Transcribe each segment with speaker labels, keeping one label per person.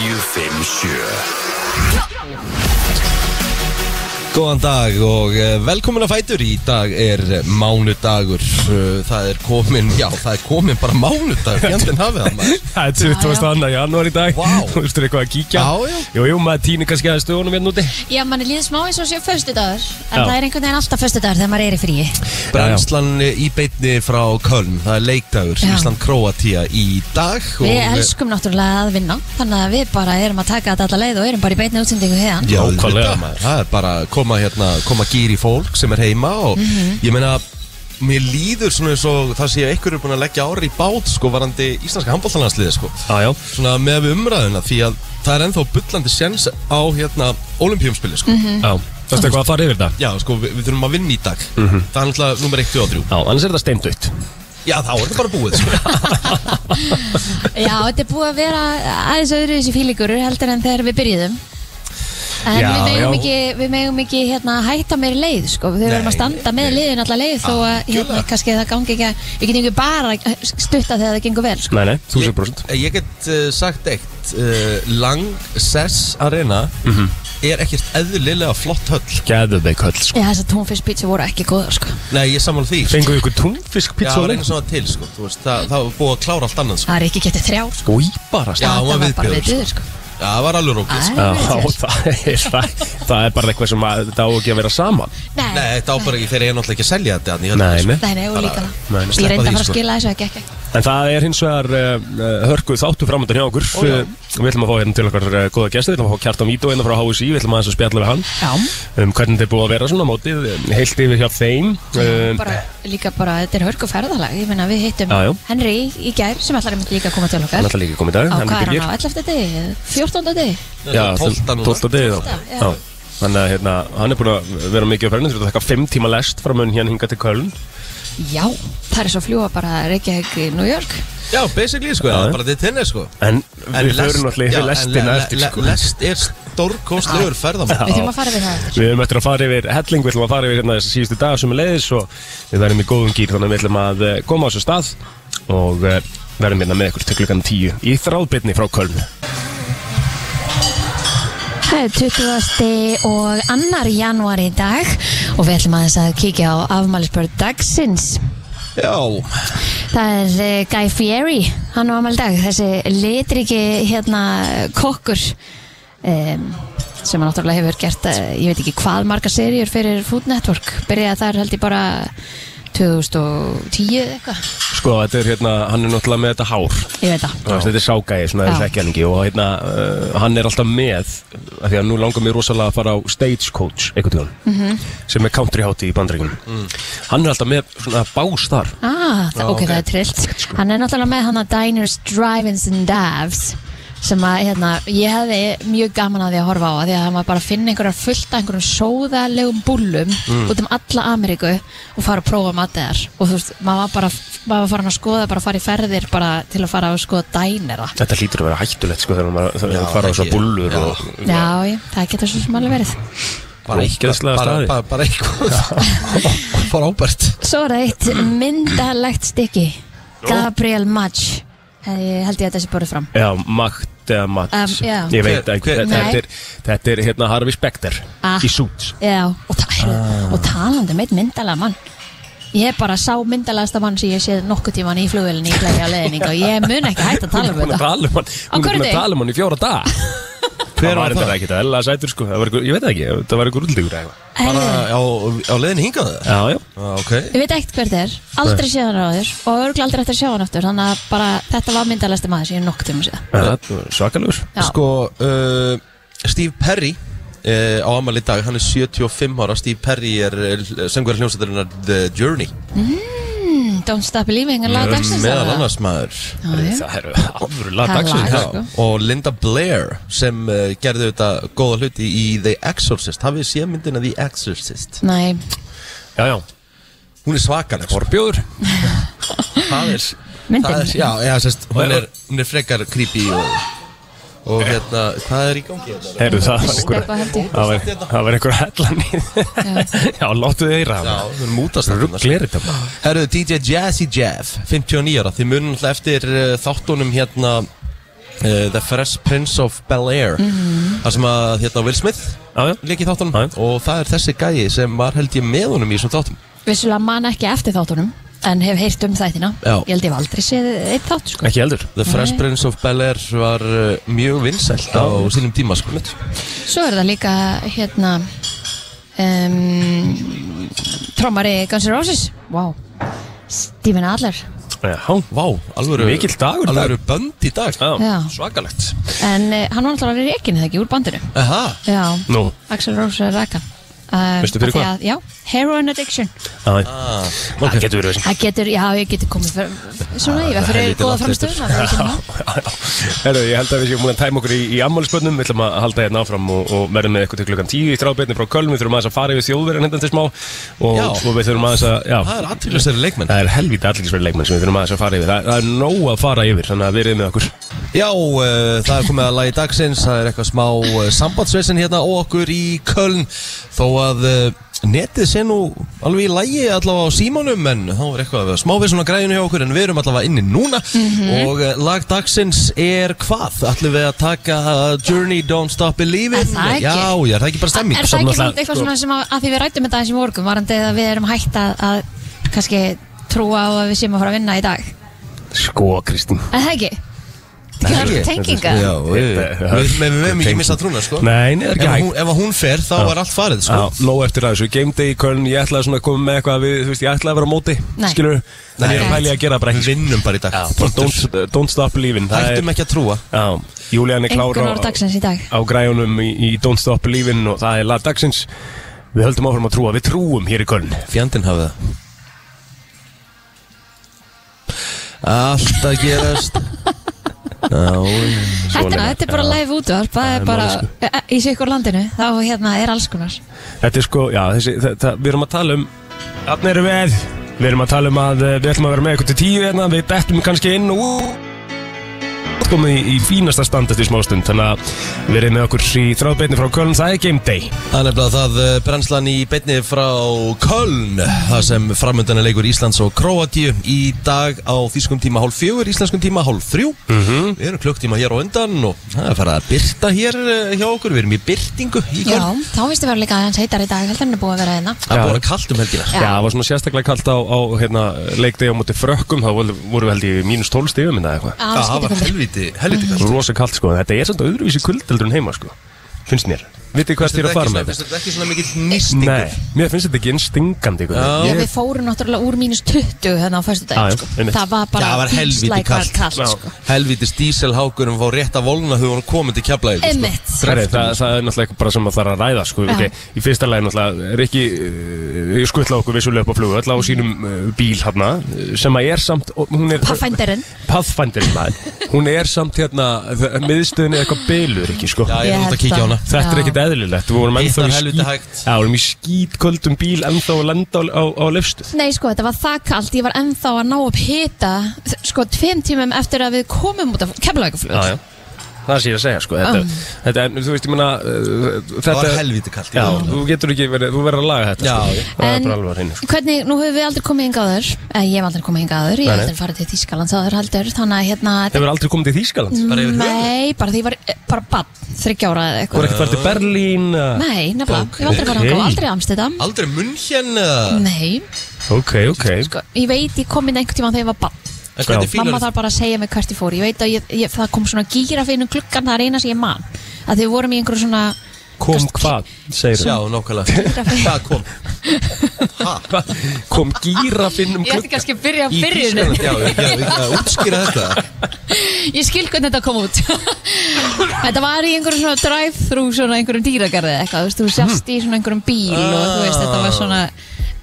Speaker 1: klukkan sjö
Speaker 2: Góðan dag og eh, velkomin að fætur Í dag er eh, mánudagur Eh, Það er komin, já það er komin bara mánudagur Fjandinn hafið það maður
Speaker 3: Það er 22. janúar í dag
Speaker 2: Vá.
Speaker 3: Þú veistur eitthvað að kíkja
Speaker 2: Já, já.
Speaker 3: Jú, jú, maður týnir kannski aðeins stöðunum hérna úti
Speaker 4: Já, manni líður smá eins og séu föstudagur En
Speaker 3: Já.
Speaker 4: það er einhvern veginn alltaf föstudagur þegar maður er í fríi
Speaker 2: Sko, Brænslan eh, í beitni frá Köln Það er leikdagur
Speaker 4: Já.
Speaker 2: Ísland-Kroatia í dag og-
Speaker 4: Við
Speaker 2: eh,
Speaker 4: elskum náttúrulega að vinna Þannig að við bara erum að taka þetta alla leið og erum bara í beinni útsendingu hér
Speaker 2: Já,
Speaker 3: Nákvæmlega,
Speaker 2: auðvitað,
Speaker 3: maður.
Speaker 2: Það er bara að koma hérna, koma gýr í fólk sem er heima og
Speaker 4: Mhm.
Speaker 2: ég meina Mér líður svona eins og það sé að ykkur er búin að leggja ári í bát sko varandi íslenska handbóltalandsliði sko
Speaker 3: Já, já
Speaker 2: Svona með við umræðuna því að það er ennþá bullandi sens á hérna olimpíumspili sko
Speaker 3: Já, það er eitthvað að fara yfir það
Speaker 2: Já sko við, við þurfum að vinna í dag
Speaker 3: Mhm.
Speaker 2: Það er náttúrulega nummer 1 og 3
Speaker 3: Já, annars er það steindautt
Speaker 2: Já þá er þetta bara búið sko
Speaker 4: Já, þetta er búið að vera aðeins öðru þessi fílíkur heldur en þegar við byrjuðum En
Speaker 3: Já,
Speaker 4: við, megum
Speaker 3: já.
Speaker 4: ekki, við megum ekki hérna, hætta meiri leið sko. Við verðum
Speaker 2: Nei,
Speaker 4: að standa með leiðin alla leið þó að hérna,
Speaker 2: Algjörlega.
Speaker 4: kannski það gangi ekki að Við getum ekki bara að stutta þegar það gengur vel sko.
Speaker 3: Nei, nei, 1000%
Speaker 2: Ég, ég get uh, sagt eitt uh, Lang Sess Arena
Speaker 3: Mhm.
Speaker 2: er ekkert eðlilega flott höll
Speaker 3: Gæðuðbeik höll, sko
Speaker 4: Já, þessar tónfisk pizza voru ekki góðar sko.
Speaker 2: Nei ég sammála því sko.
Speaker 3: Fenguðu ykkur túnfisk
Speaker 2: Já,
Speaker 3: pizza Ah.
Speaker 2: það var eitthvað sem var til, sko, þú veist, það, það var búið að klára allt annað, sko.
Speaker 4: Það er ekki getið þrjár sko.
Speaker 3: Új, bara
Speaker 2: Já,
Speaker 3: stað
Speaker 2: hún
Speaker 4: Þetta
Speaker 2: var
Speaker 4: var bara
Speaker 2: viðbjóður,
Speaker 4: við duður sko.
Speaker 2: Já, það var alveg rókið, sko.
Speaker 4: Æ.
Speaker 3: Já, það er, það, það er bara eitthvað sem að, þetta á ekki að vera saman
Speaker 4: Nei,
Speaker 2: Nei, þetta á bara ekki, þeir eru náttúrulega ekki að selja þetta, hérna þannig að
Speaker 3: Ah. Nei, nei.
Speaker 4: Nei, nei, og
Speaker 2: Bara-
Speaker 4: líka
Speaker 3: Nei, nei,
Speaker 4: Ég
Speaker 2: sleppa
Speaker 4: reyndi
Speaker 2: því,
Speaker 4: að fara að
Speaker 2: sko.
Speaker 4: skila þessu ekki ekki
Speaker 3: En það er hins vegar uh, hörkuð þáttu framöndan hjá okkur
Speaker 2: Ó, já.
Speaker 3: uh, Við ætlum að fá hérna til okkar uh, góða gesti Við ætlum að fá Kjartan Ító hérna frá HSI Við ætlum að að spjalla við hann
Speaker 4: Já,
Speaker 3: um, Hvernig þetta er búið að vera svona á mótið um, Heilt yfir hjá þeim
Speaker 2: Eh,
Speaker 3: um,
Speaker 4: bara, líka bara, þetta er hörku ferðalag Ég meina, við hittum
Speaker 3: Já, já.
Speaker 4: Henry í gær sem allar er líka að koma til okkar
Speaker 3: Hann ætla líka að koma í dag
Speaker 4: Á
Speaker 3: hann
Speaker 4: hvað er
Speaker 3: byrjar.
Speaker 4: hann á 11. degi, 14. degi
Speaker 3: Já,
Speaker 2: Já, 12 núna.
Speaker 3: 12. degi þá
Speaker 4: 12., já.
Speaker 3: Já. Þannig að hérna, hann er búin að vera mikið á ferðinu Þú ert að taka 5 tíma lest frá mun hérna hingað til Köln
Speaker 4: Já, það er svo fljúa bara Reykjavík í New York
Speaker 2: Já, basically, sko,
Speaker 3: Já,
Speaker 2: það
Speaker 3: já.
Speaker 2: er bara til tenni, sko.
Speaker 3: En við förum náttúrulega yfir lestina eftir sko.
Speaker 2: Lest er stórkostlegur ferðamann.
Speaker 4: Við þurfum að fara við það eftir
Speaker 3: Við höfum eftir að fara yfir helling, við ætlum að fara yfir hérna þessi síðustu dagar sem er leiðis og við verðum í góðum gýr þannig að við ætlum að eh, koma á þessu stað og eh, verðum hérna með ykkur til klukkan 10 í þráðbyrni frá Köln.
Speaker 4: Það er 20. og annar janúar í dag og við ætlum aðeins að kíkja á afmælisbörð dagsins
Speaker 2: Já,
Speaker 4: Það er eh, Guy Fieri, hann á amal dag, þessi litriki hérna kokkur um, sem hann náttúrulega hefur gert, eh, ég veit ekki hvað marga seríur fyrir Food Network, byrjaði þar held ég bara 2010 eða eitthvað,
Speaker 3: Sko þetta er hérna, hann er náttúrulega með þetta hár,
Speaker 4: ég veit það.
Speaker 3: Þú veist, þetta er ságæði svona
Speaker 4: Já.
Speaker 3: þessi ekki alveg og hérna uh, hann er alltaf með, af því að nú langar mér rosalega að fara á Stagecoach einhvern tíðan
Speaker 4: Mhm.
Speaker 3: sem er countryhátti í bandreikunum.
Speaker 2: Mm.
Speaker 3: Hann er alltaf með svona bás þar.
Speaker 4: Ah, það, ok, sko. það er trillt. Hann er náttúrulega með hann að Diners, Drive-ins and Davs sem að, hérna, ég hefði mjög gaman að því að horfa á að því að maður bara finna einhverjar fullt af einhverjum sóðalegum búllum út um alla Ameríku og fara að prófa matiðar og þú veist, maður var bara maður var farin að skoða, bara að fara í ferðir bara til að fara að skoða dænera
Speaker 3: Þetta hlýtur að vera hættulegt sko þegar maður
Speaker 2: Já,
Speaker 3: þegar fara á
Speaker 2: ekki.
Speaker 3: svona bullur
Speaker 2: Já.
Speaker 3: og
Speaker 4: Já, ég, það getur svo sem alveg verið
Speaker 2: bara eitthvað,
Speaker 3: Ógeðslega
Speaker 2: bara,
Speaker 3: staðið.
Speaker 2: bara, bara eitthvað. Frábært.
Speaker 4: Svo er það eitt myndalegt stykki Gabriel Mudge hefði, held ég að þessi borðið fram
Speaker 3: Já, makt eða mat
Speaker 4: Um, já.
Speaker 3: Ég veit
Speaker 2: Hver-
Speaker 3: ekki,
Speaker 2: hver-
Speaker 3: þetta,
Speaker 4: Nei.
Speaker 3: er, þetta er hérna Harvey Specter
Speaker 4: Ah.
Speaker 3: í Suits
Speaker 4: Já, og, ta og talandi meitt myndalega mann Ég bara sá myndalegasta mann sem ég séð nokkuð tíman í flugvelinni í glæði á leðning og ég mun ekki hægt að tala um
Speaker 3: Hún er búin að
Speaker 4: þetta
Speaker 3: tala um hann Hún er
Speaker 4: hverju
Speaker 3: búin að
Speaker 4: degi?
Speaker 3: tala um hann í fjóra dag Hver
Speaker 2: var
Speaker 3: var
Speaker 2: það?
Speaker 3: þetta ekki, það er alveg sætur sko það var, einhver- Ég veit það ekki, það var ykkur útlíkur eða eitthvað
Speaker 2: Bara
Speaker 4: Herðu,
Speaker 2: á, á leiðin hingað það.
Speaker 3: Já, já,
Speaker 2: Já, ok.
Speaker 4: Ég veit ekkert hver það er, aldrei séð hann áður og örgulega aldrei eftir að sjá hann aftur þannig að bara þetta var myndalegasta maður sem ég nokkuð tíma séð
Speaker 3: það er svakalegur
Speaker 4: Já.
Speaker 2: Sko, uh, Steve Perry uh, á amal í dag, hann er 75 ára Steve Perry er uh, söngur hljómsættarinnar The Journey
Speaker 4: mm, Don't Stop Believing er laga dagsins
Speaker 2: meðal
Speaker 4: eða?
Speaker 2: annars maður
Speaker 4: Já, já.
Speaker 3: Það eru afurlega
Speaker 4: Það er
Speaker 3: dagsins
Speaker 4: lag.
Speaker 2: Já,
Speaker 3: Já.
Speaker 4: sko.
Speaker 2: og Linda Blair sem uh, gerði þetta góða hluti í The Exorcist hafið þið séð myndina The Exorcist
Speaker 4: Nei,
Speaker 3: já, já,
Speaker 2: hún er svakaleg sko.
Speaker 3: Orbjóður
Speaker 2: það er, það er,
Speaker 4: myndin
Speaker 2: já, já, sest, hún, er, hún er frekar creepy og, og hérna, hvað er í gangi? hérna?
Speaker 3: Heyrðu, það var einhver
Speaker 4: Steppa held ég
Speaker 3: Það var, það var einhver hellan í Já, láttu þið eira
Speaker 2: Já,
Speaker 3: hann
Speaker 2: hún er mútast þarna, sko.
Speaker 3: Rugglir þetta bara.
Speaker 2: Herðu, DJ Jazzy Jeff, 59 ára Þið munum alltaf eftir uh, þáttunum eh, hérna uh, The Fresh Prince of Bel-Air þar sem að hérna Will Smith
Speaker 3: Já, já.
Speaker 2: leik í þáttunum
Speaker 3: Já.
Speaker 2: og það er þessi gæi sem var held ég með honum í þessum þáttum
Speaker 4: Vissulega man ekki eftir þáttunum En hef heyrt um þættina
Speaker 2: Já.
Speaker 4: Ég held ég hef aldrei séð eitt þátt sko.
Speaker 3: Ekki heldur
Speaker 2: The Fresh Prince of Bel-Air var uh, mjög vinsælt á sínum tíma sko
Speaker 4: Svo er það líka hérna um, Trommari Guns N' Roses Vá Steven Adler
Speaker 3: Já,
Speaker 2: Vá, alvöru,
Speaker 3: Mikill dagur í dag.
Speaker 2: alvöru bönd í dag sko.
Speaker 3: já.
Speaker 4: Já.
Speaker 3: svakalegt
Speaker 4: En uh, hann var náttúrulega reikin eða ekki úr bandinu
Speaker 2: Aha,
Speaker 4: Já
Speaker 3: Nú,
Speaker 4: Axel Rose er reikin um,
Speaker 3: Veistu fyrir
Speaker 4: af því
Speaker 3: hvað?
Speaker 4: að- Já, heroin addiction
Speaker 3: já, já
Speaker 4: Ah,
Speaker 3: Það getur verið
Speaker 4: Það getur, já, ég getur komið fyrir, svona, ég var fyrir
Speaker 2: helviti
Speaker 4: góða
Speaker 2: langt
Speaker 4: framstöðuna það er ekki nóg.
Speaker 3: Herru, ég held að við séum múin að tæma okkur í, í ammálspönnum Við ætlum að halda hérna áfram og, og verðum með eitthvað til klukkan tíu í þrábeinni frá Köln Við þurfum aðeins að fara yfir þjóðverðin hérna til smá og,
Speaker 2: Já.
Speaker 3: og við þurfum aðeins að já,
Speaker 2: það er aðtýrlisari leikmenn
Speaker 3: Það er helvítið allingsverð leikmenn sem við þurfum aðeins að fara yfir Það, það er nóg að fara yfir, þannig að verið með okkur
Speaker 2: Já, uh, það er komið að lagi dagsins, það er eitthvað smá uh, sambandsveisin hérna og okkur í Köln þó að uh, netið sé nú alveg í lagi allavega á símanum en þá er eitthvað smávisun á græðinu hjá okkur en við erum allavega inni núna
Speaker 4: Mhm.
Speaker 2: og uh, lag dagsins er hvað? Ætlum við að taka uh, Journey Don't Stop Believin?
Speaker 4: Er það ekki?
Speaker 2: Já, já, er það ekki bara stemming?
Speaker 4: Er það
Speaker 3: Samt
Speaker 4: ekki
Speaker 3: náttúrulega-
Speaker 4: svona eitthvað svona sem að, að því við rættum þetta eins í morgun varandi að við erum hægt að, að kannski trúa á að við séum að fara að vinna í dag
Speaker 3: Sko, Kristín
Speaker 4: Er það ekki? Það er ekki tenginga
Speaker 2: Já, við við- við meðum ekki missa trúna sko
Speaker 3: Nei, nei, það er
Speaker 2: Ef
Speaker 3: ekki
Speaker 2: að
Speaker 3: hægt
Speaker 2: hún, ef að hún fer þá er allt farið sko
Speaker 3: Já, nóg eftir að þessu, game day í Köln, ég ætlaði svona að koma með eitthvað við, þú veist, ég ætlaði að vera á móti,
Speaker 4: Nei.
Speaker 3: skilur en ég er
Speaker 4: Nei.
Speaker 3: pæli að gera það bara
Speaker 2: Við
Speaker 3: ekki,
Speaker 2: vinnum bara í dag
Speaker 3: sko. don't, don't stop believing, það er,
Speaker 2: Hættum ekki að trúa
Speaker 3: Já, Júlían er klár
Speaker 4: Engun
Speaker 3: á,
Speaker 4: orð dagsins í dag
Speaker 3: á græjunum í, í Don't Stop Believin og það er lag dagsins Við höldum áfram að trúa, við trúum hér í Köln
Speaker 2: Fjandinn hafið það Allt að gerast Já, sko.
Speaker 4: Þetta er- þetta er bara live útvarp Það er bara e- í sikur landinu þá hérna er alls konar
Speaker 3: Þetta er sko, já, þessi, þetta, við erum að tala um Þannig erum við Við erum að tala um að eh, við ætlum að vera með eitthvað til tíu hérna Við dettum kannski inn og komið í, í fínasta stand eftir smástund Þannig að við erum með okkur í þráðbeinni frá Köln, það er Game Day
Speaker 2: það er nefnilega það eh, brennslan í beinni frá Köln Það sem framöndana leikur Íslands og Króatíu Í dag á þýskum tíma hálf fjögur, íslenskum tíma hálf þrjú
Speaker 3: Mhm.
Speaker 2: -hmm. Við erum klukktíma hér á undan og það er farið að byrta hér eh, hjá okkur Við erum í byrtingu í
Speaker 4: Já,
Speaker 2: Köln
Speaker 4: þá finnst þið vera líka aðeins heitar í dag heldur en er búið að vera hérna
Speaker 2: Það er
Speaker 3: Já.
Speaker 2: búin að kalt um helgina
Speaker 4: Já.
Speaker 3: Já, það var svona sérstaklega kallt á, á hérna, leikdegi á móti frökkum, þá voru við held í mínus 12 stigum en það eitthvað.
Speaker 4: Alls
Speaker 2: Það var
Speaker 4: getur komið
Speaker 2: helviti, helviti kalt
Speaker 3: rosa kallt sko, en þetta er samt öðruvísi kuldeldur en heima sko, finnst mér Vitið hvað ég er að fara með þetta?
Speaker 2: Þetta er ekki svona mikill nýstingur
Speaker 3: Nei, mér finnst þetta ekki einn stingandi ykkur
Speaker 2: Já.
Speaker 4: Já, við fórum náttúrulega úr mínus 20 hérna á fyrstu
Speaker 3: Já, já,
Speaker 4: sko.
Speaker 3: einmitt.
Speaker 4: Það var bara
Speaker 2: Já, það var helvíti
Speaker 4: dýpslæk var
Speaker 2: kalt.
Speaker 4: kalt
Speaker 3: Já.
Speaker 4: sko.
Speaker 2: Helvitis díselhákurum fá rétt að volna þegar hún komið til sko. kjaflaði
Speaker 4: Einmitt.
Speaker 3: Það, það, það er náttúrulega eitthvað bara sem maður þarf að ræða sko,
Speaker 4: Já.
Speaker 3: okay. Í fyrsta lagi náttúrulega er ekki uh, skuttla okkur vissulega upp á flugu öll á sínum uh, bíl hana sem að er samt og hún er,
Speaker 4: Pathfinderinn
Speaker 3: Pathfinderinn, maður. hún er samt hérna þ- miðstöðin er eitthvað bylur ekki sko
Speaker 2: Já, ég
Speaker 4: Ég
Speaker 2: er út
Speaker 4: held
Speaker 2: að kíkja á
Speaker 4: að-
Speaker 2: hana
Speaker 3: Þetta er
Speaker 4: Já.
Speaker 3: ekkert eðlilegt, við vorum ennþá
Speaker 2: Hitnar
Speaker 3: í
Speaker 2: helviti
Speaker 3: skít-
Speaker 2: hægt.
Speaker 3: Já, við vorum í skítköldum bíl ennþá að lenda á, á, á lifstuð
Speaker 4: Nei, sko, þetta var það kallt, ég var ennþá að ná upp hita sko, tveim tímum eftir að við komum út af
Speaker 3: Já,
Speaker 4: kemlaugaflug
Speaker 3: já. Það sé ég að segja sko Þetta,
Speaker 4: Um.
Speaker 3: þetta en, þú veist, ég meina uh, Þetta
Speaker 2: Það var helviti kallt
Speaker 3: Já, þú getur ekki verið, þú verður að laga þetta
Speaker 2: Já,
Speaker 3: sko.
Speaker 2: já.
Speaker 3: Það er
Speaker 4: En-
Speaker 3: bara alveg að reyna sko.
Speaker 4: Hvernig, nú hefur við aldrei komið hingað áður eh, Ég hef aldrei komið hingað
Speaker 3: Nei,
Speaker 4: áður, ég hef
Speaker 3: nei.
Speaker 4: aldrei farið til Þýskalands áður heldur Þannig að hérna
Speaker 3: Hefur aldrei komið til Þýskaland?
Speaker 4: Mm.
Speaker 2: bara yfir höfuð?
Speaker 4: Nei, bara því ég var eh, bara bann, þryggjára eða
Speaker 3: Þú er ekkert
Speaker 4: eitthvað
Speaker 3: farið til Berlín uh,
Speaker 4: Nei, nefnilega,
Speaker 2: Ok.
Speaker 4: ég hef
Speaker 3: Ok. Ah.
Speaker 4: aldrei farið hingað og aldrei amstæðam
Speaker 2: Aldrei munn hérna
Speaker 4: Nei,
Speaker 3: Ok, ok
Speaker 4: sko, ég veit, ég kom inn einhvern tímann þegar ég var bann
Speaker 2: En hvernig
Speaker 3: Já.
Speaker 4: Mamma
Speaker 2: fílar
Speaker 4: þarf bara að segja mig hvert ég fór Ég veit að ég, ég, það kom svona gýra fyrir klukkan Það er eina sem ég man Að þið vorum í einhverju svona
Speaker 3: Kom hvað, segir
Speaker 2: Já,
Speaker 3: þú?
Speaker 2: nákvæmlega Hvað kom? Ha?
Speaker 3: Kom gírafinn um
Speaker 4: Ég ætti
Speaker 3: klukk
Speaker 4: kannski að byrja á
Speaker 2: Í
Speaker 4: byrjunum
Speaker 2: Þýskaland, já, já, já, já, útskýra þetta
Speaker 4: Ég skil hvernig þetta kom út Þetta var í einhverjum svona drive-thru svona einhverjum dýragarði eða eitthvað þú veist, þú sérst í svona einhverjum bíl og þú veist, þetta var svona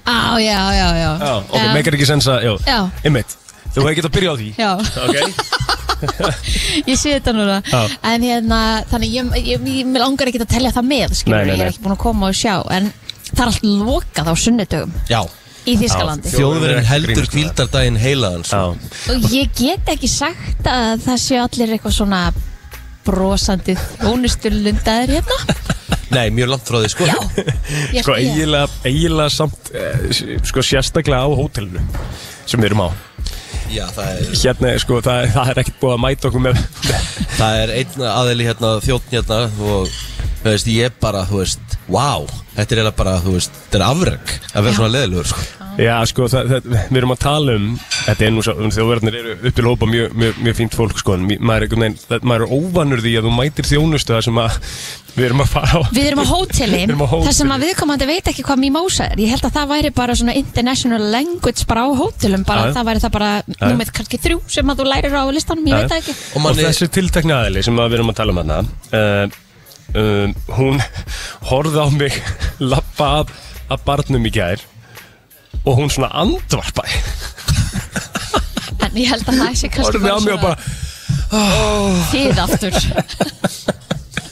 Speaker 4: á, já, já, já
Speaker 3: Já, ok, meikar ekki sens að, já
Speaker 4: Já.
Speaker 3: Einmitt, þú hefði getað byrjað á því
Speaker 4: Já,
Speaker 3: Ok,
Speaker 4: ég sé þetta núna
Speaker 3: Já.
Speaker 4: En hérna, þannig ég, ég, ég, ég mig langar ekki að telja það með skilur,
Speaker 3: Nei, nei,
Speaker 4: ég
Speaker 3: nei.
Speaker 4: er ekki búin að koma og sjá en það er allt lokað á sunnudögum
Speaker 2: Já
Speaker 4: í Þískalandi
Speaker 2: Þjóðurinn heldur kvíldardaginn heilaðan
Speaker 3: já
Speaker 2: sko.
Speaker 4: og ég get ekki sagt að það séu allir eitthvað svona brosandi ónustulundaðir hérna
Speaker 2: Nei, mjög langt frá því sko
Speaker 4: Já, ég,
Speaker 3: Sko,
Speaker 4: ég,
Speaker 3: eiginlega, eiginlega samt eh, Sko, sérstaklega á hótelinu Sem við erum á
Speaker 2: Já, það er
Speaker 3: Hérna, sko, það, það er ekkert búið að mæta okkur með
Speaker 2: Það er einn aðili hérna, þjóttn hérna og þú veist, ég bara, þú veist, wow Þetta er eiginlega bara, þú veist, þetta er afreg að vera svona leðilegur, sko
Speaker 3: Já, sko, það, það, við erum að tala um Þetta er nú svo, þjóðverðnir eru uppil hópa mjög, mjög, mjög fínt fólk, sko en mi- maður er, einhvern veginn- það- maður er óvanur því að þú mætir þjónustu það sem að við erum að fara á
Speaker 4: Við erum á hóteli,
Speaker 3: Við erum á hóteli.
Speaker 4: þar sem að viðkomandi veit ekki hvað mimosa er. Ég held að það væri bara svona international language bara á hótelum, bara
Speaker 3: Já, já.
Speaker 4: það væri það bara
Speaker 3: já.
Speaker 4: númið kannski þrjú sem að þú lærir á listanum, ég
Speaker 3: Já, já.
Speaker 4: veit það ekki.
Speaker 2: Og
Speaker 3: og,
Speaker 2: manni-
Speaker 3: þessi tiltakna aðili sem að við erum að tala um hana uh, um, hún horfði á mig lappa að, að barnum í gær og hún svona andvarpaði
Speaker 4: En ég held að það sé kannski
Speaker 3: horfði á mig og bara
Speaker 4: þið aftur.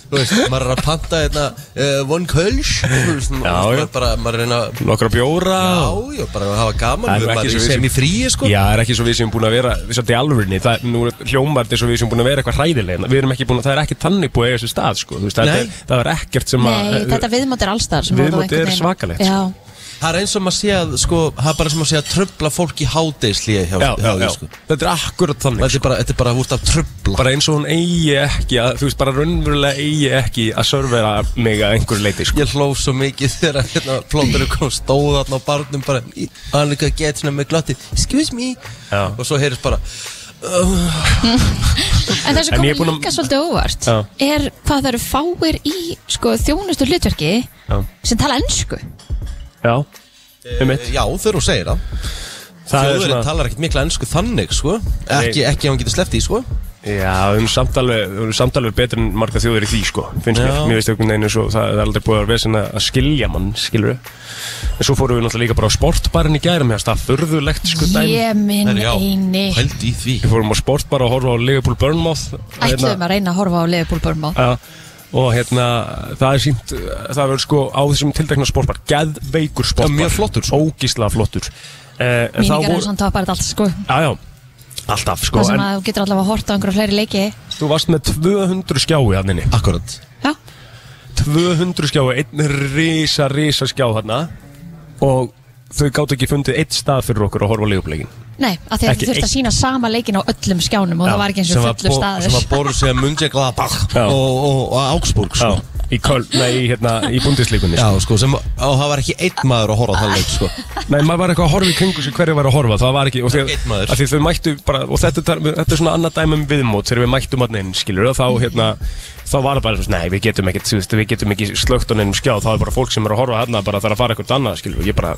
Speaker 2: Þú veist, maður er að panta hérna uh, Von Kölsch Þú veist,
Speaker 3: Já,
Speaker 2: maður
Speaker 3: já.
Speaker 2: er bara, maður er hérna
Speaker 3: nokkra bjóra og-
Speaker 2: Já, já, bara að hafa gaman
Speaker 3: Það er
Speaker 2: við
Speaker 3: ekki
Speaker 2: maður
Speaker 3: svo
Speaker 2: í
Speaker 3: við
Speaker 2: sem í fríi, sko
Speaker 3: Já, það er ekki svo við sem búin að vera Við svolítið alvörinni, það er nú hljómar Þess að við sem búin að vera eitthvað hræðilegna Við erum ekki búin að, það er ekki tannig búið að eiga sér stað sko. Þú veist, það,
Speaker 2: Nei.
Speaker 3: er, það er ekkert sem að
Speaker 4: Nei, þetta viðmót er allstar.
Speaker 3: Viðmótið eh, er svakalegt, sko.
Speaker 4: Já,
Speaker 2: Það er eins og maður sé að, sko, það er bara sem maður sé að tröfla fólk í hádeisli hjá,
Speaker 3: já, já,
Speaker 2: hjá því,
Speaker 3: já.
Speaker 2: sko
Speaker 3: Þetta er akkurat þannig
Speaker 2: Þetta er bara, þetta er bara úr að tröfla
Speaker 3: Bara eins og hún eigi ekki að, Þú veist, bara raunverulega eigi ekki Að sörvera mig að einhverju leiti sko.
Speaker 2: Ég hlóf svo mikið þegar að, hérna plótturinn kom stóð alltaf á barnum bara "Í, hann líka að geta hérna með glotti excuse me
Speaker 3: Já.
Speaker 2: og svo heyrist bara
Speaker 4: en það sem
Speaker 3: En ég
Speaker 4: komur
Speaker 3: er búin að-
Speaker 4: líka svolítið óvart
Speaker 3: Já.
Speaker 4: er hvað það eru fáir í sko, þjónustu hlutverki
Speaker 3: Já,
Speaker 4: sem tala ennsku.
Speaker 3: já. Um mitt
Speaker 2: já þegar hún segir það Þjóðurinn talar ekkert mikla ennsku þannig sko ekki, ekki ef hann getur sleppt í sko
Speaker 3: Já, við erum samt alveg- við erum samt alveg betri en marga þjóðir í því, sko, finnst mér.
Speaker 2: Já.
Speaker 3: Mér veist einhvern veginn eins og það það er aldrei búið að vera sinna að skilja mann, skilur við. En svo fórum við náttúrulega líka bara á sportbarinn í gæri, mér finnst það förðulegt, sko, dæmi.
Speaker 4: Ég minn
Speaker 2: Herri, já,
Speaker 4: eini.
Speaker 2: held í því
Speaker 3: Við fórum á sportbar og horfum á Liverpool Burnmouth.
Speaker 4: Ætluðum að reyna að horfa á Leopold Börnmál.
Speaker 3: Já, og hérna, það er sínt, það verður sko á þessum tildekna sportbar, geðveikur sportbar.
Speaker 2: mjög flottur, sko.
Speaker 3: Ógíslega flottur. Eh, en það
Speaker 4: Míningar
Speaker 3: voru-
Speaker 4: er svona toppar þetta allt sko
Speaker 3: Já, já, alltaf, sko,
Speaker 4: Það sem
Speaker 3: en
Speaker 4: að þú getur allavega að horta á einhverja fleiri leiki
Speaker 3: þú varst með 200 skjái hann inni.
Speaker 2: Akkurat
Speaker 4: Já,
Speaker 3: 200 skjá einn risa, risa skjá þarna og þau gáttu ekki fundið eitt stað fyrir okkur að horfa á leikupleikin
Speaker 4: nei, af því að
Speaker 3: Ekki
Speaker 4: þú þurft að
Speaker 3: eitt.
Speaker 4: sína sama leikin á öllum skjánum og
Speaker 3: Já,
Speaker 4: það var ekki eins
Speaker 2: sem
Speaker 4: og
Speaker 2: var,
Speaker 4: fullur staður
Speaker 2: sem var Borussia Mönchengladbach
Speaker 3: Já.
Speaker 2: og, og, og Augsburg sko.
Speaker 3: í Köln, nei, í hérna, í bundislíkunni
Speaker 2: Já, sko, sem, og það var ekki einn maður að horfa á það leik sko.
Speaker 3: Nei, maður var eitthvað að horfa í kringu sig hverju var að horfa, það var ekki og,
Speaker 2: Einn maður.
Speaker 3: af því þau mættu bara, og þetta, er- þetta er svona annað dæmi um viðmót þegar við mættum að neinn, skilur og þá, hérna, þá var það bara, svona, nei, við getum ekkert, þú veist, við getum ekki slögt á neinum um skjá þá er bara fólk sem er að horfa þarna bara þarf að fara eitthvað annað, skilur ég bara,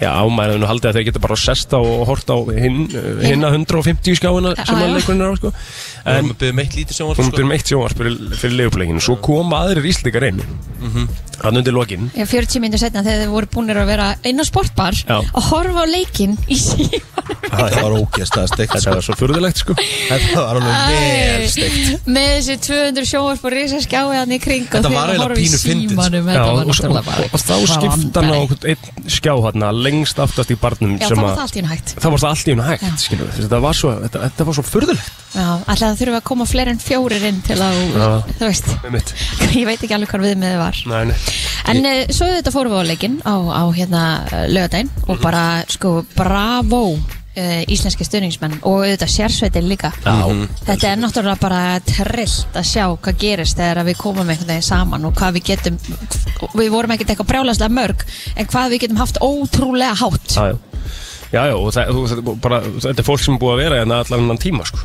Speaker 3: já, ámæður en haldið að þeir geta bara sesta og hort á hinn hinna 150 skjáina sem
Speaker 4: Já, já.
Speaker 3: að leikurinn er á, sko
Speaker 2: við
Speaker 3: en
Speaker 2: erum að byggja meitt lítið sjónvarp
Speaker 3: hún
Speaker 2: sko.
Speaker 3: byrjum eitt sjónvarp fyrir, fyrir leifupleginu, svo koma aðrir íslíkar inn
Speaker 2: Mhm.
Speaker 3: hann undir lokin
Speaker 4: Já, 40 minnir setna þegar þau voru búinir að vera inn á sportbar
Speaker 3: Já.
Speaker 4: og horfa á leikin í síðan
Speaker 2: Þetta var ógeðslega steikt
Speaker 3: þetta
Speaker 2: sko.
Speaker 3: var svo furðulegt, sko
Speaker 2: Þetta var alveg vel steikt
Speaker 4: með þessi 200 sjóvarp og risa skjáði hann í kring
Speaker 2: Þetta
Speaker 4: og
Speaker 2: var
Speaker 4: þegar
Speaker 2: eiginlega
Speaker 4: horfa í
Speaker 2: pínu fyndið, sko.
Speaker 4: símanum
Speaker 3: Já,
Speaker 4: þetta var
Speaker 3: og, og,
Speaker 4: náttúrulega
Speaker 3: og,
Speaker 4: bara
Speaker 3: og þá skipta hann á einhvern einn skjá hérna lengst aftast í barnum
Speaker 4: Já,
Speaker 3: sem
Speaker 4: það var
Speaker 3: að-
Speaker 4: það allt í hún hægt
Speaker 3: þá var það allt í hún
Speaker 4: Já.
Speaker 3: hægt skilur, við. þetta var svo, þetta, þetta var svo furðulegt
Speaker 4: Já, alltaf það þurfa að koma fleiri en fjórir inn til að,
Speaker 3: Já.
Speaker 4: þú veist
Speaker 3: með mitt
Speaker 4: ég veit ekki alveg hvað viðmiðið var
Speaker 3: Nei, nei.
Speaker 4: En ég... svo þetta fórum við á leikinn á, á hérna lögadaginn
Speaker 3: Mhm.
Speaker 4: og bara sko bravo uh, íslenski stuðningsmenn og auðvitað sérsveitin líka
Speaker 2: Mhm.
Speaker 3: Já. Mhm.
Speaker 4: Þetta er náttúrulega bara trillt að sjá hvað gerist þegar að við komum einhvern veginn saman og hvað við getum við vorum ekkert eitthvað brjálæslega mörg en hvað við getum haft ótrúlega hátt
Speaker 3: Já, já. já, já, og það, þú, þetta, er bara, þetta er fólk sem er búið að vera hérna allan annan tíma sko.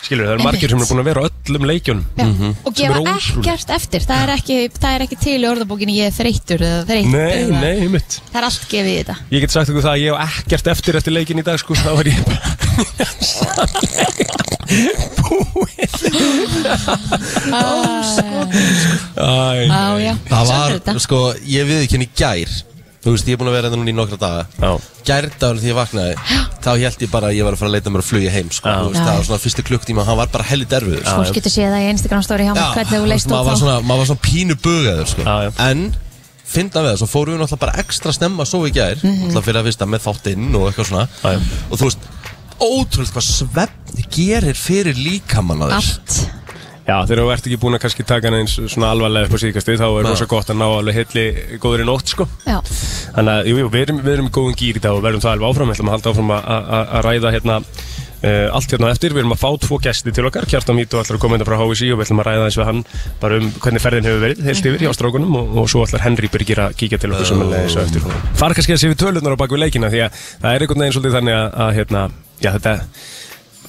Speaker 3: skilur, við, það eru margir sem
Speaker 4: Einmitt.
Speaker 3: er búin að vera á öllum leikjunum
Speaker 4: Já, og
Speaker 3: Mhm. Sem er
Speaker 4: gefa
Speaker 3: ótrúlegt.
Speaker 4: ekkert eftir það er, ekki, það er ekki til í orðabókinni ég er þreyttur eða þreyttur
Speaker 3: Nei,
Speaker 4: eða,
Speaker 3: nei, mitt
Speaker 4: það er allt gefið í þetta
Speaker 3: Ég get sagt ykkur það að ég hef ekkert eftir eftir leikin í dag sko, þá var ég bara Æ,
Speaker 4: Á, já,
Speaker 2: Það
Speaker 4: svona
Speaker 2: var,
Speaker 4: er þetta.
Speaker 2: sko, ég við ekki henni gær Þú veist, ég er búin að vera hérna núna í nokkra daga
Speaker 3: Já.
Speaker 2: Gærdagur því ég vaknaði Þá held ég bara að ég var að fara að leita mér að flugi heim sko.
Speaker 3: Já.
Speaker 2: Þú veist,
Speaker 4: Já.
Speaker 2: Það var svona fyrstu klukktíma Hann var bara helli derfið sko.
Speaker 4: fólk getur séð það í Instagram story hjá mér hvernig þú
Speaker 2: þú veist,
Speaker 4: leist
Speaker 2: maður
Speaker 4: út
Speaker 2: var
Speaker 4: þá
Speaker 2: svona, maður var svona pínu bugaður sko.
Speaker 3: Já, já.
Speaker 2: En, finna við það Svo fórum við náttúrulega bara ekstra snemma Svo í gær,
Speaker 4: Mhm.
Speaker 2: náttúrulega fyrir að fyrsta með þáttinn Og eitthvað svona
Speaker 3: Já, já.
Speaker 2: Og þú veist, ótrúlega hvað svefn gerir fyrir líkamann að þess
Speaker 4: allt
Speaker 3: Já, þegar þú ert ekki búin að kannski taka hann eins svona alvarlega upp á síðkastið þá er
Speaker 2: Nei.
Speaker 3: rosa gott að ná alveg heilli góður í nótt sko.
Speaker 4: já,
Speaker 3: Þannig að, jú, jú, við erum, við erum í góðum gýr í dag og verðum það alveg áfram, við ætlum að halda áfram að- að að ræða hérna uh, allt hérna á eftir, við erum að fá tvo gesti til okkar Kjartan Mít og allar að koma hérna frá HVC og við ætlum að ræða eins við hann bara um hvernig ferðin hefur verið heilt yfir hjá strákunum og, og svo allar Henry Birgir að kíkja til okkur sem er leiðis á eftir fara kannski að sé við tölunar á bak við leikina því að það er einhvern veginn svolítið þannig að, að hérna, já þetta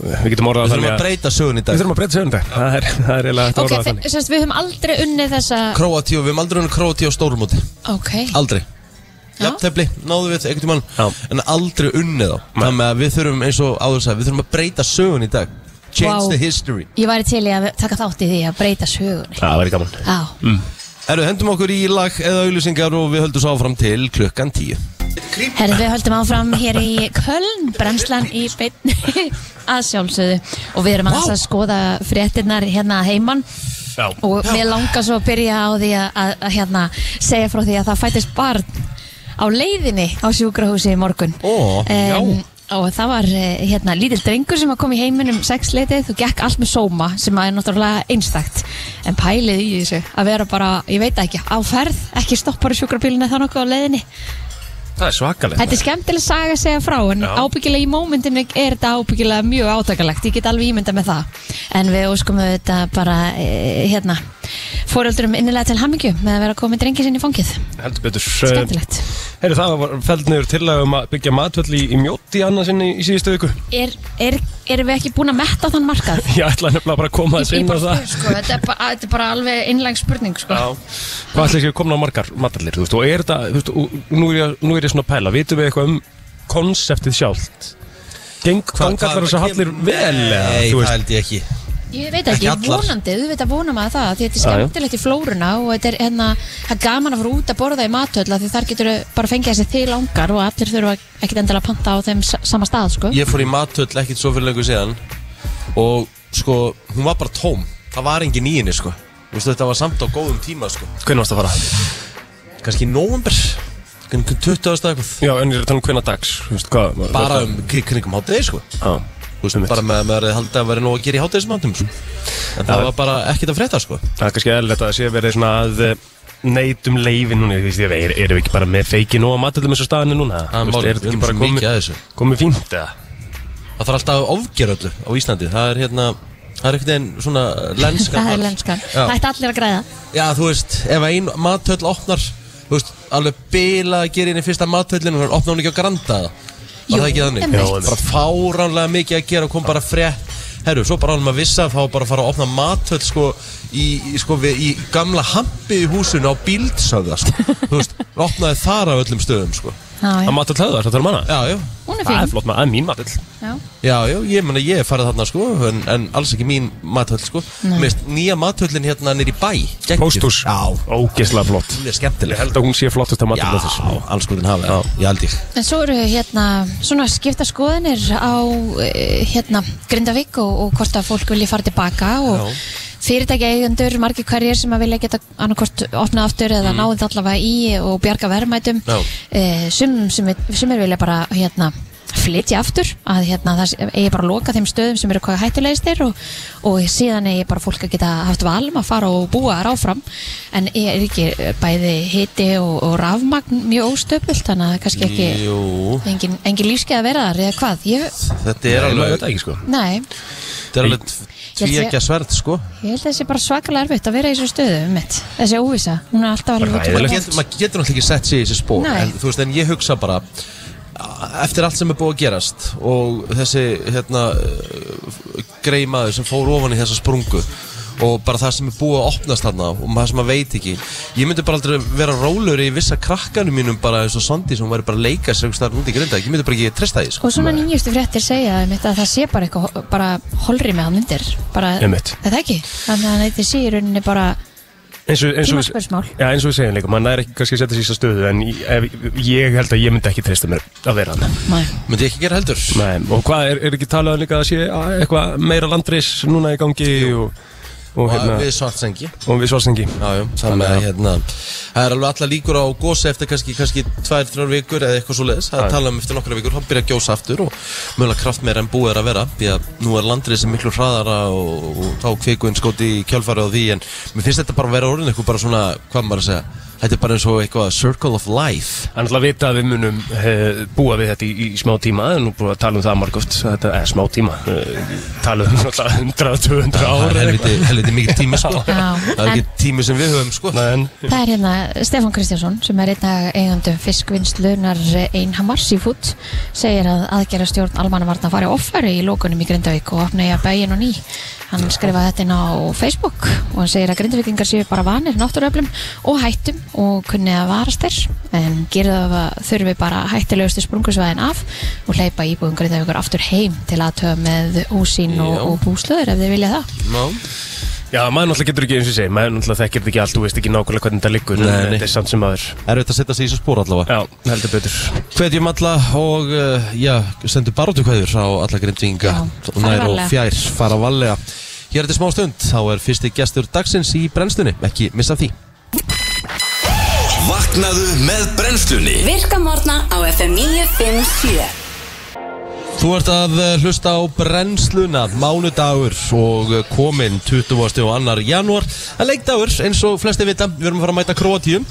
Speaker 3: við getum orðað
Speaker 2: Við
Speaker 3: það
Speaker 2: þurfum
Speaker 3: þannig
Speaker 2: að
Speaker 3: að
Speaker 2: breyta sögun í
Speaker 3: við
Speaker 2: dag
Speaker 3: þurfum að breyta sögunda það er, það er eiginlega hægt að
Speaker 4: Ok,
Speaker 3: orða það þannig
Speaker 4: semst við höfum aldrei unnið þessa
Speaker 2: Króati og við erum aldrei unni Króati á stórumóti
Speaker 4: Ok,
Speaker 2: Aldrei
Speaker 4: Já.
Speaker 2: Jafntefli, náðu við einhvern tímann
Speaker 3: Já.
Speaker 2: En aldrei unnið þá Þannig að við þurfum eins og áður sagði Við þurfum að breyta sögun í dag Change
Speaker 4: Vá.
Speaker 2: the history
Speaker 4: ég væri til í að taka þátt í því að breyta sögunni
Speaker 3: Já, það væri gaman
Speaker 4: Já,
Speaker 2: Erðu, hendum okkur í lag eða auðlýsingar og við höldum svo áfram til klukkan 10
Speaker 4: herðu við höldum áfram hér í Köln, brennslan í beinni að sjálfsögðu og við erum aðeins
Speaker 2: Vá.
Speaker 4: að skoða fréttinnar hérna að heiman
Speaker 3: Já.
Speaker 4: og mér langar svo að byrja á því að, að, að hérna, segja frá því að það fættist barn á leiðinni á sjúkrahúsi í morgun
Speaker 2: Ó,
Speaker 4: Em, og það var eh, hérna, lítill drengur sem að kom í heiminum um sexleitið og gekk allt með sóma sem að er náttúrulega einstakt en pælið í þessu að vera bara, ég veit það ekki, á ferð ekki stoppar í sjúkrabíluna þá nokkuð á leiðinni
Speaker 3: það er svakalegt
Speaker 4: Þetta er skemmtileg saga að segja frá en
Speaker 3: Já.
Speaker 4: ábyggilega í mómentinu er þetta ábyggilega mjög átakalegt, ég get alveg ímynda með það en við óskum þetta bara e, hérna, fóröldurum innilega til hammingju með að vera komin drengi sinni í fangið
Speaker 3: heldur betur eh,
Speaker 4: skemmtilegt.
Speaker 3: Heyrðu, það var feld niður tillaga um að byggja matvöll í, í mjótt í annarsinni í síðustu viku.
Speaker 4: Er, er, erum við ekki búin að metta þann markað?
Speaker 3: Ég ætla nefnilega bara að koma að
Speaker 4: Ég
Speaker 3: sinna
Speaker 4: bara
Speaker 3: það.
Speaker 4: spyr, sko, þetta, er bara, þetta er bara alveg innlæg spurning sko.
Speaker 3: Hvað ætla ekki að komna á margar matallir, þú veist, og er það, þú veist, og nú er ég, nú er ég svona að pæla, vitum við eitthvað um konseptið sjálft? Geng, ganga allar þessar hallir vel, eða,
Speaker 2: Nei,
Speaker 3: þú
Speaker 2: það
Speaker 3: veist?
Speaker 2: held ég ekki
Speaker 4: Ég veit ekki,
Speaker 2: Ekki allar.
Speaker 4: vonandi, þú veit að vona maður það því þetta er
Speaker 3: Já, já.
Speaker 4: skemmtilegt í flóruna og þetta er hérna, það er gaman að fara út að borða í matöðla því þar getur bara fengið þessi þig langar og allir þurfa ekkit endilega að panta á þeim sa- sama stað, sko
Speaker 2: Ég fór í matöll ekkert svo fyrir lengur síðan Og sko, hún var bara tóm Það var engin í henni sko Vistu, Þetta var samt á góðum tíma sko
Speaker 3: Hvernig varst það að fara?
Speaker 2: Kanski í nóvember Kanski 20. eitthvað
Speaker 3: Já, en ég er að tala um hvernig dags, þú veist, hvað? var-
Speaker 2: Bara um kring- kringum hátegi sko
Speaker 3: Já,
Speaker 2: Þú
Speaker 3: um-
Speaker 2: veist, Bara með að maður haldið að vera nóg að gera í hátegismatum sko. En það var bara ekkert að frétta sko
Speaker 3: það er kannski eðlilegt að sé verið svona að eh, neitum leifin núna, þú veist, ég veit, erum við ekki bara með feiki nú á matöllum eins og staðinu núna?
Speaker 2: Það er
Speaker 3: Þú veist,
Speaker 2: málið,
Speaker 3: er þetta
Speaker 2: við
Speaker 3: ekki
Speaker 2: erum
Speaker 3: bara
Speaker 2: svo mikið að þessu.
Speaker 3: komið, komið fínt, eða?
Speaker 2: Það þarf alltaf að ofgera öllu á Íslandi Það er hérna Það er einhvern veginn svona lenska
Speaker 4: Það er lenskan,
Speaker 2: Já.
Speaker 4: það ætti allir að græða
Speaker 2: Já, þú veist, ef ein matöll opnar Þú veist, alveg bila að gera inn í fyrsta matöllin Og opna hún ekki á granda eða?
Speaker 4: Jú,
Speaker 2: Var það ekki þannig?
Speaker 4: einmitt.
Speaker 3: Jú, einmitt.
Speaker 2: bara fáránlega mikið að gera og kom bara frétt Herru, svo bara ánum að vissa þá bara að fara að opna matöll sko í, í- sko, við, í gamla hampið í húsinu á bíldsöða sko. Þú veist, opnaði þar af öllum stöðum sko
Speaker 4: Já,
Speaker 3: Að
Speaker 4: já.
Speaker 3: matöll höfðu, það er að tala um hana?
Speaker 2: Já, já,
Speaker 4: Hún er
Speaker 3: Það er
Speaker 4: fín
Speaker 3: flott maður, það er mín matöll
Speaker 4: Já.
Speaker 2: já, já, ég meina ég er farið þarna sko en, en alls ekki mín matöll sko Mest nýja matöllin hérna nýr í bæ geggjuð.
Speaker 3: Pósthús,
Speaker 2: Já,
Speaker 3: ógeðslega flott
Speaker 2: hún er skemmtileg
Speaker 3: Ég held að hún sé flottast að
Speaker 2: Já,
Speaker 3: matöll þess
Speaker 2: alls skoðin hafa, já, ég held ég
Speaker 4: En svo eru hérna svona skipta skoðanir á eh, hérna Grindavík og, og hvort að fólk vilji fara tilbaka og
Speaker 2: Já.
Speaker 4: fyrirtækja eigendur, margir hverjir sem að vilja geta annarkvort opna aftur eða mm. náðið allavega í og bjarga verðmætum
Speaker 2: Já.
Speaker 4: eh, sum, sum, sumir vilja bara hérna flytja aftur að hérna það sé- eigi bara að loka þeim stöðum sem eru hvað hættulegistir og, og síðan eigi bara fólk að geta haft valum að fara og búa þar áfram en er ekki eh, bæði hiti og, og rafmagn mjög óstöpult þannig að það er kannski ekki
Speaker 2: Jú,
Speaker 4: Engin, engin lífskeið að vera þar eða hvað? Ég,
Speaker 2: þetta er alveg,
Speaker 3: ekki sko
Speaker 4: nei,
Speaker 2: þetta er alveg tvíegja sverð sko
Speaker 4: ég held að það sé bara svakalega erfitt að vera í þessu stöðu um mitt. Þessi óvisa, hún er alltaf alveg
Speaker 3: Ræðilegt.
Speaker 2: maður getur, maður getur náttúrulega ekki sett sig í þessi spór
Speaker 4: Nei.
Speaker 2: en, þú veist, en ég hugsa bara a- eftir allt sem er búið að gerast og þessi hérna, eh, grei maður sem fór ofan í þessa sprungu og bara það sem er búið að opnast þarna og maður sem maður veit ekki ég myndi bara aldrei vera rólur í vissa krakkanum mínum bara eins og Sandi sem væri bara að leika sér einhvers staðar úti í grinda, ég myndi bara ekki treysta því sko.
Speaker 4: Og svona nýjustu fréttir segja einmitt, að það sé bara eitthvað, bara holri með hann undir. Bara,
Speaker 3: Einmitt.
Speaker 4: Er það ekki? Þannig að þetta sé í rauninni bara,
Speaker 3: eins og, eins og, við-
Speaker 4: Tímaspursmál.
Speaker 3: Já, eins og við segjum líka, maður næri ekki kannski að setja sér í þessa stöðu En ég, ef- ég held að ég myndi ekki treysta mér að vera hann
Speaker 4: næ,
Speaker 2: myndi ég ekki gera heldur
Speaker 3: Nei, og hvað, er, er ekki talað um líka að sé að eitthvað meira landris núna í gangi og, og,
Speaker 2: hérna.
Speaker 3: hérna,
Speaker 2: við svartsengi
Speaker 3: og við svarsengi
Speaker 2: Jájú,
Speaker 3: Þannig
Speaker 2: þannig
Speaker 3: að-
Speaker 2: að hérna Það er alveg alla líkur á gósi eftir kannski, kannski tvær, þrjár vikur eða eitthvað svo leiðis Það er
Speaker 3: Já.
Speaker 2: talað um eftir nokkra vikur, hann byrja að gjósa aftur og mögulega kraft meira en búið er að vera því að nú er landrið sem miklu hraðara og, og þá kvikuinn skóti í kjálfari á því en mér finnst þetta bara að vera orðin eitthvað bara svona, hvað maður að segja Þetta er bara eins og eitthvað Circle of Life
Speaker 3: Hann ætla að vita að við munum uh, búa við þetta í, í smá tíma en nú búið að tala um það margóft þetta er smá tíma uh, tala um náttúrulega 100-200
Speaker 2: Það er
Speaker 3: ára
Speaker 2: helviti, helviti mikið tími sko
Speaker 4: Já.
Speaker 2: Það er ekki tími sem við höfum sko
Speaker 3: en
Speaker 4: Það er hérna Stefán Kristjánsson sem er einn af eigandum fiskvinnslunar Einhamars í fút segir að aðgerra stjórn almannavarna fari offæri í lókunum í Grindavík og opna í að bæin og ný. Hann skrifaði þetta inn á Facebook og hann segir að Grindavíkingar séu bara vanir náttúruöflum og hættum og kunni að varast þér en gerða það þurfi bara hættilegustu sprungusvæðin af og hleypa íbúðum Grindavíkur aftur heim til aðtöða með úsín og,
Speaker 2: Já.
Speaker 4: og búslöður ef þið vilja það.
Speaker 2: no.
Speaker 3: já, maður náttúrulega getur ekki eins og ég segi maður náttúrulega þekkir þetta ekki allt, þú veist ekki nákvæmlega hvernig þetta liggur en
Speaker 2: Nei, nei.
Speaker 3: þetta er samt sem aður
Speaker 2: Erfitt að setja sig í þessu spór allavega
Speaker 3: já, heldur betur
Speaker 2: Hvetjum alla og uh, já, sendu barótu kveður á alla grindvinga
Speaker 4: Já, fara
Speaker 2: nær og
Speaker 4: varlega.
Speaker 2: fjær, fara valega Hér eftir smá stund, þá er fyrsti gestur dagsins í brennstunni, ekki missa af því
Speaker 1: Vaknaðu með brennslunni
Speaker 5: Virka morgna á FM 957
Speaker 2: Þú ert að eh, hlusta á brennsluna mánudagur og eh, kominn 20. og 2. janúar en leikdagur eins og flesti vita við erum að fara að mæta Kroatíum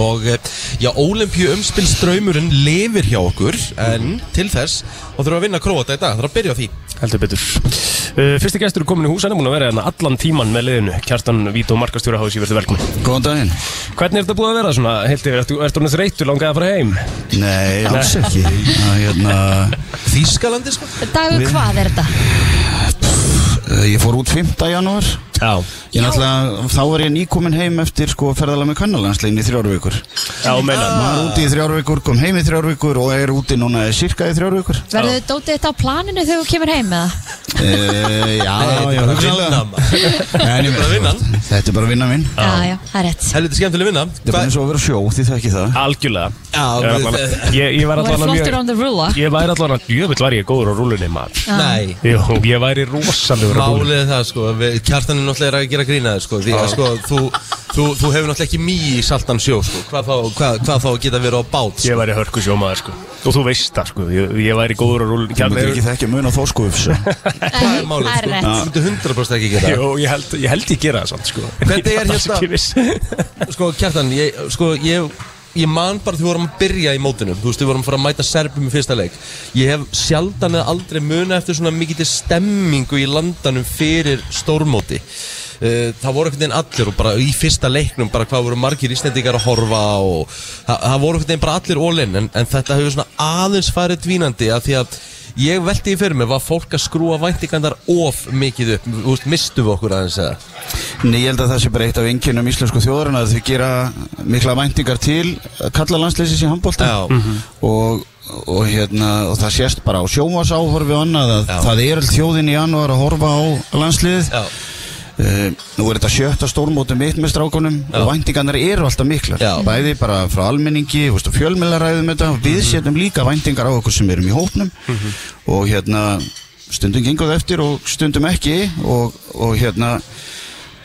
Speaker 2: og eh, já, olimpíu umspilströymurinn lifir hjá okkur en til þess þá þurfum við að vinna Kroata í dag, þarf að byrja á því
Speaker 3: heldur betur uh, fyrsti gestur er komin í hús hann er búin að vera hérna allan tíman með liðinu Kjartan Vító Markastjóra Hási verður velkomin
Speaker 6: Góðan daginn
Speaker 3: hvernig er þetta búið að vera svona, heilt yfir, ertu, ertu hann þreytur langaði að fara heim
Speaker 6: Nei, alls ekki Það, hérna,
Speaker 2: Þýskalandi sko
Speaker 4: Dagur hvað er þetta?
Speaker 6: eh, Ég fór út 5. janúar
Speaker 3: já,
Speaker 6: Ég náttúrulega, þá var ég nýkomin heim eftir sko ferðalega með kannalandslegin í þrjár vikur
Speaker 3: já, meina
Speaker 6: Maður er úti í þrjár vikur, kom heim í þrjár vikur og er úti núna cirka í þrjár vikur
Speaker 4: Verður þið dótið þetta á planinu þegar þú kemur heim eða?
Speaker 6: e, Já,
Speaker 2: Nei,
Speaker 6: já,
Speaker 2: þetta er bara
Speaker 6: hugsanlega
Speaker 2: vinnan.
Speaker 6: En ég-
Speaker 2: Þetta er bara vinnan.
Speaker 6: Þetta er bara vinnan minn
Speaker 4: Já, já, það er rétt
Speaker 2: Helviti skemmtileg vinna
Speaker 6: Þetta er bara eins og að vera á sjó, því það ekki það
Speaker 3: algjörlega
Speaker 2: Já,
Speaker 3: Ég var
Speaker 2: við-
Speaker 3: allavega- ég, ég var
Speaker 4: Þú er
Speaker 3: allavega
Speaker 4: flottur on
Speaker 3: mjög
Speaker 4: the ruler
Speaker 3: ég væri allavega, jöfnveld var ég góður á rúlunni maður
Speaker 2: Nei
Speaker 3: Jú, ég væri rosalegur á rúlunni
Speaker 2: Málið er það sko, við, kjartan er náttúrulega að gera grínaði sko, því að sko, þú, þú, þú hefur náttúrulega ekki mý í saltan sjó sko, hvað þá, hvað, hvað þá geta verið á bát sko.
Speaker 3: Ég væri hörku sjómaður sko Og þú veist það sko, ég, ég væri góður á rúlunni
Speaker 6: Þú myndir
Speaker 3: Kjarni,
Speaker 6: ekki þekkja mun á þórskuðufs
Speaker 2: Það er málið
Speaker 4: Það
Speaker 2: sko,
Speaker 4: er rétt.
Speaker 2: þú myndir 100% ekki gera
Speaker 3: Jú, ég held, ég held ég gera það samt sko
Speaker 2: Hvernig
Speaker 3: Ég
Speaker 2: er
Speaker 3: alls
Speaker 2: hérna-
Speaker 3: ekki viss.
Speaker 2: það Sko kjartan, ég, sko, ég, ég man bara því við vorum að byrja í mótinum, þú veist, við vorum að fara að mæta Serbum í fyrsta leik Ég hef sjaldan eða aldrei muna eftir svona mikið stemmingu í landanum fyrir stórmóti Eh, Það voru einhvern veginn allir og bara í fyrsta leiknum bara hvað voru margir íslendingar að horfa og það, það voru einhvern veginn bara allir ólinn en, en þetta hefur svona aðeins farið dvínandi af því að ég veldi í fyrir mig var fólk að skrúa væntingandar of mikið upp, þú veist, mistum við okkur aðeins eða
Speaker 6: Nei, ég held að það sé bara eitt af enginnum íslensku þjóðurinn að þau gera mikla væntingar til kalla landsleysins í handbólta
Speaker 2: Já. Mhm.
Speaker 6: og, og, hérna, og það sést bara á sjómasáhorfi og annað að
Speaker 2: Já.
Speaker 6: það er öll þjóðin í januar að horfa á landslið
Speaker 2: Já,
Speaker 6: uh, Nú er þetta sjötta stórmótum mitt með strákunum og væntingarnar eru alltaf miklar
Speaker 2: Já.
Speaker 6: Bæði bara frá almenningi, þú veist, og fjölmjölaræðum þetta Við setjum líka væntingar á okkur sem erum í hópnum Og hérna, stundum gengur það eftir og stundum ekki Og, og hérna,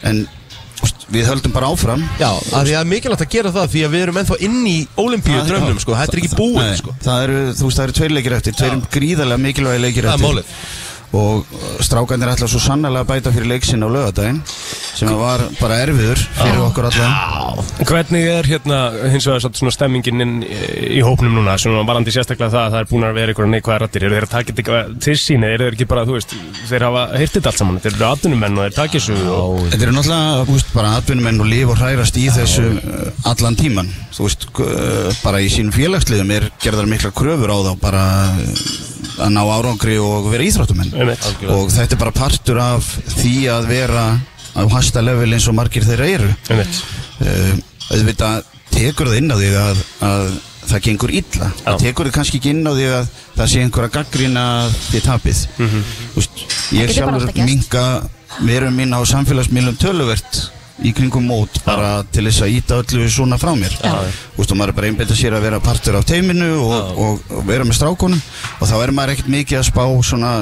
Speaker 6: en þú veist, við höldum bara áfram
Speaker 2: Já, af því að það er mikilvægt að gera það því að við erum ennþá inn í
Speaker 3: Ah,
Speaker 2: olimpíu drömmum sko, þetta er ekki búið
Speaker 6: Nei,
Speaker 2: sko
Speaker 6: Það eru, þú veist, það eru tveir leikir eftir, tveir gríðarlega mikilvægi leikir
Speaker 2: Það er
Speaker 6: eftir
Speaker 2: málið.
Speaker 6: Og uh, strákarnir ætla svo sannlega að bæta fyrir leiksin á lögadaginn Sem að var bara erfiður fyrir okkur allan
Speaker 3: Hvernig er hérna hins vegar samt svona stemmingin inn í, í hópnum núna svona varandi sérstaklega það að það er búin að vera einhverja neikvæða rættir eru þeir að taka þetta eitthvað til sín eða eru þeir ekki bara, þú veist, þeir hafa heyrt þetta allt saman þeir eru atvinnumenn og þeir takja svo og...
Speaker 6: Þetta eru náttúrulega, þú veist, bara atvinnumenn og lif og hrærast í þessu uh, allan tíman Þú veist, g- uh, bara í sínum félagsliðum er gerðar mikla kröfur á þá bara uh, að ná árangri og vera íþróttumenn
Speaker 3: Einmitt.
Speaker 6: Og þetta er bara partur af því að vera á hæsta level eins og margir þeirra eru
Speaker 3: Einmitt.
Speaker 6: uh, auðvitað tekur það inn á þig að, að það gengur illa það tekur það kannski ekki inn á þig að það sé einhver að gaggrína því tapið mm Úst,
Speaker 4: Það getur
Speaker 6: ég
Speaker 4: bara
Speaker 6: sjálfur
Speaker 4: alltaf gerst.
Speaker 6: minga verum mín á samfélagsmiðlum töluvert í kringum mót bara til þess að íta öllu svona frá mér
Speaker 4: Já.
Speaker 6: Úst, og maður er bara einbetta sér að vera partur af teiminu og, og, og vera með strákunum og þá er maður ekkert mikið að spá svona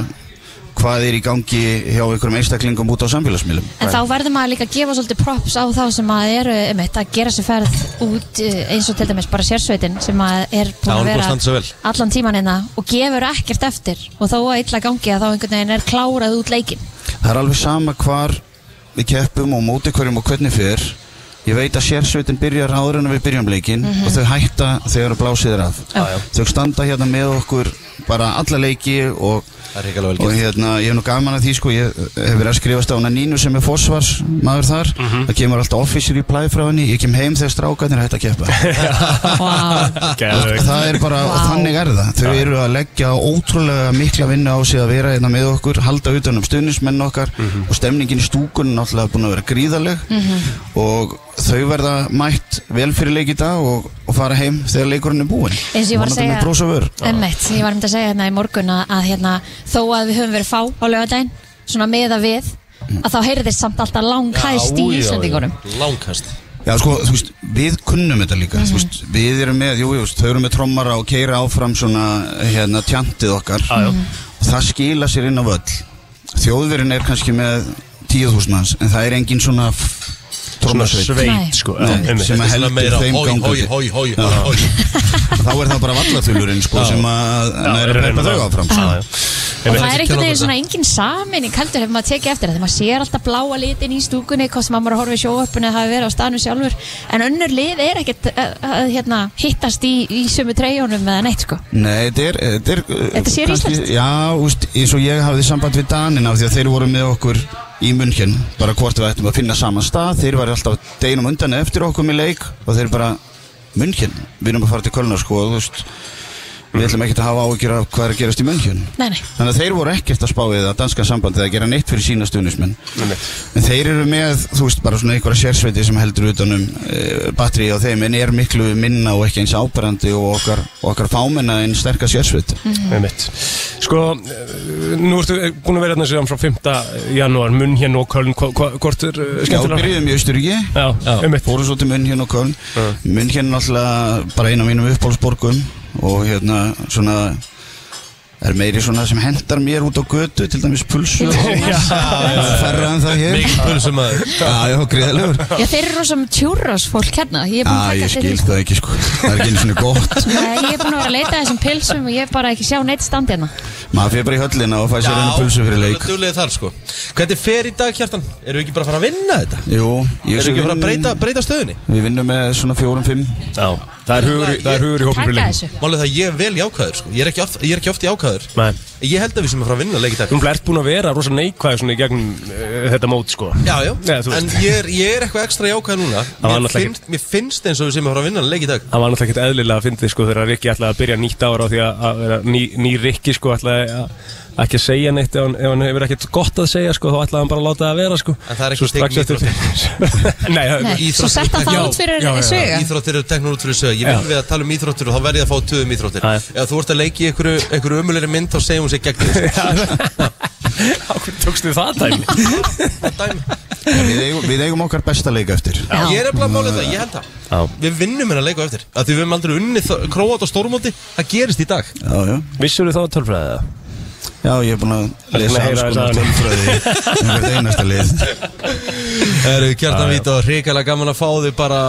Speaker 6: hvað er í gangi hjá einhverjum einstaklingum út á samfélagsmiðlum
Speaker 4: En þá verður maður líka að gefa svolítið props á þá sem að eru um að gera sér ferð út eh, eins og til dæmis bara sérsveitin sem að er búin
Speaker 2: Já, hún
Speaker 4: að
Speaker 2: er búin að
Speaker 4: vera
Speaker 2: standa sig vel.
Speaker 4: allan tíman hérna og gefur ekkert eftir og þó að illa gangi að þá einhvern veginn er klárað út leikin
Speaker 6: Það er alveg sama hvar við keppum og móti hverjum og hvernig fyrr Ég veit að sérsveitin byrjar áður en við byrjum leikinn og þau hætta þegar blásið er að.
Speaker 4: Mhm. Já.
Speaker 6: Þau standa hérna með okkur bara alla leiki og,
Speaker 2: Það er hrikalega vel
Speaker 6: og
Speaker 2: gert.
Speaker 6: hérna, ég hef nú gaman að því sko, ég hef verið að skrifast á hana Nínu sem er fósvarsmaður þar.
Speaker 4: Mhm.
Speaker 6: Það kemur alltaf officer í plæði frá henni, ég kem heim þegar strákarnir hætta að keppa.
Speaker 4: Vá.
Speaker 6: hérna-
Speaker 3: Geðveikt.
Speaker 6: það er bara,
Speaker 4: Vá.
Speaker 6: og þannig er það þau eru að leggja ótrúlega mikla vinna á sig að vera hérna með okkur, halda utan um stuðnismenn okkar og stemningin í stúkun er náttúrulega búin að vera gríðaleg
Speaker 4: Mhm.
Speaker 6: og þau verða mætt vel fyrir leik í dag og, og fara heim þegar leikurinn er búinn
Speaker 4: eins og ég var að
Speaker 6: Vonandi
Speaker 4: segja
Speaker 6: með bros og vör
Speaker 4: Einmitt, ég var að mynda að segja hérna í morgun að, að hérna, þó að við höfum verið fá á laugardaginn svona meða við að þá heyrðist samt alltaf langhæst í Íslandingunum
Speaker 2: Langkast
Speaker 6: Já, sko, þú veist, við kunnum þetta líka, þú veist, við erum með, jú, jú, þau eru með trommara og keira áfram svona, hérna, tjantið okkar. Já, já. Og það skila sér inn á völl. Þjóðverðin er kannski með 10.000 hans, en það er engin svona f-
Speaker 3: Svona
Speaker 6: trommasveit.
Speaker 4: Nei.
Speaker 3: sveit sko
Speaker 6: Nei,
Speaker 3: einmitt.
Speaker 6: sem að heldur þeim gangandi.
Speaker 2: Hói, hói,
Speaker 6: Já.
Speaker 2: hói
Speaker 6: Þá er það bara vallaþulurinn, sko, sem að, að er að peppa þau áfram, sko.
Speaker 3: Já, já.
Speaker 4: og
Speaker 3: Einmitt.
Speaker 4: það er
Speaker 2: ekki kenna
Speaker 4: einhvern
Speaker 2: okkur
Speaker 4: veginn svona engin samin í kaldur hefur maður tekið eftir það þegar maður sér alltaf bláa litin í stúkunni hvort sem maður horfið sjóvarpunni eða hafi verið á staðnum sjálfur en önnur lið er ekkert uh, uh, hérna, hittast í, í sömu treyjónum eða neitt sko
Speaker 6: Nei, þetta er... Þetta, er, uh,
Speaker 4: Þetta sér íslenskt?
Speaker 6: Já, úst, eins og ég hafði samband við Danina af því að þeir voru með okkur í munnkinn bara hvort við ættum að finna saman stað þeir var alltaf deginum undan eftir okkur með leik og þeir bara munnkinn við erum að fara til Kölnar sko og þú veist við ætlum ekkert að hafa áhyggjur af hvað er að gerast í munnkinn
Speaker 4: Nei, nei.
Speaker 6: þannig að þeir voru ekkert að spá við að danska sambandið að gera neitt fyrir sína stuðnismenn en þeir eru með, þú veist, bara svona einhverja sérsveiti sem heldur utanum e, batteri á þeim en er miklu minna og ekki eins áberandi og okkar, okkar fámenna en sterka sérsveiti
Speaker 3: Mm. Einmitt. Sko, eh, nú ertu eh, búin að vera hérna síðan frá 5. janúar, munn hérna og Köln, hva- hva- hvort er eh,
Speaker 6: Já,
Speaker 3: skemmtilegra?
Speaker 6: byrjuðum í Austuríki
Speaker 3: Já, einmitt.
Speaker 6: fórum svo til München og Köln München er náttúrulega bara eina af mínum uppbólsborgum og hérna svona er meiri svona sem hendar mér út á götu til dæmis pulsu og ferra en það hér
Speaker 2: Mikið pulsum að
Speaker 6: Já, já, greiðlegur
Speaker 4: Já, þeir eru rosa með tjúrós fólk hérna ég er búin
Speaker 6: Já,
Speaker 4: að
Speaker 6: ég
Speaker 4: taka
Speaker 6: skil
Speaker 4: eftir því
Speaker 6: það ekki sko Það er ekki einu svona gott
Speaker 4: Nei, ég er búin að vera að leita að þessum pilsum og ég er bara ekki sjá neitt standi hérna
Speaker 6: Maður fyrir bara í höllina og fæ sér einu pulsu fyrir leik
Speaker 2: Dúlega þar sko Hvernig fer í dag Kjartan? Erum við ekki bara að fara að vinna þetta?
Speaker 6: Jú, ég
Speaker 2: Erum við ekki að fara að breyta, breyta stöðunni?
Speaker 6: Við vinnum með svona fjórum, fimm
Speaker 3: Já, það er hugur, í- það er hugur í hópum fyrir
Speaker 4: Taka
Speaker 3: leikinn.
Speaker 4: þessu
Speaker 2: Málið það að ég er vel jákvæður sko Ég er ekki oft, ég er ekki oft jákvæður
Speaker 3: Nei.
Speaker 2: Ég held að við sem að fara að vinna leik í dag
Speaker 3: Þú ert búin að vera rosa neikvæð svona í gegnum uh, þetta mót sko
Speaker 2: Já, já,
Speaker 3: Nei, þú
Speaker 2: en
Speaker 3: veist.
Speaker 2: ég er, ég er eitthvað ekstra jákvæð núna
Speaker 3: Það var
Speaker 2: mér
Speaker 3: náttúrulega
Speaker 2: finnst, mér finnst eins og við sem að fara að vinna leik í dag
Speaker 3: Það var náttúrulega ekkert eðlilega að fyndið sko þegar Rikki ætlaði að byrja nýtt ára á því að, að vera ný, ný Rikki sko ætlaði að að ekki að segja neitt ef hann, ef hann hefur ekkert gott að segja sko þá ætlaði hann bara að láta það að vera sko
Speaker 2: En það er ekki
Speaker 3: Svo strax
Speaker 2: tekið
Speaker 3: eftir- Nei, það-
Speaker 4: Nei,
Speaker 2: Íþrótt-
Speaker 4: svo setta
Speaker 2: Já,
Speaker 4: það út fyrir
Speaker 3: já, já, já.
Speaker 4: sögu
Speaker 2: Íþróttir eru teknur út fyrir sög Ég vil
Speaker 3: Já.
Speaker 2: við að tala um íþróttir og þá verð ég að fá töðum íþróttir
Speaker 3: Já, já.
Speaker 2: Ef þú ert að leiki í einhverju, einhverju ömulegri mynd þá segir hún sér gegn þér, sko.
Speaker 3: Á, hvernig tókstu það dæmi?
Speaker 2: Það er dæmi.
Speaker 6: við eigum, við eigum okkar besta leik eftir
Speaker 4: Já.
Speaker 2: Ég er eftir að mála þetta, ég held það
Speaker 3: Já.
Speaker 2: Við vinnum hennar leiku eftir að Því við höfum aldrei unnið þó- króat og stórmóti Það gerist í dag
Speaker 6: Já, já
Speaker 3: Vissur þú þá tölfræðið það?
Speaker 6: Já, ég er búin að
Speaker 3: búin
Speaker 6: lesa
Speaker 3: að
Speaker 6: alls
Speaker 3: heyra
Speaker 6: konar
Speaker 3: þessa áður.
Speaker 6: tölfræði um hvert einasta lið
Speaker 2: Það eru kjartan vít og hrikalega gaman að fá þau bara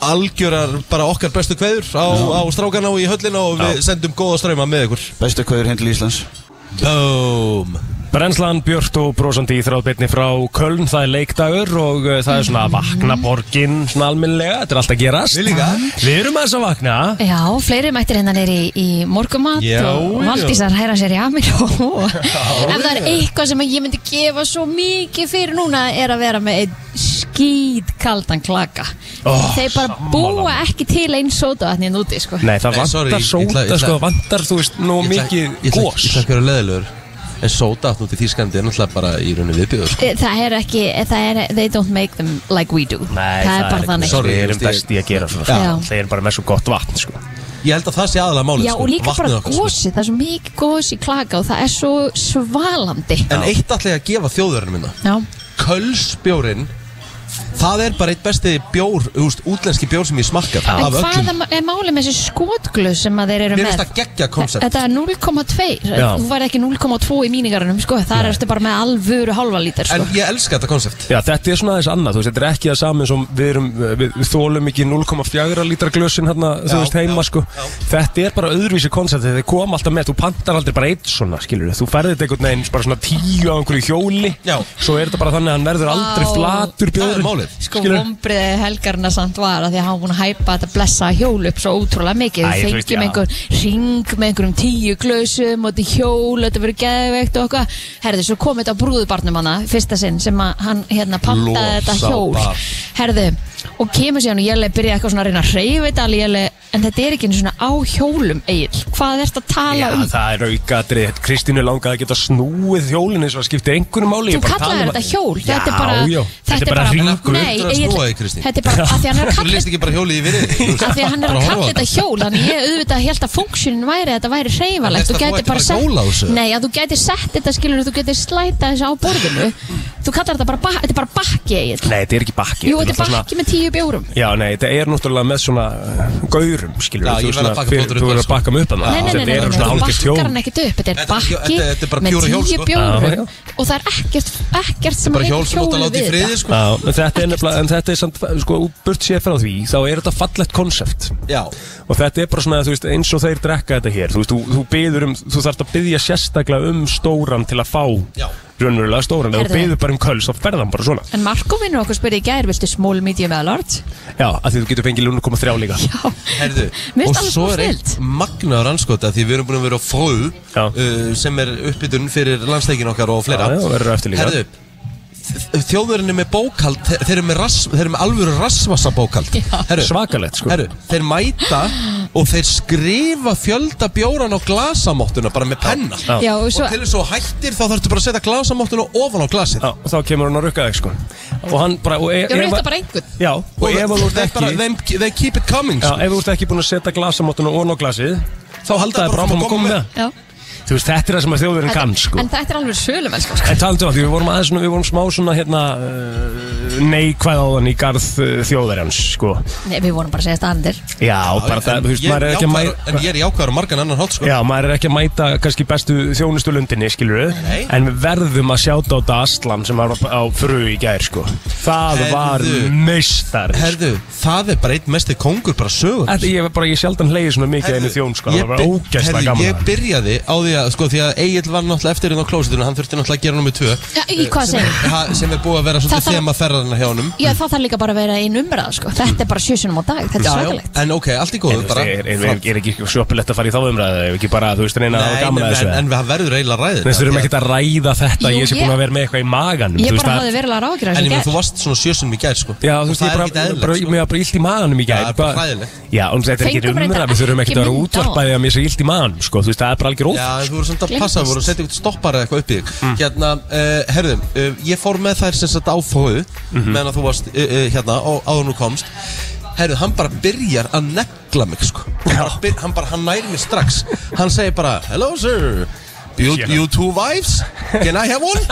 Speaker 2: algjörar, bara okkar bestu kveður á, á strákana og í höllina og við sendum góða ströyma með ykkur
Speaker 6: Bestu kveður hendil Íslands
Speaker 2: Boom
Speaker 3: Brennslan, Björn og brosandi í þráðbyrni frá Köln, það er leikdagur og uh, það er svona að vakna borgin svona almennilega, þetta er alltaf að gerast
Speaker 2: Við líka.
Speaker 3: Við erum aðeins að vakna
Speaker 4: Já, fleiri mættir hérna neyri í, í morgumat
Speaker 2: Já,
Speaker 4: og
Speaker 2: já.
Speaker 4: Valdísar hæra sér í Amiró Ef það er eitthvað sem ég myndi gefa svo mikið fyrir núna er að vera með einn skýt kaldan klaka
Speaker 3: Ó,
Speaker 4: Þeir bara
Speaker 3: sammála.
Speaker 4: búa ekki til einn sótavatni en úti sko
Speaker 3: Nei, það
Speaker 2: Nei, sorry,
Speaker 3: vantar
Speaker 2: ég- ég ætla- ég
Speaker 3: sóta,
Speaker 2: ætla-
Speaker 3: sko, vantar, þú veist, nú
Speaker 2: Ég ætla- ég
Speaker 3: mikið
Speaker 2: ætla-
Speaker 3: gós
Speaker 2: Ég ætla ekki að vera leðilegur En sóta aftur út í Þýskandi er náttúrulega bara í rauninni viðbjöður sko.
Speaker 4: Eh, Það er ekki, það er, they don't make them like we do það er bara þannig
Speaker 2: Sorry,
Speaker 3: Við
Speaker 2: ég
Speaker 3: erum
Speaker 2: veist, ég-
Speaker 3: best í að gera svona
Speaker 4: Já.
Speaker 3: sko. Þeir eru bara með svo gott vatn, sko
Speaker 2: Ég held að það sé aðalega málið
Speaker 4: Já,
Speaker 2: sko,
Speaker 4: og líka
Speaker 2: vatnið
Speaker 4: bara
Speaker 2: okkar, sko.
Speaker 4: gósi, það er svo mikið gósi klaka og það er svo svalandi
Speaker 2: En e- eitt ætla ég að gefa þjóðverðinu minna
Speaker 4: Já
Speaker 2: Kölsbjórin Það er bara eitt besti bjór úst, Útlenski bjór sem ég smakkar
Speaker 4: En
Speaker 2: Af
Speaker 4: hvað
Speaker 2: öllum
Speaker 4: er ma- er málið með þessi skotglu sem að þeir eru
Speaker 2: Mér
Speaker 4: með?
Speaker 2: finnst það geggja koncept
Speaker 4: Þetta er 0,2
Speaker 3: Já.
Speaker 4: Þú væri ekki 0,2 í míningarunum sko. Það er eftir bara með alvöru halva lítar sko.
Speaker 2: En ég elska þetta koncept
Speaker 3: Já, þetta er svona aðeins annað, þú veist, þetta er ekki það saman sem við erum, við, við þólum ekki 0,4 lítra glösin hérna, þú
Speaker 2: Já,
Speaker 3: veist, heima,
Speaker 2: já,
Speaker 3: sko.
Speaker 2: já.
Speaker 3: Þetta er bara öðruvísi koncept, þetta kom alltaf með, þú pantar aldrei bara eitt svona, skilur þú ferði þetta einhvern veginn bara svona tíu á einhverju hjóli,
Speaker 2: Já.
Speaker 3: svo er þetta bara þannig að hann verður aldrei
Speaker 4: Vá.
Speaker 2: Það
Speaker 3: flatur
Speaker 2: er
Speaker 3: bjóðurinn.
Speaker 2: málið
Speaker 4: sko
Speaker 3: Skilur.
Speaker 4: vombriði helgarna samt var að því að hann var búin að hæpa þetta blessa hjól upp svo ótrúlega mikið
Speaker 3: Æ,
Speaker 4: Æ,
Speaker 3: þú veist,
Speaker 4: fengjum
Speaker 3: já.
Speaker 4: einhvern ring með einhverjum tíu glösum og þetta hjól, þetta verið geðveikt og eitthvað herðu, svo kom þetta á brúðubarnum hana fyrsta sinn sem að hann hérna pantaði
Speaker 2: Lofsá
Speaker 4: þetta hjól
Speaker 2: barn.
Speaker 4: herðu, og kemur síðan og ég leið byrja eitthvað svona að reyna að reyfi þetta alveg ég leið, en þetta er ekki einu svona á hjólum Egill, hvað ertu að tala
Speaker 3: Já,
Speaker 4: um
Speaker 3: það er aukadrið. Kristínu langaði að geta snúið hjólinni svo það skipti einhverjum máli.
Speaker 4: Þú kallaði
Speaker 2: um
Speaker 4: þetta hjól,
Speaker 3: um Já,
Speaker 4: þetta er bara
Speaker 3: já.
Speaker 4: Þetta er bara
Speaker 2: hringur.
Speaker 4: Nei,
Speaker 2: Þú ert að
Speaker 4: Egill,
Speaker 2: snúa þig, Kristín.
Speaker 4: Þetta er bara, af því hann er að
Speaker 2: Þú
Speaker 4: kalla
Speaker 2: leist ekki bara hjólið í virðið
Speaker 4: af því að hann er að kalla þetta hjól þannig ég auðvitað held að funksjónin væri þetta væri
Speaker 2: Hann hélt að
Speaker 4: hreyfanlegt
Speaker 2: þú ættir bara hjóla á þessu.
Speaker 4: nei að þú gæti sett þetta skilur þú gæti slæta þessu á borðinu þú kallar þetta bara, bak- þetta er bara bakki Egill.
Speaker 3: Nei, þetta er ekki bakki.
Speaker 4: jú þetta
Speaker 3: náttúrulega
Speaker 4: er
Speaker 3: svona-
Speaker 4: bakki með tíu bjórum
Speaker 3: Já, nei, þetta er náttúrulega með svona uh, gaurum, skilur
Speaker 2: Já, ég
Speaker 3: þú
Speaker 2: verð að
Speaker 3: svona-
Speaker 2: bakka
Speaker 3: fyrir-
Speaker 2: fótur upp
Speaker 3: Þú verður að
Speaker 2: þar,
Speaker 3: bakka mig upp að
Speaker 4: Nei, nei, nei, nei,
Speaker 3: Þetta
Speaker 4: nei,
Speaker 3: er
Speaker 4: nei,
Speaker 3: svona
Speaker 4: þú
Speaker 3: hálfgert
Speaker 4: bakkar hann
Speaker 3: hjól.
Speaker 4: ekkert upp Þetta er
Speaker 2: Þetta er ekki-
Speaker 4: bakki
Speaker 2: þetta- þetta er bara
Speaker 4: með
Speaker 2: pure hjól,
Speaker 4: tíu
Speaker 2: sko.
Speaker 3: Já, já.
Speaker 4: bjórum og það er ekkert, ekkert sem
Speaker 2: Bara
Speaker 4: heitir
Speaker 2: hjól sem átt að
Speaker 4: hjól
Speaker 2: láta í
Speaker 4: við
Speaker 2: friði
Speaker 4: þetta.
Speaker 2: sko
Speaker 3: Já, en þetta er nefnilega, en þetta er samt, sko, burt séð frá því, þá er þetta fallegt konsept.
Speaker 2: Já,
Speaker 3: Og þetta er bara svona, þú veist, eins og þeir drekka þetta hér, þú veist, þú, þú byður um, þú þarft að byðja sérstaklega um stóran til að fá
Speaker 2: Já.
Speaker 3: raunverulega stóran, ef þú
Speaker 4: Herðu.
Speaker 3: byður bara um köls, þá ferðan bara svona.
Speaker 4: En Marko vinnur okkur spurði í gær, viltu small, medium eða large?
Speaker 3: Já, af því þú getur fengið lúna koma þrjá líka.
Speaker 4: Já,
Speaker 2: herðu
Speaker 4: Mér finnst
Speaker 2: Og
Speaker 4: alveg
Speaker 2: svo
Speaker 4: smá
Speaker 2: er eitt
Speaker 4: snilld.
Speaker 2: magnaður anskota Því við erum búin að vera á fóðu
Speaker 3: Já.
Speaker 2: uh, Sem er uppbytun fyrir landsleikin okkar og fleira
Speaker 3: Já, já, verður eftir líka.
Speaker 2: Herðu þ- Þjóðverðin er með bókald Þeir þeir eru með, rass, þeir eru með alvöru rassvassa bókald Herru,
Speaker 3: Svakalegt, sko.
Speaker 2: Herru, þeir mæta og þeir skrifa fjölda bjóran á glasamottuna bara með penna
Speaker 3: Já.
Speaker 4: Já, og svo-
Speaker 2: til þess að þú hættir þá þarfstu bara að setja glasamottuna ofan á glasið
Speaker 3: Já, og þá kemur hann að rukka þig, sko. Og hann bara, og e ef
Speaker 4: ég reyta
Speaker 3: að-
Speaker 4: bara einhvern
Speaker 3: Já, og
Speaker 2: og
Speaker 3: ef að þú ert
Speaker 2: þeir
Speaker 3: ekki
Speaker 2: bara, þeim, they keep it coming
Speaker 3: Já,
Speaker 2: sko.
Speaker 3: ef þú ert ekki búin að setja glasamottuna ón á glasið þá halda það bara áfram að koma með það.
Speaker 4: Já.
Speaker 3: Þú veist, þetta er það sem að þjóðurinn kann, sko
Speaker 4: En þetta er alveg sölum, sko
Speaker 3: En talandi um það, því við vorum aðeins svona, við vorum smá svona hérna uh, neikvæð áðan í garð uh, þjóðarjans, sko
Speaker 4: Nei, við vorum bara að segja þetta andir
Speaker 3: Já, bara það, þú veist,
Speaker 2: ég
Speaker 3: maður er ekki að
Speaker 2: jákvæður- en
Speaker 3: mæta
Speaker 2: ég er jákvæður á margan annan hátt sko.
Speaker 3: Já, maður er ekki að mæta kannski bestu þjónustu lundinni, skilur
Speaker 2: Nei.
Speaker 3: En við verðum að sjáta á þetta Aslan sem var á- á fru í gær, sko Það var
Speaker 2: Herðu.
Speaker 3: meistar
Speaker 2: herðu, það er bara einn mesti kongur bara sögur
Speaker 3: Þetta, ég var bara, ég sjaldan leiði svona mikið einu þjón, sko Það var ógæsta gaman
Speaker 2: ég
Speaker 3: að-
Speaker 2: byrjaði á því að sko, því að Egil var náttúrulega eftir inn á klósitunum hann þurfti náttúrulega að gera nummið tvö
Speaker 4: Já, í hvað
Speaker 2: sem,
Speaker 4: segir?
Speaker 2: ha, sem er búið að vera
Speaker 4: Það
Speaker 2: svolítið
Speaker 4: þarf-
Speaker 2: þema ferðarna hjá honum
Speaker 4: Já, það þarf líka bara að vera einn umræða, sko Þetta er bara sjösunum á dag, þetta er
Speaker 2: Já, já,
Speaker 4: svakalegt
Speaker 2: en ok, allt í
Speaker 3: En
Speaker 2: góðu
Speaker 3: þú
Speaker 2: bara
Speaker 3: veist, Er, er, er, er ekki sjoppilegt að fara í þá umræðu Ef ekki bara, þú veist, reyna að
Speaker 2: Nei,
Speaker 3: gamla
Speaker 2: en, en,
Speaker 3: þessu
Speaker 2: en við verður eiginlega ræðið
Speaker 3: Þú veist, við erum ekkert að ræða þetta
Speaker 4: Jú,
Speaker 3: Ég sé
Speaker 4: ég-
Speaker 3: búin að vera með eitthvað í maganum
Speaker 4: Ég
Speaker 3: þú veist,
Speaker 4: bara
Speaker 3: það-
Speaker 4: hafði verilega rákir
Speaker 2: En
Speaker 4: á þessu
Speaker 2: ég meina,
Speaker 4: gær
Speaker 2: þú varst svona sjösunum í gær, sko
Speaker 3: Já, þú veist,
Speaker 2: Og
Speaker 3: ég
Speaker 2: það er
Speaker 3: bara,
Speaker 2: ekki
Speaker 3: bara,
Speaker 2: eðlilegt, sko.
Speaker 3: mér var bara illt í maganum í
Speaker 2: Já,
Speaker 3: gær
Speaker 2: það er bara hræðilegt.
Speaker 3: Já, um, þetta er ekki
Speaker 4: Fengum reyndar
Speaker 3: umræða Við þurfum ekkert að vera
Speaker 4: ekki mynd á.
Speaker 3: útvarpaði að mér sé illt í maganum Sko, þú veist, það er bara algjör
Speaker 2: Já,
Speaker 3: óþ
Speaker 2: en þú voru samt að
Speaker 4: Gleymdist.
Speaker 2: passa, þú voru að setja eitthvað stoppar eða eitthvað upp í þig Hérna, uh, herðum, uh, ég fór með þær sem sagt á fóðu Meðan að þú varst uh, uh, hérna og áður nú komst Herðu, hann bara byrjar að negla mig, sko Hann bara, byr, hann bara, hann næri mig strax Hann segir bara, hello sir You,
Speaker 3: Hérna.
Speaker 2: you two wives, can I have one?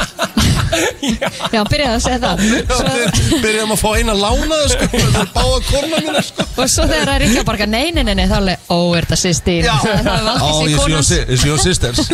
Speaker 4: Já, hann byrjaði að segja það svo,
Speaker 2: Byrjum að fá eina lánaðu, sko Það er báða korna mína, sko
Speaker 4: Og svo þegar það er ekki að barga Nei, nei, nei, nei, þá er leið, ó, er þetta sýstín
Speaker 2: Já,
Speaker 4: Það það er
Speaker 2: Ó, it's your
Speaker 4: valdið sér konans
Speaker 2: si- it's your sisters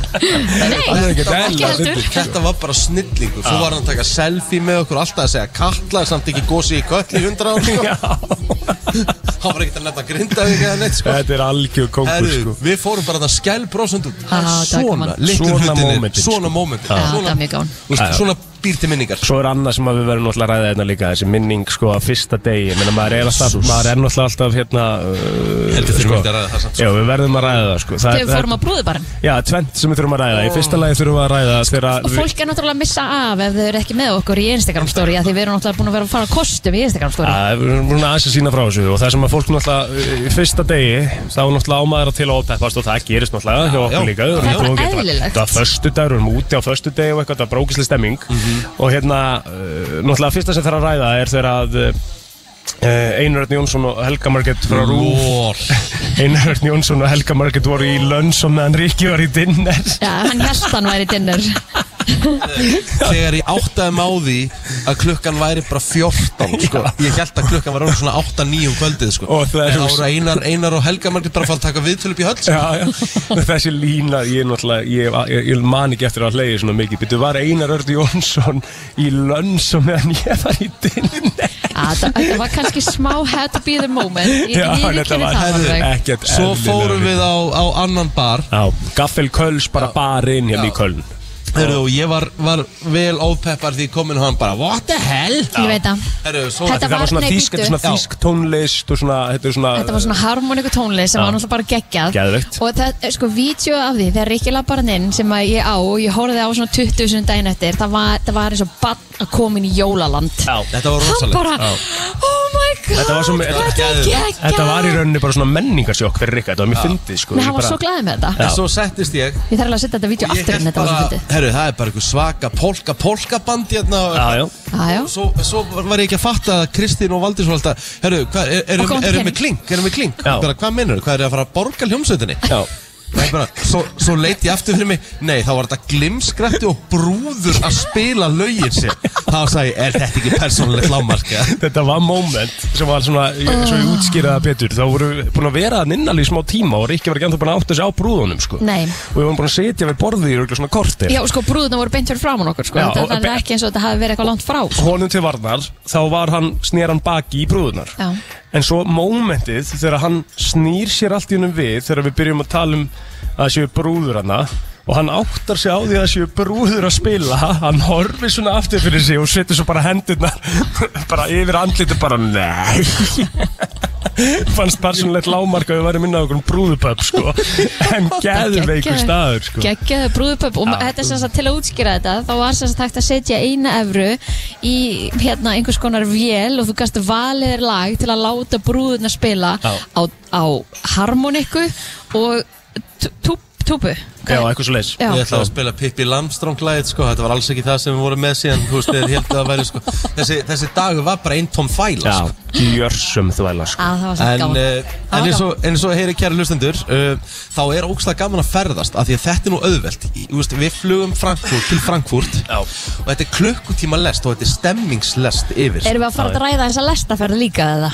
Speaker 3: Það er
Speaker 4: Nei,
Speaker 3: ekki
Speaker 4: ekki
Speaker 3: eðlilega
Speaker 4: heldur
Speaker 3: fyndið.
Speaker 2: Þetta var bara snillingu Svo var hann að taka selfie með okkur Alltaf að segja kalla Samt ekki gósi í köll í hundra ár sko. Hann var ekkert að nefna grinda þig eða neitt sko.
Speaker 3: Þetta er algjör kókur,
Speaker 2: Herru,
Speaker 3: sko
Speaker 2: Við fórum bara að skell brósund út
Speaker 4: Já, Ah, það er
Speaker 2: Svona
Speaker 4: gaman.
Speaker 2: litlu
Speaker 3: Svona
Speaker 2: hlutinir
Speaker 3: momentin, sko.
Speaker 2: Svona momentin
Speaker 4: Já, það
Speaker 2: Svona,
Speaker 4: er mjög gaman.
Speaker 2: þú veist, svona býr til minningar
Speaker 3: Svo er annað sem að við verðum náttúrulega að ræða hérna líka Þessi minning sko að fyrsta degi Menna maður er alltaf, maður er náttúrulega alltaf hérna
Speaker 2: Heldur
Speaker 3: uh,
Speaker 2: þurfum ekki að ræða það samt, sko.
Speaker 3: Já, við verðum að ræða það sko Það-
Speaker 4: Þegar við fórum á brúðubarinn
Speaker 3: Já, tvent sem við þurfum að ræða Í fyrsta lagi þurfum við að ræða þegar að
Speaker 4: Og
Speaker 3: við-
Speaker 4: fólk er náttúrulega að missa af ef þau eru ekki með okkur í Instagram story af Því við erum náttúrulega búin að vera að fara á kostum í Instagram story
Speaker 3: Já, við erum búin að aðeins að sína frá þessu og það sem að fólk náttúrulega uh, í fyrsta degi þá er náttúrulega ámaður til að ópeppast og það gerist náttúrulega hjá
Speaker 2: já.
Speaker 3: okkur líka
Speaker 4: Það er bara eðlilegt.
Speaker 3: Það var förstu dagur, við erum úti á förstu degi og eitthvað, það var brókislega stemming og hérna, uh, náttúrulega fyrsta sem þarf að ræða er þegar að uh, Einar Örn Jónsson og Helga Margett frá Rúf
Speaker 2: Lól
Speaker 3: Einar Örn Jónsson og Helga Margett voru í lönns og meðan Ríkki var í dinner
Speaker 4: Já, hann held hann væri dinner
Speaker 2: Þegar ég áttaði máði Að klukkan væri bara 14 sko. Ég held að klukkan var orðin svona 8-9 um kvöldið sko.
Speaker 3: Og það er-
Speaker 2: En þá voru einar, einar og Helga Margrét bara að fara að taka viðtöl upp í höll sko.
Speaker 3: Já, já, þessi lína ég náttúrulega, ég, ég, ég man ekki eftir að hlegi svona mikið, betur var Einar Örd Jónsson í lönnsum meðan ég var í dinni
Speaker 4: Já, það- Þetta var kannski smá had to be the moment Ég
Speaker 3: Já,
Speaker 4: viðurkenni
Speaker 3: þetta var-
Speaker 4: það
Speaker 2: Herðu,
Speaker 4: alveg.
Speaker 3: Ekkert
Speaker 2: Svo
Speaker 3: eðlilega
Speaker 2: fórum
Speaker 3: mikið.
Speaker 2: við á, á annan bar
Speaker 3: Já, Gaffel Kölns bara barinn hérna í Köln
Speaker 2: Herru, og ég var, var vel ópeppar því komin og hann bara, what the hell?
Speaker 4: Ég veit það
Speaker 2: Herru, svo
Speaker 4: Þetta
Speaker 3: Þetta var
Speaker 4: var-
Speaker 3: svona
Speaker 4: nei,
Speaker 3: þýsk,
Speaker 4: bíddu.
Speaker 3: þetta er svona þýsk tónlist og svona, þetta er svona
Speaker 4: Þetta var svona harmoniku tónlist sem
Speaker 3: Já.
Speaker 4: var náttúrulega bara geggjað
Speaker 3: Geðveikt.
Speaker 4: Og það, er sko, vídeo af því þegar Rikki labbarinn inn sem að ég á og ég horfði á svona 20 sunn daginn eftir það var, það var eins og bann að koma inn í jólaland
Speaker 3: Já.
Speaker 2: Þetta var
Speaker 4: Hann
Speaker 2: rosalegt
Speaker 4: bara, oh my god
Speaker 3: Þetta var svo-
Speaker 4: Þetta er
Speaker 2: Geðveikt.
Speaker 4: geggjað
Speaker 3: Þetta var í rauninni bara svona menningarsjokk fyrir Rikka, þetta var mjög fyndið sko
Speaker 4: Nei,
Speaker 3: Ég
Speaker 4: hann var
Speaker 3: bara-
Speaker 4: svo glæðið með þetta
Speaker 2: En svo settist ég
Speaker 4: Ég þarf alveg að setja þetta vídeo
Speaker 2: Ég
Speaker 4: aftur en
Speaker 2: held
Speaker 4: þetta var svo
Speaker 2: bara,
Speaker 4: fyndið
Speaker 2: herru, það er bara einhver svaka polka, polka band hérna og-
Speaker 3: Já, já,
Speaker 4: Já, já
Speaker 2: Svo, svo var ég ekki að fatta að Kristín og Valdís var alltaf Herru, hvað, er, erum,
Speaker 4: Og komdu
Speaker 2: erum
Speaker 4: pening.
Speaker 2: við klink, erum við klink
Speaker 3: Já.
Speaker 2: bara, Hvað minnur, hvað er það að fara að borga hljómsveitinni?
Speaker 3: já
Speaker 2: Það er bara, svo, svo leit ég aftur fyrir mig Nei, þá var þetta glimskrætti og brúður að spila lögin sér Þá sagði ég, er þetta ekki persónulegt lámarka?
Speaker 3: Þetta var moment sem var svona, ég- svo ég útskýraði það betur Þá voru við búin að vera að ninnali í smá tíma og Rikki var ekki anþá búin að átta sig á brúðunum sko
Speaker 4: Nei.
Speaker 3: Og við vorum búin að setja við borðið í rauninni svona kortir
Speaker 4: Já, sko, brúðuna voru beint fyrir framann okkur, sko
Speaker 3: Já,
Speaker 4: Þetta
Speaker 3: og-
Speaker 4: það er ekki eins og þetta hafi verið eitthvað langt frá sko.
Speaker 3: honum til varnar þá var hann, snýr hann baki í brúðunar
Speaker 4: Já.
Speaker 3: en svo mómentið þegar hann snýr sér allt í húnum við þegar við byrjum að tala um að það séu brúður hana og hann áttar sig á því að það séu brúður að spila hann horfir svona aftur fyrir sig og setur svo bara hendurnar bara yfir andlitið bara nei fannst persónulegt lámark að við væri minna okkur brúðupöpp sko en geðveikur staður sko
Speaker 4: Geggjaðu brúðupöpp og
Speaker 3: Já.
Speaker 4: þetta er sem sagt til að útskýra þetta þá var sem sagt hægt að setja eina evru í hérna einhvers konar vél og þú gast valiðir lag til að láta brúðuna spila
Speaker 3: Já.
Speaker 4: á, á harmoniku og tú- tú- túpu
Speaker 3: já, eitthvað svo leys
Speaker 4: Já.
Speaker 2: Ég ætlaði að spila Pippi Lamstrong lagið sko, þetta var alls ekki það sem við vorum með síðan Þú veist, þeir heldur að væri sko Þessi, þessi dagur var bara einn tóm fæla
Speaker 3: já,
Speaker 2: sko.
Speaker 3: gjörsum þvæla sko
Speaker 4: að það var svo
Speaker 2: En,
Speaker 4: gaman
Speaker 2: uh, en
Speaker 4: Það var
Speaker 2: eins og, eins og heyri kæri hlustendur uh, Þá er ógstlega gaman að ferðast af Því að þetta er nú auðvelt Í- þú veist, Við flugum Frankfurt til Frankfurt
Speaker 3: Já.
Speaker 2: Og þetta er klukkutíma lest og þetta er stemmingslest yfir
Speaker 4: Erum við að fara að ræða þess að lestaferð líka eða?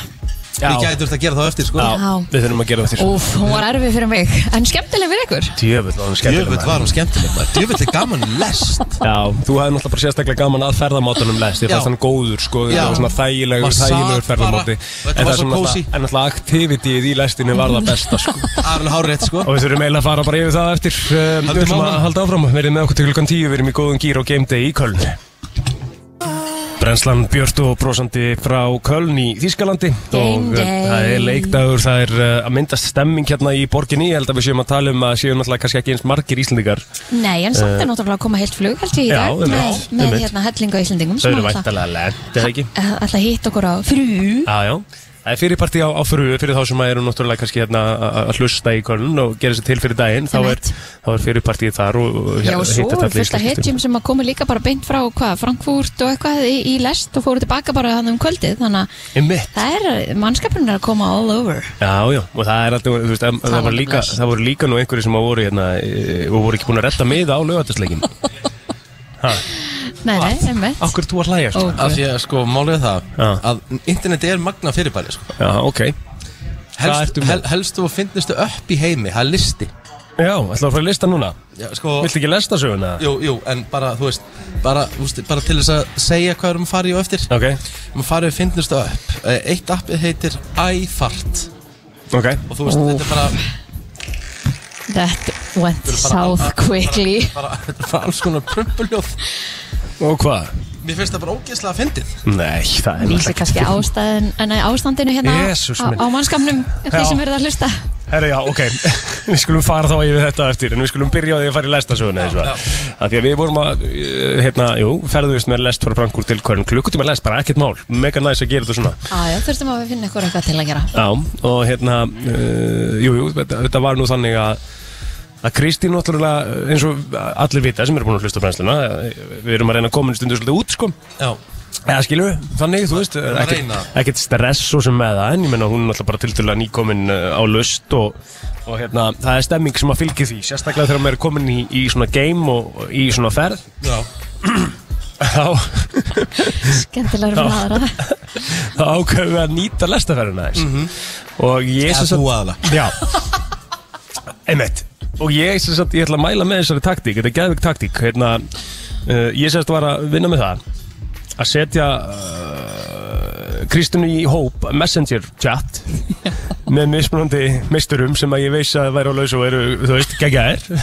Speaker 2: Við gætum þetta að gera það á eftir sko
Speaker 3: Já,
Speaker 4: Já.
Speaker 3: við þurfum að gera það því
Speaker 4: Úf, hún var erfið fyrir mig En skemmtileg fyrir ykkur
Speaker 3: Djöfull var hann skemmtileg
Speaker 2: Djöfull var hún skemmtileg maður Djöfull er gaman lest
Speaker 3: Já, þú hefði náttúrulega bara sérstaklega gaman að ferðamátanum lest Ég
Speaker 2: Já.
Speaker 3: fannst hann góður, sko,
Speaker 2: Já.
Speaker 3: þetta var svona þægilegur,
Speaker 2: Maður sat
Speaker 3: þægilegur ferðamáti
Speaker 2: bara- Þetta var
Speaker 3: það
Speaker 2: svo
Speaker 3: sem
Speaker 2: kósí.
Speaker 3: náttúrulega- En náttúrulega aktivitíð í lestinu var það besta, sko
Speaker 2: Arun Hárið sko
Speaker 3: Og við þurfum eiginlega að fara bara yfir það eftir Um,
Speaker 2: Höldum
Speaker 3: Við ætlum að
Speaker 2: áfram.
Speaker 3: halda áfram, verið með okkur til klukkan 10 Við erum í góðum gýr og game day í Köln Brennslan Björt og brosandi frá Köln í Þískalandi
Speaker 4: Game
Speaker 3: og uh,
Speaker 4: day.
Speaker 3: það er leikdagur, það er uh, að myndast stemming hérna í borginni, ég held að við séum að tala um að séu náttúrulega kannski ekki eins margir íslendingar
Speaker 4: Nei, en samt er náttúrulega að koma heilt flug held ég
Speaker 3: Eh,
Speaker 4: í
Speaker 3: Já,
Speaker 4: dag
Speaker 3: einmitt,
Speaker 4: með, með
Speaker 3: einmitt.
Speaker 4: hérna hellinga Íslandingum
Speaker 3: Þau eru væntalega lent, eða ekki?
Speaker 4: Alltaf hitt okkur á frú
Speaker 3: Já, já. Það er fyrirparti á, á fru, fyrir þá sem að eru náttúrulega kannski hérna að- að hlusta í köln og gera sér til fyrir daginn, þá er,
Speaker 4: Einmitt.
Speaker 3: þá er fyrirpartið þar og og
Speaker 4: Já, og
Speaker 3: hittast allir
Speaker 4: svo er
Speaker 3: í
Speaker 4: fullt af
Speaker 3: skemmtistöðum.
Speaker 4: hetjum sem að koma líka bara beint frá hvað, Frankfurt og eitthvað í, í lest og fóru tilbaka bara hann um kvöldið þannig að
Speaker 3: Einmitt.
Speaker 4: það er, mannskapurinn er að koma all over
Speaker 3: Já, já, og það er alltaf, þú veist, það, það,
Speaker 4: var
Speaker 3: var líka,
Speaker 4: bless.
Speaker 3: það voru líka nú einhverju sem að voru hérna e, og voru ekki búin að redda miða á lögatisleikin.
Speaker 4: Nei, nei, einmitt
Speaker 3: Akkur þú að hlæja
Speaker 4: Ó,
Speaker 3: svona?
Speaker 2: Af því að sko málið er það
Speaker 3: Já.
Speaker 2: Að interneti er magna fyrirbæri sko
Speaker 3: Já, ok. Hvað
Speaker 2: Helst,
Speaker 3: ertu með?
Speaker 2: hel, Helstu og finnistu upp í heimi, það er listi
Speaker 3: Já, ætlaðu að fara að lista núna?
Speaker 2: Já, sko,
Speaker 3: Viltu ekki lesta söguna?
Speaker 2: Jú, jú, en bara, þú veist, bara, úst, bara til þess að segja hvað við erum að fara í og eftir
Speaker 3: Ok,
Speaker 2: Við farum við finnustu upp Eh, Eitt appið heitir iFart
Speaker 3: ok.
Speaker 2: Og þú veist, þetta er bara,
Speaker 4: That went
Speaker 2: bara
Speaker 4: south quickly
Speaker 2: bara, þetta er bara alls konar prumpuljóð
Speaker 3: Og hvað?
Speaker 2: Mér finnst það bara ógeðslega að fyndið
Speaker 3: Nei, það er
Speaker 4: Lýsir kannski ástæðin, en ástandinu hérna á-
Speaker 3: Jesús
Speaker 4: á,
Speaker 3: minn.
Speaker 4: á mannskapnum þeir
Speaker 3: Já.
Speaker 4: sem verða að hlusta
Speaker 3: Herra, já, ok, við skulum fara þá yfir þetta eftir en við skulum byrja á því að fara í lestasöguna eins og það. Af Því að við vorum að, eh, hérna, jú, ferðuðist með lest frá Frankúr til Köln, klukkutíma lest, bara ekkert mál, mega næs að gera þetta svona.
Speaker 4: Ah, Já, já, þurftum að finna ykkur eitthvað til að gera
Speaker 3: Já, og hérna, uh, jú, jú, þetta, þetta var nú þannig að að Kristín náttúrulega, eh, eins og allir vita sem eru búin að hlusta á brennsluna, eh, við erum að reyna að koma einu stundu svolítið út, sko.
Speaker 2: Já,
Speaker 3: Eða skilur við, þannig, þú veist,
Speaker 2: að
Speaker 3: ekkert,
Speaker 2: reyna.
Speaker 3: ekkert stress svo sem með það, en ég menna hún er náttúrulega bara tildulega nýkomin uh, á lust og, og hérna, það er stemming sem að fylgja því, sérstaklega þegar maður er komin í, í svona game og og í svona ferð,
Speaker 2: já
Speaker 3: þá,
Speaker 4: Skemmtilegur fyrir um aðra
Speaker 3: þá ákveðum við að nýta lestaferðina þess. Og
Speaker 2: Eða
Speaker 3: ég sem sagt,
Speaker 2: Mhm. þú aðalega
Speaker 3: já, einmitt, og ég sem sagt, ég ætla að mæla með þessari taktík, þetta er geðvik taktík, hérna, uh, ég sem sagt var að vinna með það, að setja uh, Kristínu í hóp messenger chat með mismunandi misturum sem að ég veis að væri á laus og eru, þú veist, geggjaðir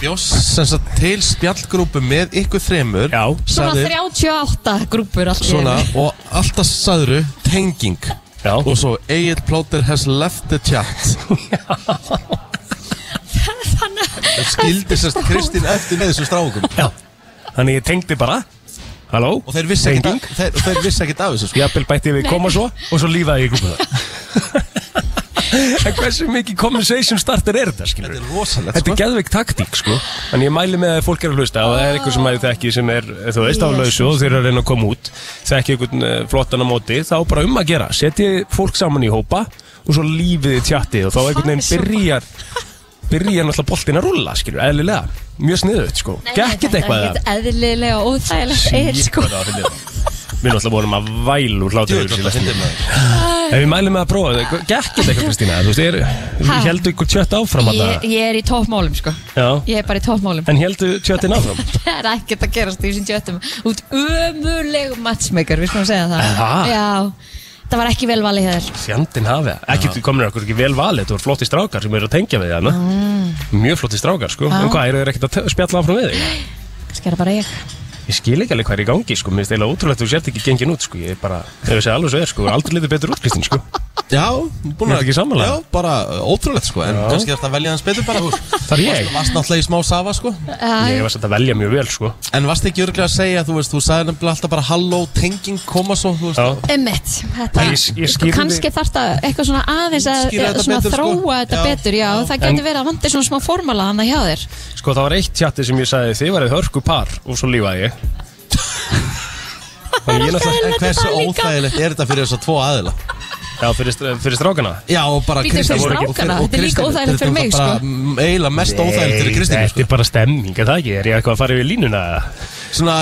Speaker 2: bjóst sem sagt til spjallgrúpu með ykkur þremur
Speaker 3: Já.
Speaker 4: Svona
Speaker 2: sagði-
Speaker 4: 38 grúpur allir
Speaker 2: svona og alltaf sagðuru tenging
Speaker 3: Já.
Speaker 2: og svo Egil Plóter has left the chat
Speaker 4: Þannig að
Speaker 2: skildi sérst Kristín eftir með þessum strákum
Speaker 3: Já. Þannig ég tengdi bara Halló
Speaker 2: og þeir vissi ekkert
Speaker 3: Tenging.
Speaker 2: af- þeir, þeir vissi ekkert af þessu sko.
Speaker 3: Jafnvel bætti við koma svo og svo lífaði ég grúpa það En hversu mikið conversation starter er þetta skilur
Speaker 2: þetta er rosalegt
Speaker 3: Þetta
Speaker 2: sko.
Speaker 3: er geðveik taktík sko En ég mæli með að fólk er að hlusta og það er einhver sem að það ekki sem er þú veist á lausu og þeir eru að reyna að koma út þekki einhvern eh, flottan á móti þá bara um að gera setji fólk saman í hópa og svo lífið í tjatti og þá einhvern veginn byrjar byrjar náttúrulega boltin að rulla skilur eðlilega mjög sniðut sko Gekkit eitthvað
Speaker 4: Ekkert eðlilega og óþægilegt er sko
Speaker 3: það Við náttúrulega vorum að væl úr hlátur
Speaker 2: Djöfull,
Speaker 3: yfir
Speaker 2: þetta er
Speaker 3: þessu
Speaker 2: fyndið,
Speaker 3: lestri.
Speaker 2: maður.
Speaker 3: En við mælum með að prófa þetta Gekk þetta eitthvað Kristína Þú veist, er,
Speaker 4: Ha?
Speaker 3: heldur ykkur tjött áfram að
Speaker 4: ég, ég er í toppmálum sko
Speaker 3: Já
Speaker 4: Ég er bara í toppmálum
Speaker 3: En heldur tjöttin áfram
Speaker 4: Það er ekkert að gerast í þessum jötum Út ömurlegum matchmaker, við skulum segja það
Speaker 3: Ha?
Speaker 4: Já, það var ekki vel valið hér
Speaker 3: Fjandinn hafi það. Ekki, þú komir okkur ekki vel valið Þetta voru flotti strákar sem eru að tengja við hana Mjög flotti strákar sko
Speaker 4: Já.
Speaker 3: En hvað, eru þeir ekkert að te- spjalla áfram við þig?
Speaker 4: Kannski er það bara ég
Speaker 3: Ég skil ekki alveg hvað er í gangi sko Mér finnst eiginlega ótrúlegt að þú sért ekki gengin út sko Ég er bara, ef ég segi alveg svo er sko Aldrei litið betur út Kristín sko
Speaker 2: já, búin
Speaker 3: Ertu ekki sammála?
Speaker 2: já, bara uh, ótrúlegt sko en
Speaker 3: Já.
Speaker 2: kannski er þetta að velja hans betur bara þú veist.
Speaker 3: Það er ég
Speaker 2: varst náttúrulega í smá safa sko
Speaker 3: Ég var samt að velja mjög vel sko
Speaker 2: en varst ekki örglega að segja þú veist þú sagði nefnilega alltaf bara halló tenging koma svo þú veist
Speaker 3: Já
Speaker 4: Emmett, þetta,
Speaker 3: En ég- ég skýrði-
Speaker 4: kannski þarf það eitthvað svona aðeins að
Speaker 2: Skýra þetta
Speaker 4: svona
Speaker 2: betur, sko.
Speaker 4: þróa þetta
Speaker 2: Já.
Speaker 4: betur, já, það
Speaker 3: En-
Speaker 4: getur verið að vandi svona smá formala hann hjá þér
Speaker 3: Sko það var eitt tjatti sem ég sagði þið værið hörku par og svo lífaði ég Þannig ég náttúrulega
Speaker 2: En
Speaker 4: Þetta er
Speaker 2: hversu
Speaker 4: bara líka-
Speaker 2: óþægilegt er þetta fyrir þess að tvo aðila?
Speaker 3: Já, fyrir, str- fyrir strákana
Speaker 2: Já, og bara
Speaker 4: Bíddu,
Speaker 2: Kristín-
Speaker 4: fyrir
Speaker 2: og- og-
Speaker 4: strákana?
Speaker 2: og
Speaker 4: Þetta er líka
Speaker 2: Kristín-
Speaker 4: óþægilegt fyrir
Speaker 2: Þetta
Speaker 4: mig,
Speaker 2: er
Speaker 4: sko.
Speaker 2: bara mm, eiginlega mest óþægilegt fyrir Kristínu
Speaker 3: Þetta
Speaker 2: sko.
Speaker 3: er bara stemming, er það ekki? Er ég eitthvað að fara yfir línuna?
Speaker 2: Svona,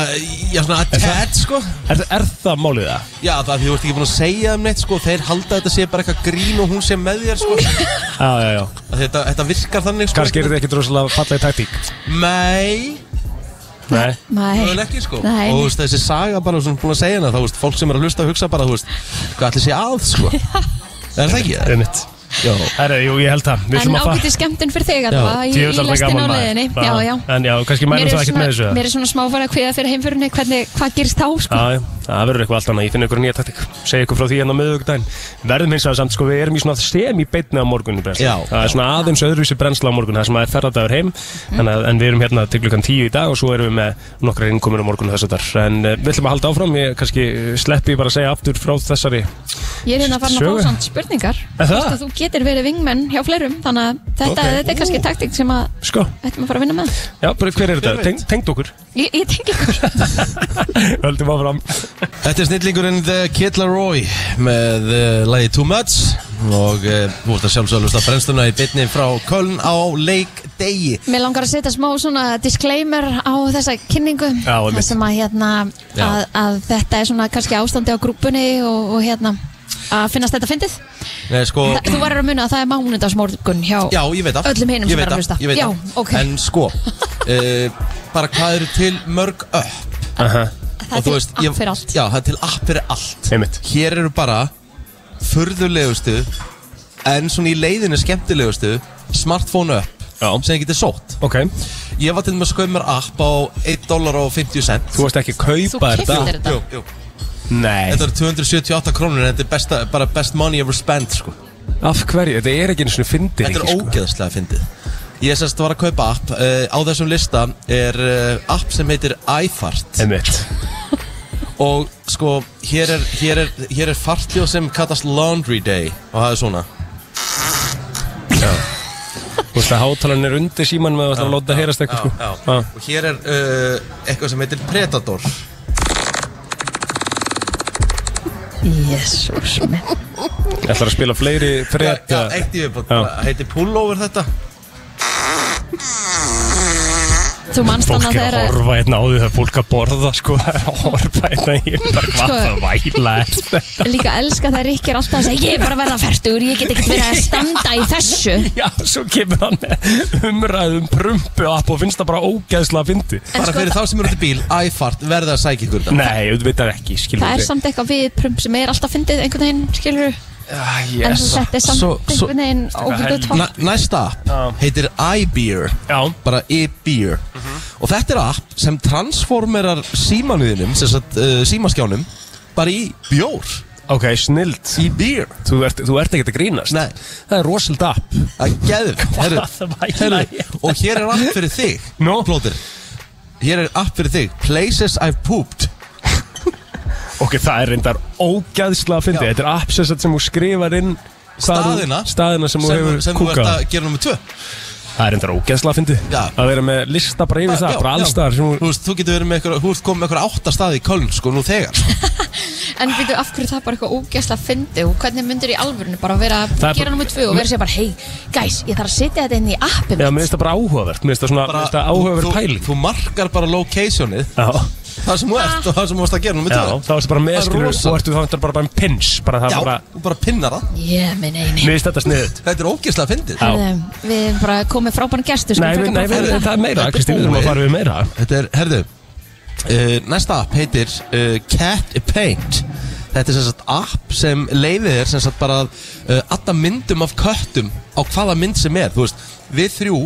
Speaker 2: já, svona attached sko
Speaker 3: Er, er það málið það?
Speaker 2: Já, það er því þú ert ekki búin að segja um neitt sko Þeir halda að þetta sé bara eitthvað grín og hún sé með þér sko Að
Speaker 3: Já, já, já
Speaker 2: Þetta, þetta virkar þannig sko
Speaker 3: Kannski er þetta ekki droslega fallegi taktík
Speaker 2: Nei,
Speaker 3: Nei
Speaker 2: möguleg
Speaker 4: Nei,
Speaker 2: ekki sko
Speaker 4: Nei.
Speaker 2: Og þú veist, þessi saga bara sem þú ert búin að segja hana Þá þú veist, fólk sem er að hlusta og hugsa bara, þú veist Hvað allir sé að sko Er það ekki?
Speaker 3: Einmitt
Speaker 2: Já
Speaker 3: Herra, jú, ég held það Við
Speaker 4: en
Speaker 3: ætlum að
Speaker 4: ágæti skemmtun fyrir þig að það í,
Speaker 3: Djöfull
Speaker 4: í
Speaker 3: er þetta
Speaker 4: lestin á
Speaker 3: gaman, maður.
Speaker 4: leiðinni Já, já
Speaker 3: En já, kannski mælum það ekkert
Speaker 4: svona,
Speaker 3: með þessu eða?
Speaker 4: mér er svona smá farið að kviða fyrir heimfyrinni hvernig, hvað gerist þá sko.
Speaker 3: Já, já, það verður eitthvað allt annað, ég finn ykkur nýja taktík Segja ykkur frá því hérna á miðugdæn Verðum hins vegar samt, sko, við erum í svona semi beinni á morgun í brennslu
Speaker 2: Já.
Speaker 3: Það er svona aðeins öðruvísi brennsla á morgun Það sem að er ferðardagur heim mm. að, En við erum hérna til klukkan tíu í dag Og svo erum við með nokkra innkomur á morgun þess að þar En uh, við ætlum að halda áfram, ég kannski eh, sleppi bara að segja aftur frá þessari
Speaker 4: Ég er hérna farin að
Speaker 3: Sögu.
Speaker 4: fá samt spurningar
Speaker 3: Er það?
Speaker 4: Hvort að Þú getur verið vingmenn hjá fleirum Þannig að þetta,
Speaker 3: Ok.
Speaker 4: þetta er kannski taktík sem að
Speaker 3: Sko,
Speaker 4: ættum að fara að vinna með
Speaker 3: já, bara hver er þetta?
Speaker 2: veit?
Speaker 3: Teng, tengd okkur
Speaker 4: Ég, ég tengi ykkur
Speaker 3: Höldum áfram
Speaker 2: Þetta er snillingurinn The Kid Laroi með uh, lagi Too Much og uh, þú ert að sjálfsöglusta brennstuna í bytni frá Köln á leikdegi
Speaker 4: Mér langar að setja smá svona disclaimer á þessa kynningu
Speaker 3: Já, einmitt.
Speaker 4: þar sem að, hérna,
Speaker 2: Já.
Speaker 4: að, að þetta er svona kannski ástandi á grúpunni og, og hérna að finnast þetta fyndið
Speaker 2: Nei, sko,
Speaker 4: Þa, Þú verður að muna að það er mánudagsmorgun hjá
Speaker 2: já, ég veit að
Speaker 4: öllum hinum sem eru að hlusta
Speaker 2: Ég veit
Speaker 4: Já,
Speaker 2: að,
Speaker 4: ok
Speaker 2: en sko uh, bara hvað eru til mörg upp
Speaker 3: Aha,
Speaker 4: Það er til app fyrir allt
Speaker 2: Já, það er til app fyrir allt
Speaker 3: Einmitt.
Speaker 2: Hér eru bara furðulegustu en svona í leiðinu skemmtilegustu smartphone upp
Speaker 3: Já.
Speaker 2: sem þið getur sótt
Speaker 3: Ok,
Speaker 2: Ég var til með að skoða mér app á 1 dólar og 50 cent
Speaker 3: þú varst ekki að
Speaker 4: Þú
Speaker 3: kaupa
Speaker 4: keyptir
Speaker 3: þetta
Speaker 4: þetta.
Speaker 2: Jú, jú.
Speaker 3: Nei,
Speaker 2: Þetta eru 278 krónur en þetta er besta, bara best money ever spent sko.
Speaker 3: af hverju? Þetta er ekki einu svona fyndir
Speaker 2: Þetta er ógeðslega fyndið Ég sérst var að kaupa app uh, Á þessum lista er uh, app sem heitir iFart
Speaker 3: Einmitt
Speaker 2: Og sko, hér er, hér er, hér er fartljóð sem kallast Laundry Day Og það er svona
Speaker 3: Þú veist að hátalan er undir síman með að láta það heyrast eitthvað sko. Já.
Speaker 2: Og hér er uh, eitthvað sem heitir Predator
Speaker 4: Jésús minn
Speaker 3: Ég ætlar að spila fleiri
Speaker 2: Já,
Speaker 3: frétta
Speaker 2: já, eitt í viðbót
Speaker 3: Já.
Speaker 2: Það heitir Pullover þetta
Speaker 4: Þú manst
Speaker 3: Fólk er
Speaker 4: þannig að þeirra
Speaker 3: að horfa hérna á því það er fólk að borða sko, það er að horfa hérna í bara hvað
Speaker 4: Sko.
Speaker 3: það væla er þetta
Speaker 4: Líka elska það Rikki er alltaf að segja Ég er bara að verða færtur, ég get ekkert verið að standa í þessu
Speaker 3: Já, svo kemur hann með umræðum prumpu app og finnst það bara ógeðslega fyndi
Speaker 2: Bara
Speaker 4: sko,
Speaker 2: fyrir þá sem eru út í bíl, iFart, verða að sækja ykkur þetta
Speaker 3: Nei, þú veit það ekki, skilur
Speaker 4: Það er samt eitthvað við prum sem er alltaf fyndið einhvern veginn, skilur
Speaker 3: Ah,
Speaker 4: en þú settir samt
Speaker 2: Svo- svo-
Speaker 4: einhvern veginn ógæðu
Speaker 3: helvíti.
Speaker 4: tótt
Speaker 2: Næ- Næsta app heitir iBeer
Speaker 3: Já. Mhm.
Speaker 2: bara iBeer og þetta er app sem transformerar símanuðinum, sem sagt uh, símaskjánum bara í bjór
Speaker 3: Ok, snild
Speaker 2: í beer
Speaker 3: Þú ert, þú ert ekkert að grínast
Speaker 2: Nei.
Speaker 3: Það er rosald app
Speaker 2: að geðvikt
Speaker 3: það væla ég?
Speaker 2: og hér er app fyrir þig
Speaker 3: Nú?
Speaker 2: plótir hér er app fyrir þig Places I've Pooped
Speaker 3: Ok, það er reyndar ógæðslega að fyndi
Speaker 2: Já.
Speaker 3: Þetta er app sem, sagt sem þú skrifar inn hvað þú-
Speaker 2: Staðina.
Speaker 3: Staðina sem þú hefur
Speaker 2: sem þú ert
Speaker 3: kúkað á.
Speaker 2: að gera nummer tvö
Speaker 3: Það er reyndar ógæðslega að fyndi
Speaker 2: Já.
Speaker 3: Að vera með lista bara yfir það
Speaker 2: Já,
Speaker 3: Bara
Speaker 2: já.
Speaker 3: allstaðar sem
Speaker 2: Þú
Speaker 3: þú
Speaker 2: veist, þú getur verið með eitthvað, þú ert komið með eitthvað átta staði í Köln sko nú þegar
Speaker 4: En byrju, af hverju það er bara eitthvað ógæsla fyndi og hvernig myndir í alvörinu bara vera að
Speaker 3: Það er
Speaker 4: gera
Speaker 3: bara-
Speaker 4: nummið tvö og vera sér bara hei, guys, ég þarf að setja þetta inn í appin
Speaker 3: Já, mér finnst það bara áhugavert Mér finnst það svona mér finnst það áhugaverð
Speaker 2: þú-
Speaker 3: pæling
Speaker 2: Þú markar bara locationið
Speaker 3: Já,
Speaker 2: Það sem þú ert og það sem þú varst að gera nummer
Speaker 3: já,
Speaker 2: tvö
Speaker 3: þá ertu bara með
Speaker 2: Það er
Speaker 3: skilur
Speaker 2: rosa.
Speaker 3: Og ertu þá ertu bara bara með pins Bara það
Speaker 2: Já,
Speaker 3: bara
Speaker 2: þú bara pinnar það
Speaker 4: Ég minn eini
Speaker 3: Mér finnst þetta sniðut
Speaker 2: Þetta er ógeðslega fyndið
Speaker 3: Já.
Speaker 4: Herðu, Við erum bara komið frábæn gestur
Speaker 3: Nei, við-
Speaker 4: skulum
Speaker 3: nei,
Speaker 4: frekar bara
Speaker 3: við-
Speaker 4: fara í
Speaker 3: það er meira Kristín, við
Speaker 2: búið.
Speaker 3: þurfum að fara við meira
Speaker 2: Þetta er, herðu uh, Næsta app heitir uh, Cat Paint Þetta er sem sagt app sem leiðir þér sem sagt bara að uh, alla myndum af köttum á hvaða mynd sem er Þú veist, við þrjú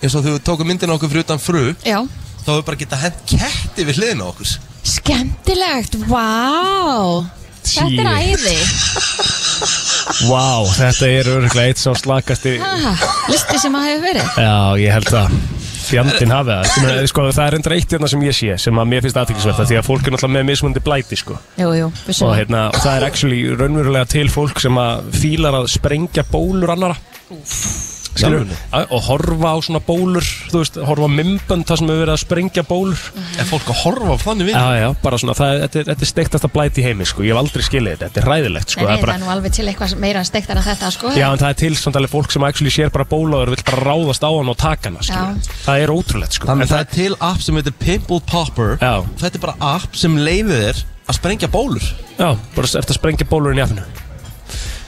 Speaker 2: eins og þú tókum myndina okkur fyrir utan fru
Speaker 4: Já,
Speaker 2: þá hefur bara getað hent ketti við hliðina á okkur
Speaker 4: skemmtilegt, vá Þetta er æði
Speaker 3: Vá, þetta er örgulega eitt sem slakasti
Speaker 4: ha, Listi sem að hefur verið
Speaker 3: Já, ég held að fjandinn hafi það Ég meina, sko, Það er reyndar eitt hérna sem ég sé sem að mér finnst aðtækisvert því að fólk er náttúrulega með mismunandi blæti sko.
Speaker 4: Jú, jú, við
Speaker 3: og,
Speaker 4: sem
Speaker 3: hérna, og það er actually raunverulega til fólk sem að fílar að sprengja bólur annara Skilur,
Speaker 2: Í
Speaker 3: og horfa á svona bólur þú veist, horfa á mymbönd þar sem hefur verið að sprengja bólur
Speaker 2: Er fólk að horfa á þannig við?
Speaker 3: Já, já, bara svona, það, þetta, er- þetta er steiktasta blæti í heimi sko. ég hef aldrei skilið þetta, þetta er ræðilegt
Speaker 4: Nei,
Speaker 3: sko.
Speaker 4: nei,
Speaker 3: er
Speaker 4: það
Speaker 3: bara,
Speaker 4: er nú alveg til eitthvað meira en steiktar en þetta, sko
Speaker 3: Já, en það er til samt alveg fólk sem actually sér bara bólaður vill bara ráðast á hann og taka hana, skilur.
Speaker 4: Já.
Speaker 3: Það er ótrúlegt, sko.
Speaker 2: Þannig
Speaker 3: En
Speaker 2: að það er til app sem heitir Pimple Popper
Speaker 3: Já.
Speaker 2: Þetta er bara app sem leiðir þér að sprengja bólur
Speaker 3: Já, bara eftir að sprengja bólurinn í afinu.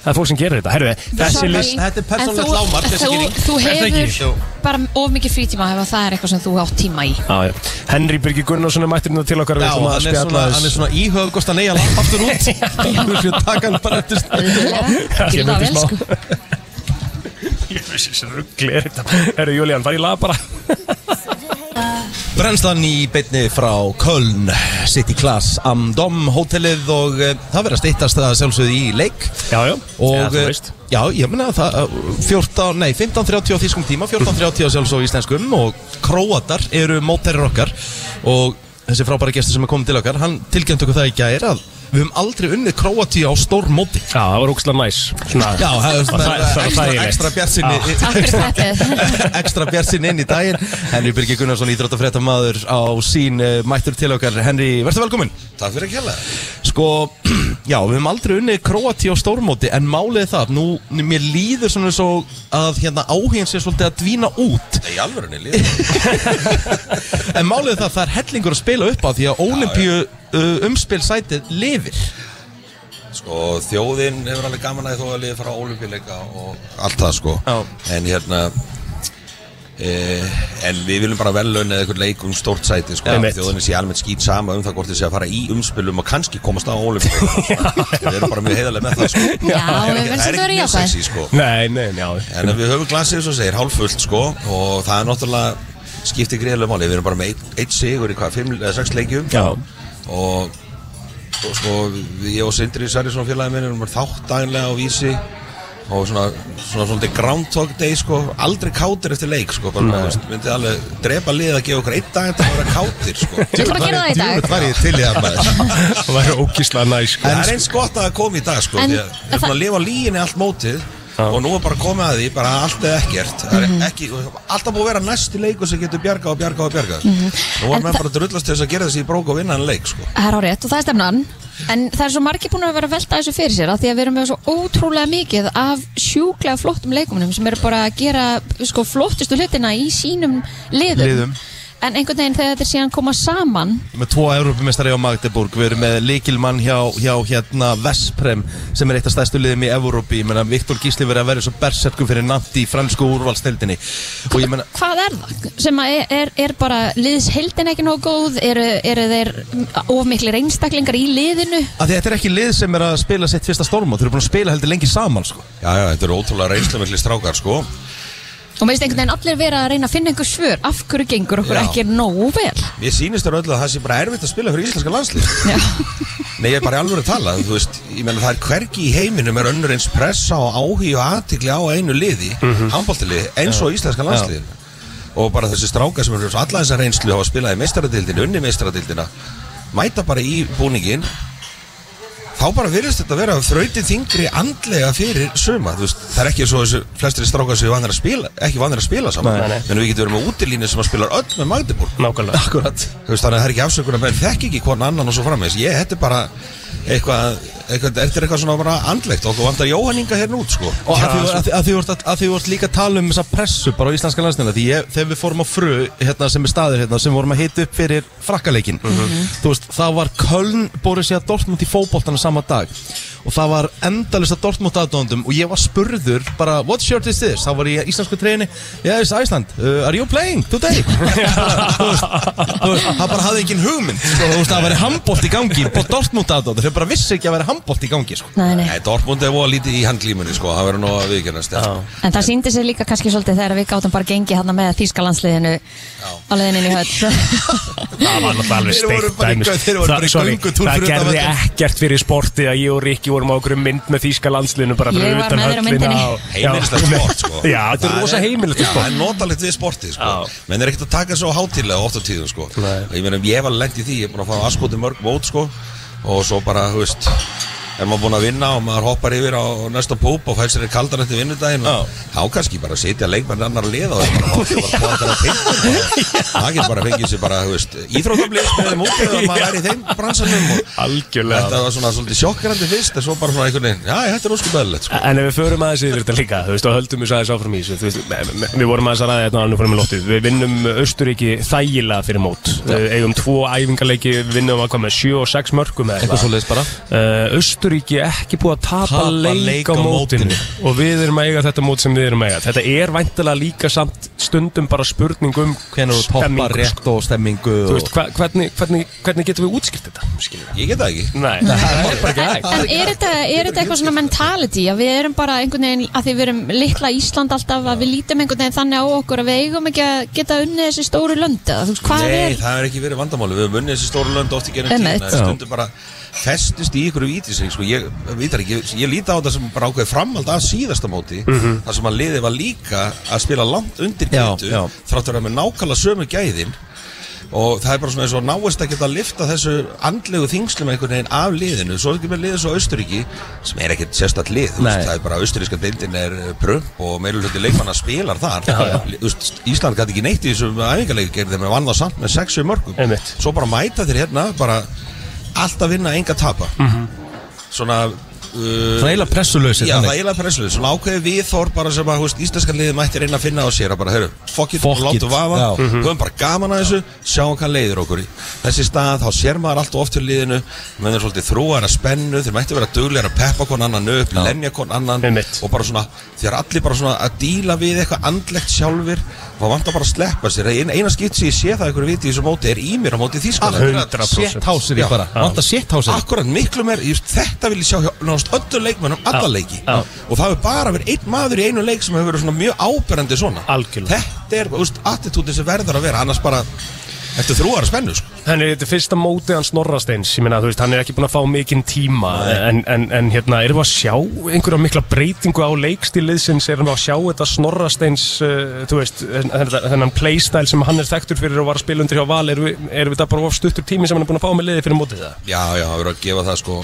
Speaker 3: Það er fólk sem gerir þetta. Herru, þessi
Speaker 4: Sorry.
Speaker 3: list...
Speaker 2: Þetta er persónulegt
Speaker 4: En þú-
Speaker 2: lágmark, þessi
Speaker 4: þú-
Speaker 2: gering.
Speaker 4: Þú
Speaker 2: Er það ekki? Jú.
Speaker 4: hefur bara of mikið frítíma ef að það er eitthvað sem þú átt tíma í
Speaker 3: Já, já. Henry Birgir Gunnarsson er mættir hérna til okkar
Speaker 2: Já,
Speaker 3: ætlum að
Speaker 2: hann er svona,
Speaker 3: aðeins.
Speaker 2: hann er svona íhöf Kost að neyja lapp aftur út Þú veist, ég taka hann bara eftir
Speaker 4: Þetta
Speaker 3: ég
Speaker 4: er
Speaker 3: myndi
Speaker 4: það vel,
Speaker 3: smá.
Speaker 4: sko
Speaker 3: Ég veist þessi ruggli er þetta. Herru, Julian, fari í lag bara.
Speaker 2: Brennslan í beinni frá Köln City Class, Amdom, hótelið og eh, það verður að steytast það sjálfsögðu í leik
Speaker 3: Já, já.
Speaker 2: og
Speaker 3: Já, þú
Speaker 2: eh,
Speaker 3: veist.
Speaker 2: já, ég meina að það eh, 14, nei, 15.30 á þýskum tíma 14.30 á sjálfsög íslenskum og króatar eru mótærir okkar og þessi frábæra gestur sem er komið til okkar hann tilgjönd okkur það í gæri að við höfum aldrei unnið króati á stór móti
Speaker 3: Já, það var ógslag næs. Svona,
Speaker 2: Já, það er
Speaker 3: það- það-
Speaker 2: svona
Speaker 3: það- það er
Speaker 2: ekstra
Speaker 3: rétt.
Speaker 2: bjartsinni
Speaker 4: Takk fyrir þetta
Speaker 2: ekstra bjartsinni inn í daginn Henry Birgir Gunnarsson, íþróttafréttamaður á sín eh, mættur til okkar Henry, verður velkominn
Speaker 1: Takk fyrir að kjalla
Speaker 2: Sko, já, við höfum aldrei unnið Kroati á stórmóti En málið er það, nú, nú- mér líður svona svo að hérna áhengin sé svolítið að dvína út
Speaker 1: Í alvörunni líður
Speaker 2: En málið er það, það er hellingur að spila upp á Því að olimpíu uh, umspilsætið lifir
Speaker 1: Sko þjóðin hefur alveg gaman að þó að liði fara á olimpíuleika og allt það sko
Speaker 2: Já.
Speaker 1: En hérna eh, En við viljum bara velun eða eitthvað leik um stórt sæti sko
Speaker 3: Einmitt.
Speaker 1: Þjóðin sé almennt skýt sama um það hvort þið sé að fara í umspilum og kannski komast á olimpíuleika Við erum bara mjög heiðarlega með það sko
Speaker 4: Já,
Speaker 1: Það er
Speaker 4: við
Speaker 1: ekki-
Speaker 4: finnst
Speaker 1: það er
Speaker 4: þetta verið
Speaker 1: ekki mjög
Speaker 4: jákvæð
Speaker 1: sexy sko
Speaker 3: Nei, nei, já.
Speaker 1: En ef við höfum glasið svo segir hálffullt sko og það er náttúrulega skipti greiðlega máli, við erum bara með eitt, eitt sigur í hvað, fimm eða sex leikjum
Speaker 3: Já.
Speaker 1: og, og sko við- ég og Sindri Særisson félagin minn erum bara þátt daginlega á vísi og svona svona svona groundhog day sko aldrei kátir eftir leik sko bara, þú veist, myndið alveg drepa lið að gefa okkur eitt dag en það vera kátir sko
Speaker 4: Við ætlum að gera það í dag
Speaker 1: var ég til í það maður
Speaker 3: Það var ógslag næs, sko.
Speaker 1: Það er eins gott að það komi í dag sko
Speaker 4: En-
Speaker 1: Því að við erum búin að lifa á líginni allt mótið Og nú er bara komið að því, bara allt eða ekkert Það
Speaker 4: Mhm.
Speaker 1: er ekki, alltaf búið að vera næsti leikur sem getur bjargað og bjargað og bjargað Nú
Speaker 4: Mhm. En
Speaker 1: var menn
Speaker 4: það-
Speaker 1: bara að drullast til þess að gera þessi í brók og vinna hann leik sko
Speaker 4: Það er árið og það er stefnan En það er svo margir búin að vera að velta þessu fyrir sér af Því að við erum með svo ótrúlega mikið af sjúklega flottum leikumunum sem eru bara að gera sko, flottustu hlutina í sínum liðum,
Speaker 2: Liðum.
Speaker 4: en einhvern veginn þegar þetta er síðan koma saman
Speaker 2: með tvo Evrópumestari á Magdeburg við erum með líkilmann hjá, hjá hérna Vesprem sem er eitt af stærstu liðum í Evrópi ég meina Viktor Gísli verið að vera svo berserkum fyrir Nandi í fransku úrvalstildinni og ég meina
Speaker 4: hvað er það? Sem að er, er, er bara liðsheldin ekki nóg góð? Eru, eru þeir of miklir einstaklingar í liðinu?
Speaker 2: að þetta er ekki lið sem er að spila sitt fyrsta stormót þeir eru búin að spila heldur lengi saman sko
Speaker 1: Já, já, þetta eru ótrúlega reynslumikli strákar, sko
Speaker 4: Og meðist einhvern veginn allir vera að reyna að finna einhver svör af hverju gengur okkur
Speaker 1: Já.
Speaker 4: ekki nógu vel
Speaker 1: Mér sýnist þér öllu að það sé bara erfitt að spila fyrir íslenska landslið
Speaker 4: Já.
Speaker 1: Nei, ég er bara í alvöru að tala Þú veist, ég menna það er hvergi í heiminum er önnur eins pressa og áhugi og aðtikli á einu liði mm eins og íslenska landslið Og bara þessi strákar sem eru allan þessar reynslu hafa spilað í meistaradildinu, unni meistaradildina mæta bara í búningin þá bara virðist þetta að vera þrautið þingri andlega fyrir suma þú veist, það er ekki svo þessu flestri strákar sem vandir að spila, ekki vandir að spila saman
Speaker 3: Nei, nei.
Speaker 1: en við getum verið með útilínu sem að spila öll með Magdeburg
Speaker 3: Nákvæmlega
Speaker 2: akkurat
Speaker 1: Þú veist, þannig að það er ekki afsökunar menn þekk ekki hvern annan og svo framvegs ég, þetta er bara eitthvað, eitthvað þetta er eitthvað svona bara andlegt okkur vantar Jóhanninga hérna út, sko
Speaker 2: og að því voru- að því- að því voru að því voru líka að tala um þessa pressu bara á íslenska landsnæla því ég, þegar við fórum á fru hérna sem er staður hérna sem vorum að hita upp fyrir frakkaleikin
Speaker 3: Mhm.
Speaker 2: þú veist það var Köln Borussia Dortmund í fótboltana sama dag og það var endalista Dortmund aðdóndum og ég var spurður bara what shirt is this þá var ég í íslensku treyni yes Iceland uh, are you playing today Þú veist, þú veist, það bara hafði engin hugmynd sko, þú veist það væri handbólt í gangi bótt Dortmund aðdóndum þau bara vissi ekki að væri handbólt í gangi sko.
Speaker 4: Nei, nei.
Speaker 1: Nei, Dortmund er voða lítið í handlímunni, sko það verður nú að sko. viðkennast
Speaker 3: Já.
Speaker 4: En það síndi sig líka kannski svolítið þegar við gátum bara gengið hann með þýskalandsliðinu á leiðinni í höll
Speaker 3: Það var náttúrulega alveg
Speaker 2: Þeir voru
Speaker 3: steikt
Speaker 2: bara í
Speaker 3: dæmis.
Speaker 2: gö- þeir voru
Speaker 3: Það-
Speaker 2: bara í
Speaker 3: sorry,
Speaker 2: göngutúr
Speaker 3: Það
Speaker 2: fyrir utan
Speaker 3: gerði
Speaker 2: völlinn.
Speaker 3: ekkert fyrir sporti að ég og Rikki vorum á okkur mynd með þýska landslinu bara fyrir
Speaker 4: Ég var
Speaker 3: utan
Speaker 4: með þér á
Speaker 3: höllina
Speaker 4: myndinni.
Speaker 3: og- Já.
Speaker 1: heimilislegt sport, sko
Speaker 3: Já, þetta er rosa heimilegt
Speaker 1: Já,
Speaker 3: sport
Speaker 1: það er notalegt við sportið, sko
Speaker 3: Já.
Speaker 1: menn er ekkert að taka svo hátíðlega oft á tíðum, sko
Speaker 3: Nei.
Speaker 1: ég meina, ég var lent í því, ég er búin að fá aðskoti mörg mót, sko og svo bara, þú veist er maður búin að vinna og maður hoppar yfir á næsta púp og fær sér kaldan eftir vinnudaginn og þá kannski bara sitja leikmenn annar liða og bara hoppið bara hvað þetta er að pinna það getur bara fengið sér bara, þú veist íþrótaflið spilum út eða maður er í þeim bransanum og
Speaker 3: Algjörlega
Speaker 1: þetta var svona svolítið sjokkrandi fyrst en svo bara svona einhvern veginn, já, þetta er óskupæðilegt, sko
Speaker 3: En ef við förum aðeins yfir þetta líka, þú veist, og höldum við aðeins áfram í þessu, þú veist, me- me- við vorum aðeins að ræða þetta og alveg fórum í lóttið, við vinnum Östuríki þægilega fyrir mót, við eigum tvo æfingarleiki, við vinnum að koma með 7 og 6 mörgum eða
Speaker 2: eitthvað svo leiðis bara
Speaker 3: Uh, Östuríki ekki búið að tapa,
Speaker 2: Tapa
Speaker 3: leik,
Speaker 2: leik
Speaker 3: á
Speaker 2: á
Speaker 3: mótinu.
Speaker 2: mótinu.
Speaker 3: og við erum að eiga þetta mót sem við erum að eiga þetta er væntilega líka samt stundum bara spurning um
Speaker 2: hvenær þú
Speaker 3: stemmingu,
Speaker 2: toppar
Speaker 3: sko.
Speaker 2: rétt og stemmingu
Speaker 3: Þú
Speaker 2: og...
Speaker 3: veist, hva, hvernig, hvernig, hvernig getum við útskilt þetta? Skilur við?
Speaker 1: ég get það ekki
Speaker 3: Nei, það er bara ekki hægt
Speaker 4: En er þetta, er þetta eitthvað svona mentality að við erum bara einhvern veginn, að því við erum litla Ísland alltaf, að við lítum einhvern veginn þannig á okkur að við eigum ekki að geta unnið þessi stóru lönd eða þú veist hvað
Speaker 1: Nei,
Speaker 4: er
Speaker 1: það er ekki verið vandamáli, við höfum unnið þessi stóru lönd oft í gerum tíma,
Speaker 4: Einmitt.
Speaker 1: en stundum bara festist í ykkur vítising, sko, ég vitar ekki, ég líti á þetta sem bara ákveði framhald af síðasta móti, þar sem að liðið var líka að spila langt undir
Speaker 2: Mhm. Já,
Speaker 1: getu,
Speaker 2: já.
Speaker 1: þráttur að með nákvæmlega sömu gæðin og það er bara svona eins og náist að geta að lifta þessu andlegu þingslum einhvern veginn af liðinu, svo er ekki með liðið svo Austuríki sem er ekkert sérstætt lið, þú veist,
Speaker 2: Nei.
Speaker 1: það er bara austuríska deildin er eh, prump og meilulöndi leikmanna spilar þar Þú veist, Ísland gæti ekki neitt í þessum æfingarleik gerði þeim að vann það samt með 6 mörgum
Speaker 3: Einmitt.
Speaker 1: svo bara mæta þér hérna bara allt að vinna, enga tapa svona uh,
Speaker 2: Það er eiginlega pressulösið
Speaker 1: Já, það er eiginlega pressuleg, svona ákveði viðþór bara sem að, þú veist, íslenska liðið mætti reyna að finna á sér að bara, heyrðu, fuck it,
Speaker 2: Fuck it,
Speaker 1: látum vafa,
Speaker 2: já. Mhm.
Speaker 1: höfum bara gaman að þessu, sjáum hvað leiðir okkur í. Þessi stað, þá sér maður allt of oft til liðinu, menn er svolítið þrúar að spennu, þeir mætti vera duglegar að peppa kon annan upp, lemja kon annan
Speaker 3: Einmitt.
Speaker 1: og bara svona, þegar allir bara svona að díla við eitthvað andlegt sjálfur, þá vantar bara að sleppa sér. Ein, eina skipt sem ég sé það einhverju viti í þessu móti er í mér á móti Þískaland.
Speaker 3: Akkurat. 100%.
Speaker 2: Sétthásir í
Speaker 1: Já.
Speaker 2: bara Vanda sétthásir
Speaker 1: Akkurat miklu meir, ég veist, þetta vil ég sjá hjá náðast öllu leikmennum alla leiki
Speaker 3: já.
Speaker 1: og það hefur bara verið einn maður í einu leik sem hefur verið svona mjög áberandi svona
Speaker 3: Algjörlega.
Speaker 1: Þetta er, þú veist, attitútin sem verður að vera annars bara, eftir þrúar að spennu sko.
Speaker 3: Þannig þetta er fyrsta mótið hans Norrasteins ég meina þú veist, hann er ekki búin að fá mikinn tíma en, en, en hérna, erum við að sjá einhverja mikla breytingu á leikstíliðsins erum við að sjá þetta Snorrasteins uh, þú veist, þennan, þennan playstyle sem hann er þekktur fyrir og var að spila undir hjá Val erum við, erum við það bara of stuttur tími sem hann er búin að fá með liði fyrir mótið það?
Speaker 1: Já, já, það verður að gefa það sko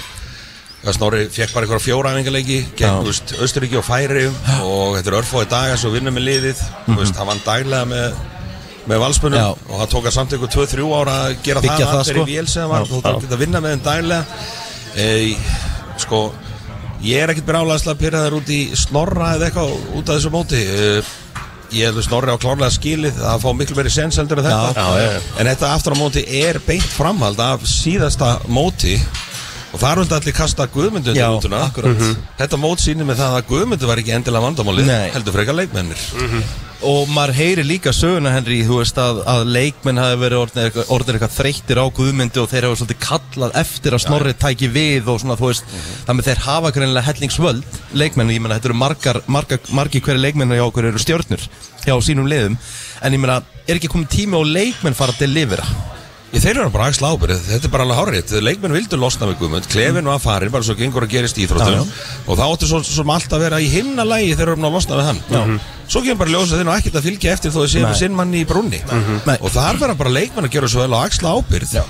Speaker 1: að Snorri fekk bara einhverja fjóræfingarleiki gegn, þú veist, Östuríki og Færi og þetta er örfóði daga svo vinnum með liðið þú veist, það vann daglega með með valspunum
Speaker 2: Mhm. Já.
Speaker 1: og það tók að samt ykkur 2-3 ára að gera
Speaker 2: Byggja
Speaker 1: það,
Speaker 2: það,
Speaker 1: að fyrir
Speaker 2: sko.
Speaker 1: vél sem var
Speaker 2: Já,
Speaker 1: þú tók að vinna með þeim daglega e, sko, ég er ekkert brálaðislega að pyrra þær út í snorra eða eitthvað út af þessu móti e, ég held að Snorri á klárlega skilið að fá miklu meiri sens heldur en þetta
Speaker 2: Já, já, já.
Speaker 1: en þetta aftur á móti er beint framhald af síðasta móti og það er alltaf allir kasta Guðmundu undir
Speaker 2: Já,
Speaker 1: mútuna.
Speaker 2: akkurat.
Speaker 1: þetta mót sýnir með það að Guðmundu var ekki endilega vandamálið
Speaker 2: Nei.
Speaker 1: heldur frekar leikmennir
Speaker 2: Og maður heyri líka söguna, Henry, þú veist að, að leikmenn hafi verið orðnir eitthvað, orðnir eitthvað þreyttir á guðmyndu og þeir hafa svolítið kallað eftir að snorrið tæki við og svona, þú veist, mm
Speaker 1: Mhm.
Speaker 2: -hmm. þannig að þeir hafa greinilega hellingsvöld, leikmenn, ég meina, þetta eru margar, margar, margi hverja leikmenn hjá okkur eru stjórnur hjá sínum liðum, en ég meina, er ekki komið tími og leikmenn fara að delivera?
Speaker 1: Ég þeir eru bara að axla ábyrð, þetta er bara alveg hárrið Leikmenn vildu losna við Guðmund, klefin var farin bara svo gengur að gerist í
Speaker 2: Já,
Speaker 1: íþróttum
Speaker 2: já.
Speaker 1: og þá áttu svo, svo allt að vera í himna lægi þegar við erum að losna við hann Svo kemur bara ljósa þeir nú ekkert að fylgja eftir þó þið séu
Speaker 2: Nei.
Speaker 1: með sinn manni í brúnni
Speaker 2: Nei.
Speaker 1: og þar verða bara leikmenn að gera svo vel og axla ábyrð já.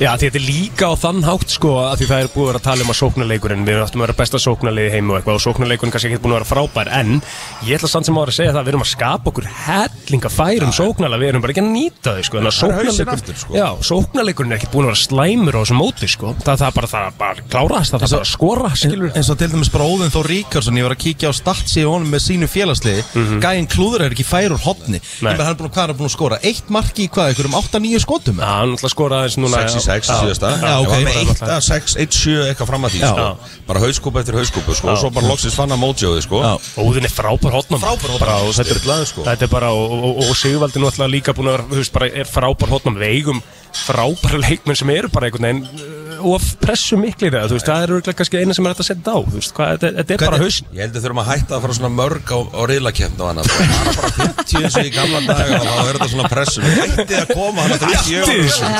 Speaker 3: Já, því þetta er líka á þann hátt sko að því það er búið að vera að tala um að sóknarleikurinn við áttum að vera besta sóknarleið í heim og eitthvað og sóknarleikurinn kannski ekki búin að vera frábær en ég ætla samt sem ára að segja það að við erum að skapa okkur hellinga færum sóknarlega við erum bara ekki að nýta þau sko en að
Speaker 1: Það er hausinn
Speaker 3: sóknarleikurinn
Speaker 1: aftur, sko.
Speaker 3: Já, sóknarleikurinn er ekki búin að vera slæmur á þessum móti sko það það er bara það er bara að klárast það er bara að skora skilur
Speaker 2: eins og til dæmis bara Óðinn Þór Ríkarsson ég var að kíkja á statsi og honum með sínu félagsliði gæinn klúður er ekki fær úr hopni ég
Speaker 3: Nei.
Speaker 2: meina hann er búin, hvað er hann búin að skora eitt marki í hvað, einhverjum 8-9 skotum
Speaker 3: Já, hann ætla að skora aðeins núna
Speaker 1: 6 í 6
Speaker 3: Já,
Speaker 1: síðasta
Speaker 2: Já,
Speaker 1: Ég
Speaker 2: ok.
Speaker 1: var með 1 að 6, 1, 7 eitthvað fram að því
Speaker 2: Já.
Speaker 1: sko. bara hauskúpa eftir hauskúpu sko. og svo bara loksins fann að mótjóði sko.
Speaker 2: Já.
Speaker 3: Óðinn er frábær hotnum
Speaker 1: Frábær hornamaður. Sturlaður, sko.
Speaker 3: Þetta er bara, og, og, og Sigvaldi náttúrulega líka búin að vera, þú veist, bara er frábær hotnum veigum frábæra leikmenn sem eru bara einhvern veginn uh, of pressu miklu í það, þú veist, það er örugglega kannski eina sem er hægt að setja á, þú veist, hvað, þetta, þetta er bara hausn
Speaker 1: Ég held að þurfum að hætta að fara svona mörg á, á riðlakefn og annað Það er bara 50 eins og í gamla daga og þá er þetta svona pressum Hættið að koma hann að
Speaker 3: Hættið þessu.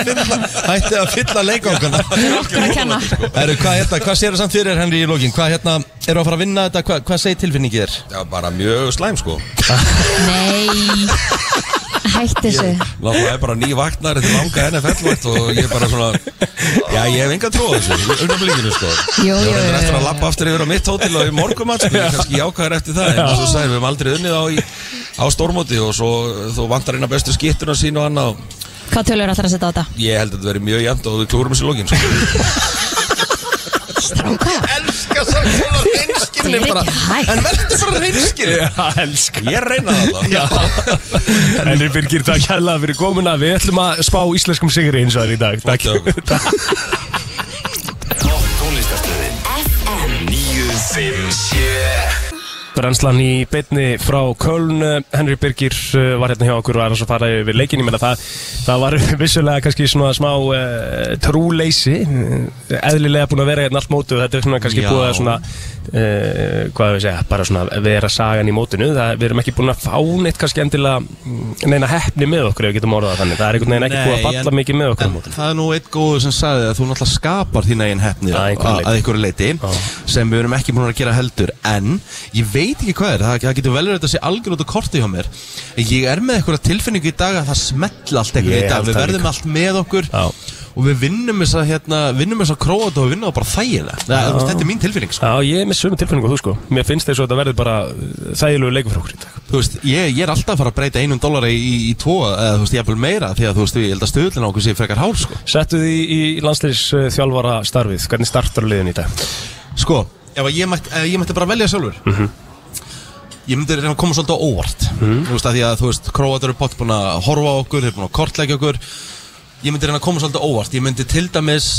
Speaker 2: hætti að fylla leikangana
Speaker 4: Okkur að kenna
Speaker 2: Heru, hvað, hérna, hvað séu samt fyrir þér, Henry í lokin hvað hérna, eru að fara að vinna þetta, hvað, hvað segir tilfinningið þér
Speaker 1: Já, bara mjög slæm sko
Speaker 4: Nei Hætti þessu
Speaker 1: Láta það er bara ný vaknar þetta er langa NFL-vakt og sko. ég er bara svona Já, ég hef enga trú á þessu Unnum líkinu sko
Speaker 4: Jú,
Speaker 1: Ég
Speaker 4: jú,
Speaker 1: var
Speaker 4: jú,
Speaker 1: reyndar eftir að
Speaker 4: jú.
Speaker 1: lappa aftur yfir á mitt hótel og í morgumat sko, ég er kannski jákvæður eftir það en svo sagði við höfum aldrei unnið á, í, á stórmóti og svo þú vantar eina bestu skiptuna sín og annað og
Speaker 4: Hvað tölur ætlar að setja á þetta?
Speaker 1: ég held að þetta veri mjög jæmt og við klúrum þessu lókin sko.
Speaker 4: Stráka
Speaker 2: elskar það svona reynskilni
Speaker 4: Þetta er bara. ekki hægt. En
Speaker 2: verður bara reynskilni
Speaker 3: Já, elska
Speaker 1: Ég reyna það þá
Speaker 3: Henri Birgir, takk hérlega fyrir komuna Við ætlum að spá íslenskum sigri eins og það er í dag Takk
Speaker 1: Dögum.
Speaker 7: Tónlistarstöðin
Speaker 3: Brennslan í beinni frá Köln eh, Henry Birgir eh, var hérna hjá okkur og er hans að fara yfir leikin ég meina það, það var vissulega kannski svona smá uh, trúleysi eh, eðlilega búin að vera hérna allt mótu þetta er svona kannski
Speaker 2: Já.
Speaker 3: búið að svona uh, hvað við segja, bara svona vera sagan í mótinu, það, við erum ekki búin að fá neitt kannski endilega mm, neina heppni með okkur ef við getum orðað það þannig, það er einhvern veginn ekki búið að falla mikið með okkur á
Speaker 2: en
Speaker 3: mótinu
Speaker 2: það er nú eitt góður sem sagði að þú náttúrulega skapar þín eigin hefni
Speaker 3: Að einhverju leyti.
Speaker 2: að einhverju leiti sem við erum ekki búin að gera heldur en ég veit ekki hvað er, það, það getur vel verið að þetta sé algjör út á korti hjá mér ég er með einhverja tilfinningu í dag að það smetla allt einhverju
Speaker 3: Ég
Speaker 2: í dag,
Speaker 3: held
Speaker 2: við
Speaker 3: það
Speaker 2: verðum allt með okkur
Speaker 3: Já.
Speaker 2: og við vinnum þess að hérna, vinnum þess að króa og við vinnum það bara þægilega það, þú veist, þetta er mín tilfinning sko.
Speaker 3: Já, ég er með sömu tilfinningu og þú sko Mér finnst þess að þetta verður bara eh, þægilegu leikur frá okkur í dag
Speaker 2: Þú veist, ég, ég er alltaf að fara að breyta einum dólari í, í tvo eða þú veist, ég er meira því að þú veist, ég held að stöðlun á okkur sé frekar hár sko.
Speaker 3: Settu því í landsleis þjálfara starfið, hvernig startar liðin í dag?
Speaker 2: Sko, ef að ég, mætt, ef ég mætti bara velja sjálfur
Speaker 3: Mhm.
Speaker 2: Ég myndi reyna að koma svolítið á óvart Þú veist, að því að þú veist, króatar eru bótt búin að horfa á okkur, þeir eru búin að kortleggja okkur Ég myndi reyna að koma svolítið á óvart Ég myndi til dæmis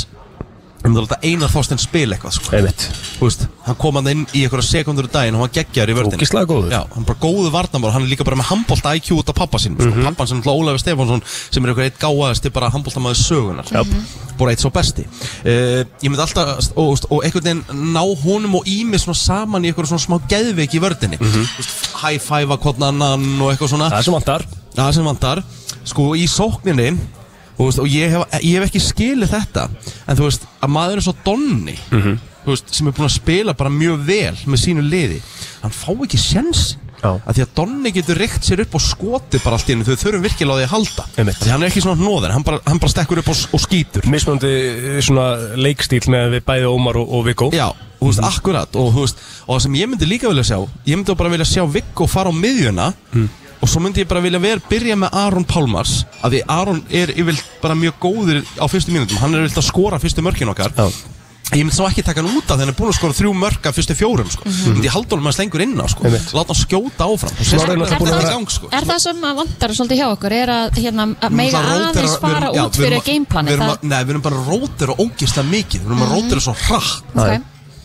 Speaker 2: Ég myndi láta Einar Þorstein spila eitthvað sko.
Speaker 3: Einmitt.
Speaker 2: Þú veist, hann kom hann inn í einhverja sekundur í daginn og hann geggjar í vördin
Speaker 3: Ógeðslega góður.
Speaker 2: Já, hann er bara góðu varnamor, hann er líka bara með handbólta IQ út af pappa sínum, mm
Speaker 3: Mhm.
Speaker 2: -hmm. pappan sem er náttúrulega Ólafur Stefánsson sem er einhver eitt gáðasti bara handbóltamaður sögunar
Speaker 3: Jáp.
Speaker 2: bara eitt svo besti uh, ég myndi alltaf, og, og, og einhvern veginn ná honum og Ími svona saman í einhverju svona smá geðveik í vördinni mm -hmm. high five að hvort annan og eitthvað svona
Speaker 3: Mhm. Það er sem vantar
Speaker 2: Það sem vantar Sko í sókninni Og, þú veist, og ég, hef, ég hef ekki skilið þetta En þú veist að maður er svo donni
Speaker 3: Mhm.
Speaker 2: þú veist, Sem er búin að spila bara mjög vel Með sínu liði Hann fá ekki sjens
Speaker 3: Já.
Speaker 2: að Því að Donni getur reykt sér upp og skoti bara allt í hennu Þau þurfum virkilega á því að halda
Speaker 3: Einmitt.
Speaker 2: Því hann er ekki svona nóðin Hann bara, hann bara stekkur upp og, og skýtur
Speaker 3: Mismöndi eh, svona leikstíl með við bæði Ómar og, og Viggo
Speaker 2: Já, þú veist, akkurat og, þú veist, og það sem ég myndi líka vilja sjá Ég myndi bara vilja sjá Viggo fara á miðjuna
Speaker 3: Mm.
Speaker 2: Og svo myndi ég bara vilja vera, byrja með Aron Pálmars Af því Aron er yfirlt bara mjög góður á fyrstu mínútum Hann er yfirlt að skora fyrstu mörkin okkar
Speaker 3: Já.
Speaker 2: Ég myndi svo ekki taka hann út af þegar hann er búin að skora þrjú mörg af fyrstu fjórum sko. mm -hmm. Myndi ég halda honum að slengur inn á sko.
Speaker 3: Mhm. Einmitt.
Speaker 2: Láta hann skjóta áfram sko. Og
Speaker 3: Snorri er náttúrulega búinn að
Speaker 2: í
Speaker 3: vera-
Speaker 2: gang sko.
Speaker 4: Er það sem að vantar svolítið hjá okkur er að hérna, að mega
Speaker 2: Náttúrulega
Speaker 4: aðeins
Speaker 2: rótera- við
Speaker 4: fara
Speaker 2: erum- já,
Speaker 4: út
Speaker 2: við erum
Speaker 4: fyrir
Speaker 2: að- við
Speaker 4: gameplanet
Speaker 2: erum
Speaker 4: það,
Speaker 2: að- Nei, við erum bara að rótera ógislega mikið Við erum að
Speaker 4: Mhm.
Speaker 2: rótera svo hratt
Speaker 4: okay.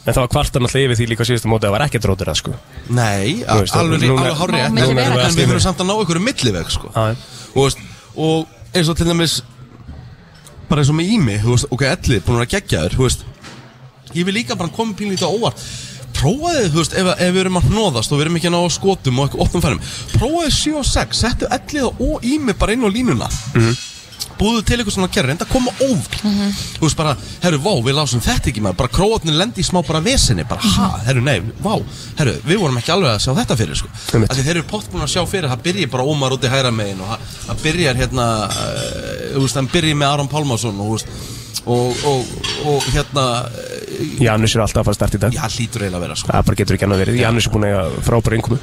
Speaker 3: En það var kvartan alltaf yfir því líka síðustu móti að það var ekkert rótur það sko
Speaker 2: Nei,
Speaker 3: Þú veist,
Speaker 2: alveg,
Speaker 3: núna-
Speaker 2: alveg hárrið
Speaker 4: Má
Speaker 2: En
Speaker 4: mikið
Speaker 2: en
Speaker 4: vera
Speaker 2: við
Speaker 3: kannski
Speaker 2: þurfum
Speaker 3: meira.
Speaker 2: samt að ná einhverju milliveg sko.
Speaker 3: Já, já.
Speaker 2: og, veist, og eins og til dæmis Bara eins og með ími þú veist, Ok, ellið, búin að vera geggjaður þú veist. Ég vil líka bara koma pílítið á óvart Prófaði, þú veist, ef, ef við erum að hnoðast og við erum ekki að ná skotum og eitthvað opnum færum Prófaði 7 og 6, settu ellið og ími bara inn á línuna
Speaker 3: Mhm.
Speaker 2: búðu til eitthvað svona kerri, enda að koma óvl þú veist bara, herru, vá, við lásum þetta ekki maður, bara króatnir lendi í smá bara vesinni bara,
Speaker 3: Mhm.
Speaker 2: ha, herru, nei, vá, herru við vorum ekki alveg að sjá þetta fyrir, sko
Speaker 3: Einmitt.
Speaker 2: af því þeir eru pott búin að sjá fyrir, það byrjir bara Ómar út í hæra megin og það- það byrjar hérna, eh, þú veist, hann byrjir með Aron Pálmarsson og, þú veist, og, og, og hérna eh,
Speaker 3: Janus er alltaf að fara að starta í dag
Speaker 2: já, hlýtur eiginlega að vera, sko
Speaker 3: Það bara getur ekki annað verið Janus er búin að eiga frábæra innkomu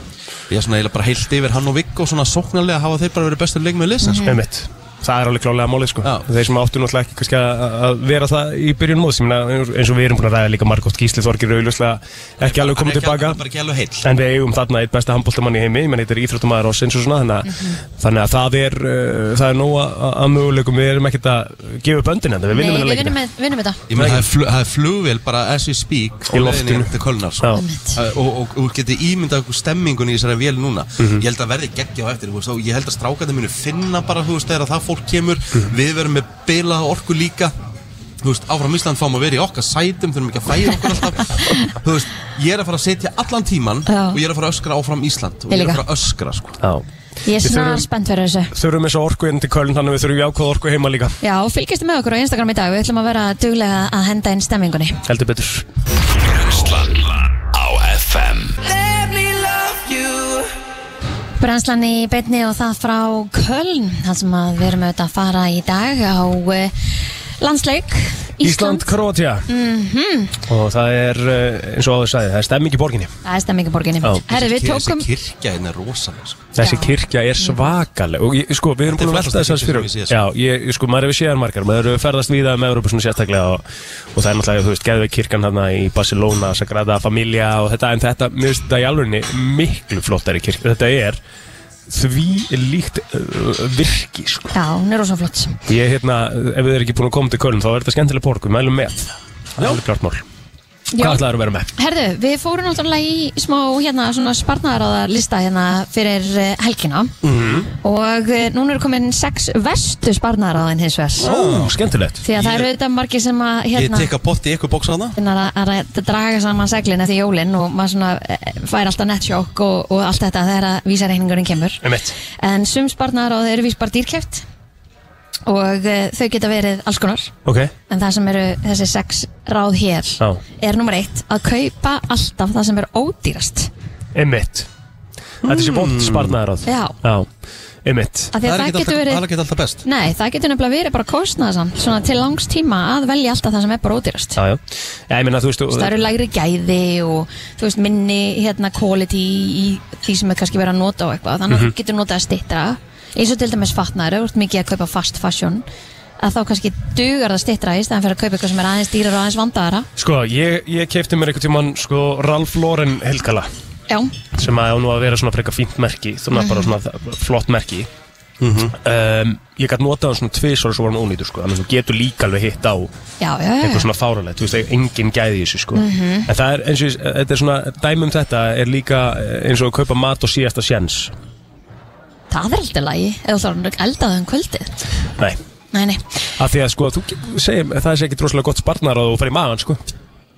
Speaker 2: ég er svona eiginlega bara heilt yfir hann og Viggo svona sóknarlega hafa þeir bara verið bestu leikmið leysin, sko
Speaker 3: Einmitt. Það er alveg klálega málið sko
Speaker 2: Já.
Speaker 3: Þeir sem áttu náttúrulega ekki kannski að að vera það í byrjun móðs Ég meina, eins og við erum búin að ræða líka Margot Gísli Þorgir auðljóslega ekki alveg
Speaker 2: Hann er
Speaker 3: komið
Speaker 2: ekki- hann
Speaker 3: tilbaka
Speaker 2: er bara ekki alveg heill
Speaker 3: En við eigum þarna eitt besta handbóltamann í heimi, menn þetta er íþróttumæður og sinns og svona, þannig að,
Speaker 4: Mhm.
Speaker 3: þannig að það er, uh, það er nóg að- að möguleikum, við erum ekkert að gefa upp öndin þetta, við vinnum hérna
Speaker 4: Nei,
Speaker 3: hennar
Speaker 4: við
Speaker 3: leikin.
Speaker 4: vinnum með- vinnum þetta
Speaker 2: Ég meina, það er flug- það er flugvél bara as we speak
Speaker 3: Í
Speaker 2: á leiðinni
Speaker 3: loftinu.
Speaker 2: hérna til Kölnar sko.
Speaker 3: Já.
Speaker 2: Uh, og, og, og geti ímyndað okkur stemmingun í þessari vél núna ég held að verði geggja á eftir þú veist, og ég held að strákarnir munu finna bara þú veist, þegar það fólk kemur við verðum með bila orku líka þú veist, áfram Ísland fáum að vera í okkar sætum þurfum ekki að fæða okkur alltaf þú veist, ég er að fara að setja allan tíman
Speaker 4: Já.
Speaker 2: og ég er að fara að öskra áfram Ísland og
Speaker 4: Ég
Speaker 2: ég er að
Speaker 4: líka.
Speaker 2: fara að öskra sko.
Speaker 3: Já,
Speaker 4: Ég er
Speaker 3: Við
Speaker 4: snar
Speaker 3: þurfum-
Speaker 4: spennt fyrir þessu
Speaker 3: þurfum eins og orku inn til Köln, þannig að við þurfum jákvæða orku heima líka,
Speaker 4: Já, og fylgistu með okkur á Instagram í dag Við ætlum að vera duglega að henda inn stemmingunni
Speaker 3: heldur betur.
Speaker 4: Brænslan í beinni og það frá Köln Það sem að við erum auðvitað að fara í dag á eh, landsleik
Speaker 3: Ísland, Kroatia.
Speaker 4: Mhm.
Speaker 3: Og það er, uh, eins og áður sagði, það er stemming í borginni.
Speaker 4: Það er stemmingaborginni
Speaker 3: Já.
Speaker 4: Herri, við tókum
Speaker 2: þessi kirkja hérna er rosalega sko.
Speaker 3: Þessi
Speaker 4: Já. Mhm.
Speaker 3: kirkja er svakaleg og ég, sko, við erum
Speaker 2: Þetta er
Speaker 3: búin að velta
Speaker 2: flottasta
Speaker 3: þess aðeins
Speaker 2: kirkja
Speaker 3: fyrir
Speaker 2: sem ég sé, sko.
Speaker 3: Já, ég, ég, sko, maður hefur séðan margar maður hefur ferðast víða um Európa svona sérstaklega og, og það er náttúrulega, þú veist, geðveik kirkjan hérna í Barcelona, Sagrada Familia og þetta, en þetta, mér finnst þetta í alvegni miklu flottari kirkja, þetta er því líkt uh, virki, sko.
Speaker 4: Já, hún er rosa flott
Speaker 3: Ég, hérna, ef þið er ekki búin að koma til Köln þá er þetta skemmtileg borg, við mælum með Það er alveg klart mál.
Speaker 4: Já.
Speaker 3: Hvað ætlaður að vera með?
Speaker 4: Herðu, við fórum náttúrulega í smá hérna svona sparnaráða lista hérna fyrir eh, helgina og eh, núna eru komin sex vestu sparnaráðin hins vegar
Speaker 3: Ó, skemmtilegt.
Speaker 4: því að það eru auðvitað margir sem að
Speaker 2: ég
Speaker 4: hérna,
Speaker 2: tekka bótt í ykkur bóksa hana
Speaker 4: finna að, að, að draga saman seglin eftir jólin og maður svona eh, fær alltaf nettsjók og, og allt þetta þegar að vísareiningurinn kemur
Speaker 3: Einmitt.
Speaker 4: en sum sparnaráð eru vísbar dýrkjöft og eh, þau geta verið alls konar
Speaker 3: Ok,
Speaker 4: en það sem eru þessi sex ráð hér
Speaker 3: Já.
Speaker 4: er nummer eitt að kaupa alltaf það sem er ódýrast
Speaker 3: einmitt. Þetta sé bótt sparnaðaráð.
Speaker 4: Já.
Speaker 3: einmitt.
Speaker 4: Af því að það,
Speaker 2: ekkert
Speaker 4: getur
Speaker 2: alltaf-
Speaker 4: verið
Speaker 2: það er ekki alltaf best
Speaker 4: Nei, það getur nefnilega verið bara kostnaðsamt svona til langs tíma að velja alltaf það sem er bara ódýrast
Speaker 3: Já, já. Já, ég meina, þú veist, þú-
Speaker 4: Það eru lægri gæði og þú veist minni hérna quality í því sem er kannski verið að nota á eitthvað þannig
Speaker 2: Mhm.
Speaker 4: að þú getur notað að stittra eins og til dæmis fatnaður, þú ert mikið að kaupa fast fashion að þá kannski dugar það að stittra í stæðan fyrir að kaupa eitthvað sem er aðeins dýrar og aðeins vandaðara
Speaker 3: sko, ég, ég kefti mér einhvern tímann, sko, Ralph Lauren helgala,
Speaker 4: Já,
Speaker 3: sem að á nú að vera svona frekar fínt merki, þannig að bara svona þa- flott merki. um, ég gæti notað hann svona tvisvar og svo var hann ónýtur, sko, þannig að þú getur líka alveg hitt á
Speaker 4: já, já, já,
Speaker 3: eitthvað
Speaker 4: já.
Speaker 3: svona fáralegt, þú veist, það er engin gæði í þessu, sko. En það er, eins og, ég- þetta er svona, dæmum þetta er líka eh, eins og að kaupa mat og síðasta sjens.
Speaker 4: Það er alltaf lægi eða þá er hann eldaðið um kvöldið
Speaker 3: Nei,
Speaker 4: Nei, nei,
Speaker 3: af því að, sko, þú get- segir, það er ekki droslega gott sparnar að þú fer í magan, sko.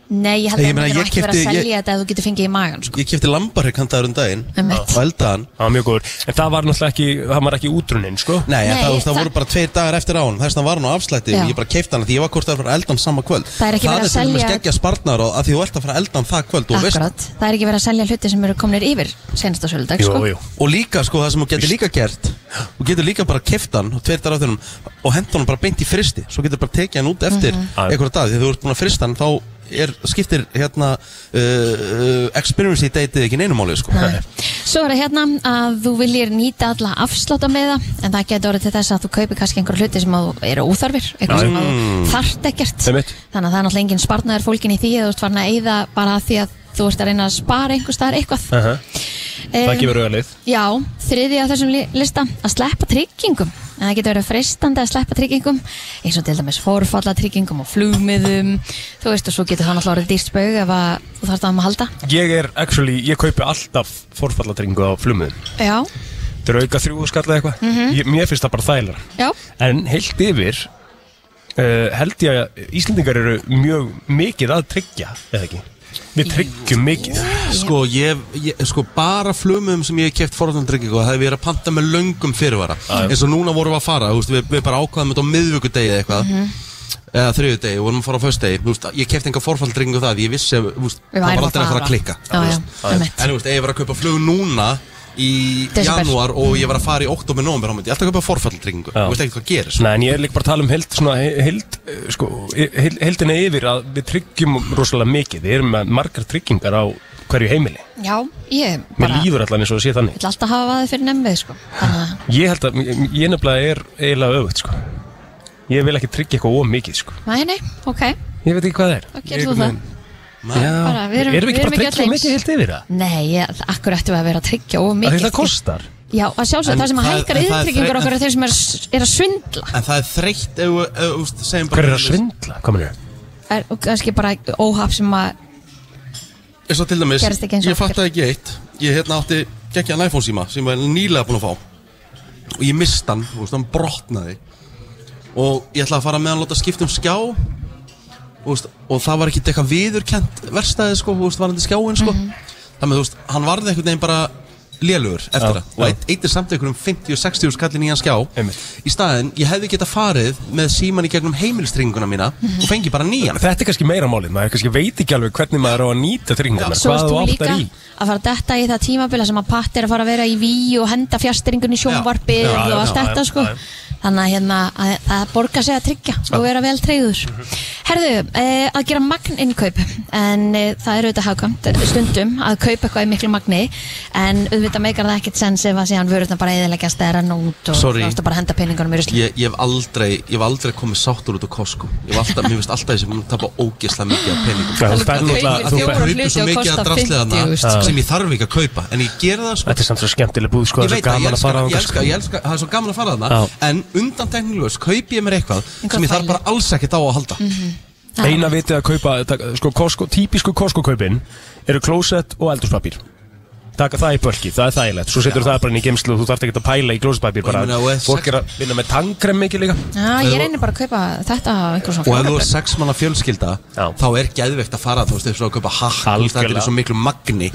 Speaker 4: nei, ég held
Speaker 2: Nei,
Speaker 4: að
Speaker 2: ég
Speaker 4: það
Speaker 2: meina,
Speaker 4: getur
Speaker 2: ég
Speaker 4: ekki verið að
Speaker 2: keypti- ég-
Speaker 4: selja þetta ef þú getur fengið í magan sko.
Speaker 2: Ég kæfti lambarhygg handaður um daginn
Speaker 4: Einmitt.
Speaker 2: og eldaði hann
Speaker 3: Það var mjög góður. En það var náttúrulega ekki, það var ekki útrunin, sko.
Speaker 2: Nei,
Speaker 4: Nei,
Speaker 2: Nei það, það,
Speaker 4: það-
Speaker 2: voru bara tveir dagar eftir á hann Þess vegna var hann á afslætti
Speaker 4: Já.
Speaker 2: og ég bara keifti hann Því ég var hvort það var að fara að elda hann sama kvöld
Speaker 4: Það er ekki verið að
Speaker 2: til dæmis
Speaker 4: selja-
Speaker 2: geggja sparnar og að því þú ert að fara að elda hann það kvöld og, veist,
Speaker 4: Akkurat, það er ekki verið að selja hluti sem eru komnir yfir senasta söludag
Speaker 3: Jú,
Speaker 4: sko.
Speaker 3: jú.
Speaker 2: og líka sko það sem þú getur líka gert Þú getur líka bara keift hann og tveir dagar eftir hann og henda hann bara beint í fristi Svo getur bara tekið hann út eftir mm
Speaker 4: Mhm.
Speaker 3: Já.
Speaker 2: einhverja dag Því þú ert búin að frista hann þá er, skiptir hérna uh, experience í deytið ekki neinumáli sko.
Speaker 4: Nei. Svo er það hérna að þú viljir nýta alla afsláta með það en það getur orðið til þess að þú kaupir kannski einhver hluti sem að þú eru óþarfir eitthvað sem að þú þarft ekkert
Speaker 3: Einmitt.
Speaker 4: þannig að það er náttúrulega engin sparnaður fólkin í því að þú ert farin að eyða bara af því að þú ert að reyna að spara einhvers staðar eitthvað
Speaker 3: Aha. Það
Speaker 4: Em,
Speaker 3: gefur auðalið
Speaker 4: Já, þriði af þessum li- lista að sleppa tryggingum en það getur verið freistandi að sleppa tryggingum eins og til dæmis forfallatryggingum og flugmiðum þú veist og svo getur það náttúrulega orðið dýrt spög ef að þú þarft að um að halda
Speaker 3: Ég er actually, ég kaupi alltaf forfallatringu á flummiðum
Speaker 4: Já,
Speaker 3: Þetta er auka þrjú skall eða eitthvað Ég- Mér finnst það bara þælar
Speaker 4: já,
Speaker 3: En heilt yfir uh, held ég að Íslendingar eru mjög mikið að tryggja eða ekki Við tryggjum mikið
Speaker 2: Sko, ég, ég, sko bara flumum sem ég hef keft forðandryggingu það hefur verið að panta með löngum fyrirvara eins og núna vorum við að fara, þú veist, við, við bara ákvaðum þetta á miðvíkudegi eða eitthvað eða þriðjudegi, vorum að fara á föstudegi þú veist, ég kefti enga forfaldryggingu það, ég vissi að, þú veist,
Speaker 4: Við
Speaker 2: það var
Speaker 4: værum að
Speaker 2: aldrei að fara að
Speaker 4: fara.
Speaker 2: klikka
Speaker 4: Já, já, einmitt.
Speaker 2: en þú veist, ef ég var að kaupa flug núna í
Speaker 4: Desember.
Speaker 2: janúar og ég var að fara í oktober nómur, þá myndi ég alltaf kaupa forfaldryggingu
Speaker 3: Já.
Speaker 2: þú veist ekkert hvað gerir
Speaker 3: Nei, en ég er líka bara að tala um heild, svona, heild, eh, sko, heild, heildina yfir að við tryggjum rosalega mikið. Við erum með margar tryggingar á hverju heimili.
Speaker 4: já, ég
Speaker 3: Mér
Speaker 4: bara
Speaker 3: lífur allan eins og það sé þannig.
Speaker 4: vill alltaf hafa það fyrir nemmið sko. þannig að
Speaker 3: Ég held að, ég nefnilega er eiginlega öfugt, sko. Ég vil ekki tryggja eitthvað of mikið, sko.
Speaker 4: Nei, nei, ok,
Speaker 3: Ég veit ekki hvað það er.
Speaker 4: þá gerir þú það
Speaker 3: Já,
Speaker 4: Bara, við
Speaker 3: erum við
Speaker 4: erum- við
Speaker 3: ekki
Speaker 4: erum
Speaker 3: bara að
Speaker 4: ekki öll
Speaker 3: tryggja
Speaker 4: eins.
Speaker 3: mikið heilt yfir það?
Speaker 4: Nei, ég, akkur ættum við að vera að tryggja og
Speaker 3: Það
Speaker 4: mikið sko?
Speaker 3: er það kostar.
Speaker 4: Já, að sjálfsög,
Speaker 2: En
Speaker 4: það sem að
Speaker 2: það-
Speaker 4: hækkar
Speaker 2: en það er
Speaker 4: yðtryggingur
Speaker 2: þreytt-
Speaker 4: okkur er þeir sem er, er að svindla
Speaker 2: en það er þreytt, ef þú- ef þú veist, segjum bara-
Speaker 3: Hver er að svindla? Hvað mennur?
Speaker 4: er, og kannski bara óhaf sem að
Speaker 2: eins og til dæmis,
Speaker 4: Gerist ekki eins og
Speaker 2: ég
Speaker 4: okkar.
Speaker 2: fattaði ekki eitt ég hérna átti geggjaðan iPhone síma sem ég var nýlega búin að fá og ég mist hann, þú veist, hann brotnaði og ég ætlaði að fara með hann og láta skipta um skjá og, veist, og það var ekki eitthvað viðurkent verstaði sko, þú veist, varandi skjáin sko.
Speaker 4: Mhm.
Speaker 2: þannig að þú veist, hann varði einhvern veginn bara lélugur eftir það
Speaker 3: Já,
Speaker 2: og
Speaker 3: já.
Speaker 2: eitt, eitt er samt einhverjum 50-60 skallin í hann skjá
Speaker 3: Einmitt.
Speaker 2: í staðin, ég hefði geta farið með síman í gegnum heimilstringuna mína
Speaker 4: Mhm.
Speaker 2: og fengi bara nýjan
Speaker 3: Þetta er kannski meira málið, maður kannski veit ekki alveg hvernig maður á að nýta tryggingarnar,
Speaker 4: svo
Speaker 3: hvað þú
Speaker 4: erst þú líka
Speaker 3: áttar í.
Speaker 4: að fara að detta í það tímabila sem að patt er að fara að vera í ví og henda fjastringun í sjónvarpið
Speaker 2: Já, já,
Speaker 4: og allt
Speaker 2: já,
Speaker 4: þetta
Speaker 3: já,
Speaker 4: sko
Speaker 3: já.
Speaker 4: þannig að hérna að, að borga sig að tryggja og vera vel treyður Herðu, e, að gera magninnkaup en e, það er auðvitað hagkvæmt eh, stundum að kaupa eitthvað í miklu magni en auðvitað meikar það ekkert sens ef að síðan vörurna bara eðileggjast eða rann út og
Speaker 2: Sorry.
Speaker 4: það er bara að henda peningunum í rusli
Speaker 2: ég, ég hef aldrei, ég hef aldrei komið sáttur út á Costco Ég hef alltaf, mér finnst alltaf þessi mun tapa ógeðslega mikið af peningum
Speaker 3: Já, þú ferð
Speaker 4: kaupir
Speaker 3: náttúrulega- þú
Speaker 4: fjóra
Speaker 3: ferð-
Speaker 4: hluti
Speaker 2: svo
Speaker 4: og
Speaker 2: mikið
Speaker 4: kostar
Speaker 2: af drastleðana
Speaker 4: 50
Speaker 3: sko.
Speaker 4: þúsund.
Speaker 2: sem ég þarf ekki að kaupa En ég gera það sko
Speaker 3: Þetta er samt svo skemmtileg búð, sko,
Speaker 2: Ég
Speaker 3: það er
Speaker 2: veit það, ég
Speaker 3: svo gaman að
Speaker 2: elska,
Speaker 3: fara sko. á
Speaker 2: ég elska, ég elska, það er svo gaman að fara þarna
Speaker 3: Já.
Speaker 2: En undan teknilegust kaupi ég mér eitthvað sem ég þarf
Speaker 4: þvælu.
Speaker 2: bara alls ekkert á að halda
Speaker 3: Eina vitið að kaupa, taka- sko, Costco, típisku Costco-kaupin eru klósett og eldurspapír Taka það í bölki, það er þægilegt Svo setur það bara inn í geimslu og þú þarft ekki að pæla í klósettpapír
Speaker 2: Og ég
Speaker 3: bara
Speaker 2: meina, og ef-
Speaker 3: Fólk er að vinna með tangkrem mikið líka
Speaker 4: Já, ég reynir bara að kaupa þetta á einhverjum
Speaker 2: Og
Speaker 4: svona
Speaker 2: ef þú er
Speaker 4: fjólabrenn.
Speaker 2: sex manna fjölskylda
Speaker 3: Já.
Speaker 2: þá er geðveikt að fara þú veist, þess að kaupa hakk þú veist, Þetta
Speaker 3: Algjörlega.
Speaker 2: er svo miklu magni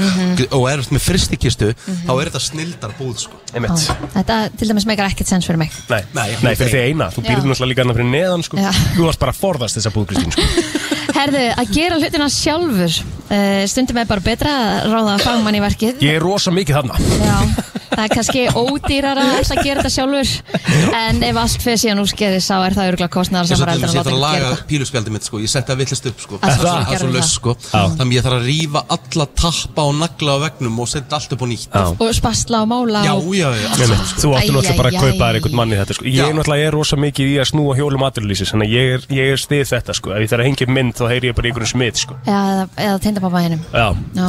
Speaker 2: og er með fristikistu þá er þetta snildar búð sko
Speaker 4: Já,
Speaker 3: Einmitt.
Speaker 4: Þetta til dæmis meikar ekkert sens fyrir mig
Speaker 3: Nei,
Speaker 2: Nei,
Speaker 3: nei, fyrir því eina, þú býrðu
Speaker 4: Já.
Speaker 3: náttúrulega líka annað fyrir neðan sko.
Speaker 4: Já.
Speaker 3: Þú varst bara að forðast þessa búð, Kristín sko.
Speaker 4: Herðu, að gera hlutina sjálfur uh, Stundum er bara betra að ráða fagmann í verkið
Speaker 3: Ég er rosa mikið þarna
Speaker 4: Já, það er kannski ódýrara að ætla að gera þetta sjálfur En ef allt fyrir síðan úrskeiði sá er það örgulega kostnæðar
Speaker 2: Ég
Speaker 4: sem
Speaker 2: svo
Speaker 4: var
Speaker 2: til
Speaker 4: eldur
Speaker 2: þess
Speaker 4: að
Speaker 2: ég þarf að
Speaker 4: láta ekki
Speaker 2: laga
Speaker 4: gera það
Speaker 2: píluspjaldi mitt sko, ég setja það villist upp sko
Speaker 4: Að
Speaker 2: Það
Speaker 4: það?
Speaker 2: er svo
Speaker 4: Gerðu
Speaker 2: laus
Speaker 4: það.
Speaker 2: sko Þannig ég þarf að rífa alla tappa og nagla á veggnum og setja allt upp á nýtt
Speaker 3: Já.
Speaker 4: Og spastla og mála
Speaker 2: Já,
Speaker 4: og...
Speaker 2: já, já
Speaker 3: Einmitt, Þú átti
Speaker 4: Æ,
Speaker 3: náttúrulega bara
Speaker 4: æ,
Speaker 3: að kaupa
Speaker 4: æ.
Speaker 3: þér einhvern mann í þetta sko.
Speaker 2: Já.
Speaker 3: Ég náttúrulega er rosa mikið í að snúa hjólum aturlýsis Þannig að ég er, ég er stið þetta sko. Ef ég þarf að hengja upp mynd þá heyri ég bara í einhverjum smið sko.
Speaker 4: Já, eða, eða tindapappa hennum
Speaker 3: Já,
Speaker 4: Já.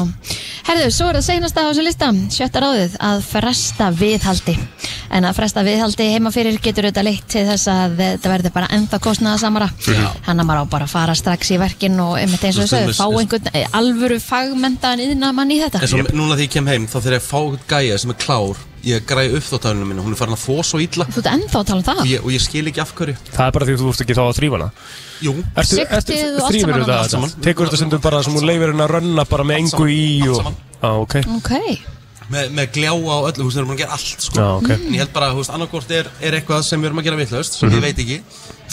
Speaker 4: Herðu, svo er það seinasta á þessu lista, sjötta ráðið, að fresta viðhaldi. En að fresta viðhaldi heima fyrir getur auðvitað leitt til þess að þetta verður bara ennþá kostnaðasamara. Þannig að maður á bara að fara strax í verkinn og einmitt eins
Speaker 2: Þú
Speaker 4: og þessu,
Speaker 2: stundum-
Speaker 4: fá einhvern eh, alvöru fagmentaðan yðnamann í þetta.
Speaker 2: En svo núna þegar ég kem heim þá þegar ég fá einhvern gæja sem er klár Ég græði upp þóttanunum mínu, hún er farin að þó svo illa
Speaker 4: Þú ert ennþá að tala
Speaker 2: og
Speaker 4: um það?
Speaker 2: ég, og ég skil ekki af hverju
Speaker 3: Það er bara því að þú ert ekki þá að þrýfa hana
Speaker 2: Jú,
Speaker 3: Ertu,
Speaker 4: Sigtið
Speaker 3: ertu
Speaker 4: og allt
Speaker 3: þrýfur
Speaker 4: saman
Speaker 3: þetta allt
Speaker 4: annað.
Speaker 3: saman
Speaker 2: Allt saman.
Speaker 3: Tekur þetta stundum bara sem hún leifir henni að rönna bara með engu
Speaker 2: saman,
Speaker 3: í
Speaker 2: allt
Speaker 3: og...
Speaker 2: saman.
Speaker 3: Á, ok
Speaker 4: Ok,
Speaker 2: með, með gljáa og öllu, hún er búin að gera allt sko
Speaker 3: Já, ok
Speaker 1: Mm.
Speaker 2: En ég held bara, hú veist, annarkort er, er eitthvað sem við erum að gera vitlaust sem
Speaker 3: Mhm.
Speaker 2: ég veit ekki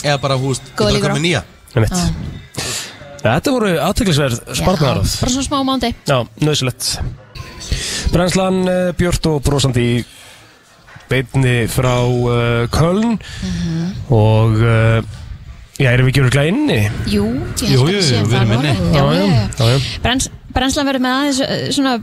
Speaker 2: Eða bara, hú veist,
Speaker 4: Góð
Speaker 2: ég
Speaker 4: líkur
Speaker 2: þarf að
Speaker 4: á.
Speaker 2: koma með nýja
Speaker 3: Einmitt. Þetta voru aðteklisverð
Speaker 4: bara
Speaker 3: sparnaráð
Speaker 4: svona smá mándi.
Speaker 3: Já, nöðsilegt Brænslan uh, Björt og brosandi í eh, beinni frá uh, Köln og uh, Já, erum við ekki öruglega inni?
Speaker 4: Jú, ég
Speaker 7: Jú,
Speaker 4: held að
Speaker 7: jú,
Speaker 4: við séum
Speaker 7: við
Speaker 4: það
Speaker 7: erum
Speaker 4: núna.
Speaker 7: inni.
Speaker 4: Já, já,
Speaker 3: já, já.
Speaker 4: já. Brenns, Brennslan verður með aðeins ö, svona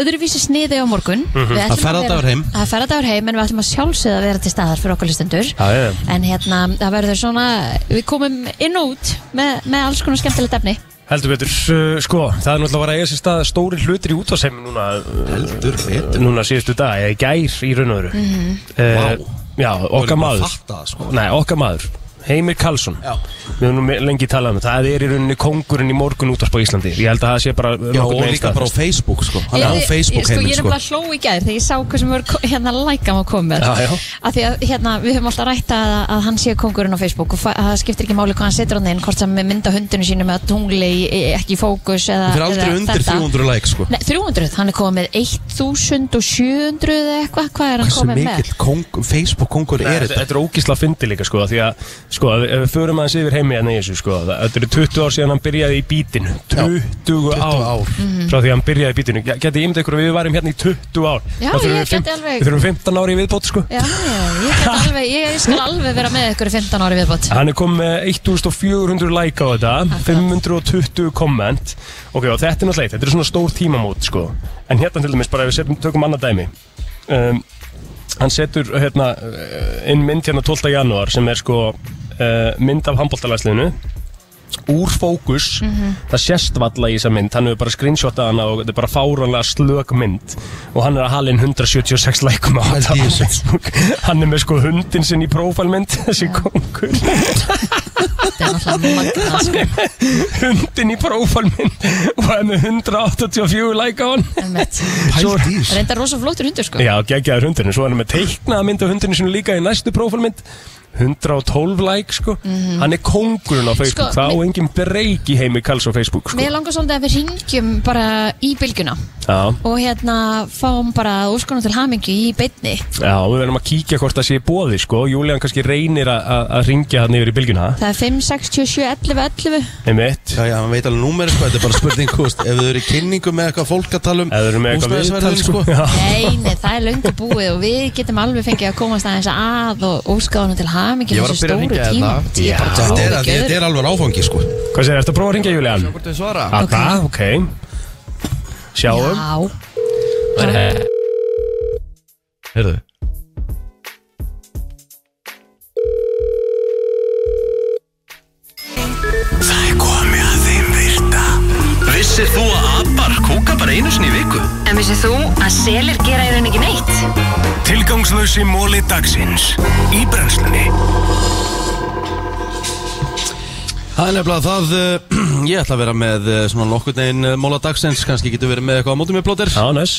Speaker 4: öðruvísi sniði á morgun mm -hmm.
Speaker 7: Það ferðardagur heim.
Speaker 4: Það ferðardagur heim en við ætlum að sjálfsögða að vera til staðar fyrir okkur listendur
Speaker 3: Já, já, já.
Speaker 4: En hérna, það verður svona Við komum inn og út með, með alls konar skemmtilegt efni
Speaker 3: Heldur betur, uh, sko, það er náttúrulega að vera að eiga sér stað stóri hlutir í útvarsheimin núna Heldur betur Núna síðustu dag, eða í gær í raun og öru mm
Speaker 2: Mhm.
Speaker 3: -hmm. Já, okkar maður
Speaker 2: fatta, það, sko.
Speaker 3: Nei, okkar maður Heimir Karlsson
Speaker 2: Já.
Speaker 3: Við höfum nú lengi talað um það Það er í rauninni kongurinn í morgun útvarp á Íslandi Ég held að það sé bara
Speaker 2: Já,
Speaker 3: uh, nokkurn
Speaker 2: og
Speaker 3: veginn
Speaker 2: líka bara á
Speaker 3: staðfest.
Speaker 2: Facebook sko Hann er á
Speaker 4: Ég-
Speaker 2: Facebook
Speaker 4: ég- sko,
Speaker 2: heimil
Speaker 4: Ég er
Speaker 2: sko
Speaker 4: nefnilega hló í gær þegar ég sá hversu mörg hérna lækam að koma með
Speaker 3: Já, já.
Speaker 4: Af því að hérna, við höfum alltaf rætt að, að hann sé kongurinn á Facebook og fa- að það skiptir ekki máli hvað hann setur hann inn hvort sem mynda hundinu sínu með tungli í- ekki í fókus eða,
Speaker 2: Það er aldrei
Speaker 4: eða
Speaker 2: undir
Speaker 4: þetta.
Speaker 2: 300 like sko
Speaker 4: Nei, 300, hann er komið með 1700 eða eitthvað, hvað er hann
Speaker 2: Hversu
Speaker 4: komið með?
Speaker 2: mikill kong, Facebook kongur
Speaker 3: Nei,
Speaker 2: er
Speaker 3: þetta,
Speaker 2: þetta?
Speaker 3: þetta er ógísla fyndi líka sko Því að, sko, ef ef við förum aðeins yfir heimi hérna í þessu sko það- Þetta eru 20 ár síðan hann byrjaði í bítinu 20, ár,
Speaker 2: 20 ár.
Speaker 4: Mhm.
Speaker 3: Frá því að hann byrjaði í bítinu Geti ég myndið ykkur að við varum hérna í 20 ár
Speaker 4: Já,
Speaker 3: Þá þurfum
Speaker 4: ég
Speaker 3: við
Speaker 4: gæti
Speaker 3: fimm-
Speaker 4: alveg-
Speaker 3: Við þurfum 15 ári í viðbót sko
Speaker 4: Já, já, ég, get alveg, ég, ég skal alveg vera með ykkur í 15 ári viðbót
Speaker 3: Hann er komið með 1400 like á þetta 520 komment Ok, og þetta er náttúrulega eitt, þetta er svona stór tímamót sko. En hérna til dæmis, bara ef við setjum, tökum annað dæmi um, Hann setur hérna, eh, inn mynd hérna 12. janúar sem er sko uh, mynd af handbóltalæsliðinu úr fókus, það sést valla í þessa mynd, hann hefur bara screenshotað hana og þetta er bara fáranlega slök mynd og hann er að halin 176 lækum á þetta á Facebook, hann er með sko hundin sinn í prófælmynd, þessi kongur
Speaker 4: Þetta er náttúrulega magnað sko.
Speaker 3: hundin í prófálminn og er með 184 læka á hann
Speaker 4: einmitt.
Speaker 3: Svo-
Speaker 2: Pælt í þessu
Speaker 4: Reyndar rosa flottur hundur sko
Speaker 3: Já, geggjaður hundinu, svo er hann með teiknaða mynd af hundinu sinu líka í næstu prófálmynd 112 læk sko hann er kóngurinn á Facebook,
Speaker 4: Mhm. Sko,
Speaker 3: það
Speaker 4: mér-
Speaker 3: og engin breyk í heimi kalls á Facebook sko.
Speaker 4: Mér langar svolítið að við ringjum bara í bylgjuna
Speaker 3: Já,
Speaker 4: og hérna fáum bara úrskonum til hamingju í beinni
Speaker 3: já, við verðum að kíkja hvort það sé bóði sko, Júlían kannski reynir að- að að ringja hann yfir í bylgjuna,
Speaker 4: það er 5, 67, 11, 11
Speaker 3: einmitt
Speaker 2: Já, já, hann veit alveg númer, sko, þetta er bara spurning, þú veist, ef þau eru í kynningu með eitthvað fólk að tala um
Speaker 3: eða við erum með eitthvað
Speaker 2: húsnæðisverðin,
Speaker 3: viðtal sko, Já.
Speaker 4: Nei, nei, það er löngu búið og við getum alveg fengið að komast aðeins að og úrskonum til hamingju
Speaker 7: Ég var að byrja að hringja
Speaker 4: tíma
Speaker 7: hérna.
Speaker 4: ég bara
Speaker 2: Þetta
Speaker 4: trúi
Speaker 2: er,
Speaker 4: ekki
Speaker 2: þetta
Speaker 4: öðru.
Speaker 2: er alveg áfangi, sko
Speaker 3: Hvað segir, ertu að prófa að ringja Júlían?
Speaker 7: Hvort þau svara?
Speaker 3: Þetta, ok Sjáum
Speaker 4: Já,
Speaker 7: Heyrðu
Speaker 8: Það er komið að þeim virta Vissir þú að abar kúka bara einu sinni í viku?
Speaker 9: En vissið þú að selir gera í raun ekki neitt?
Speaker 3: Tilgangslösi móli dagsins Í brennslunni
Speaker 7: Það er nefnilega það, uh, ég ætla að vera með uh, svona nokkurn veginn uh, móla dagsins, kannski getur verið með eitthvað á mótum í blótir.
Speaker 3: Já, næs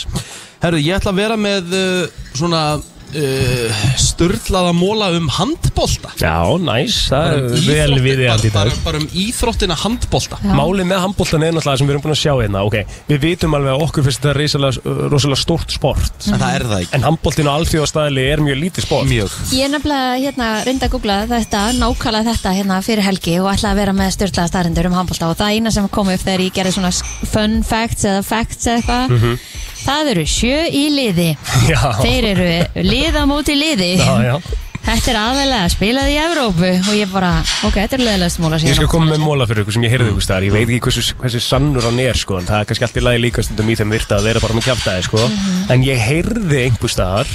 Speaker 7: Herru, ég ætla að vera með uh, svona uh, störlaða móla um handbolta.
Speaker 3: Já, næs Það er vel
Speaker 7: Íþróttir-
Speaker 3: við í allt í
Speaker 7: bara,
Speaker 3: dag
Speaker 7: bara, bara um íþróttina handbolta.
Speaker 4: Já.
Speaker 3: Málið með handbóltan er náttúrulega sem við erum búin að sjá hérna Ok, við vitum alveg að okkur finnst þetta risalega, rosalega stórt sport
Speaker 2: En það er það ekki
Speaker 3: En handbóltin á alþjóðastæðli er mjög lítið sport
Speaker 7: Mjög.
Speaker 4: ég nefnilega hérna reynda að googla þetta, nákvæmlega þetta hérna fyrir helgi og ætla að vera með styrlaða staðrindur um handbólta og það eina sem kom upp þegar ég gerði svona fun facts eða facts eða eitthvað það eru sjö í liði
Speaker 3: Mhm. Já,
Speaker 4: þeir eru liða móti liði
Speaker 3: já, já
Speaker 4: Þetta er aðalega spilaði í Evrópu og ég bara, ok, þetta er leðilega smóla
Speaker 3: Ég skal koma með móla fyrir ykkur sem ég heyrði ykkur staðar Ég veit ekki hversu, hversu sannur hann er sko En það er kannski allt í lagi líka stundum í þeim virta að vera bara með kjaftaði sko En ég heyrði einhver staðar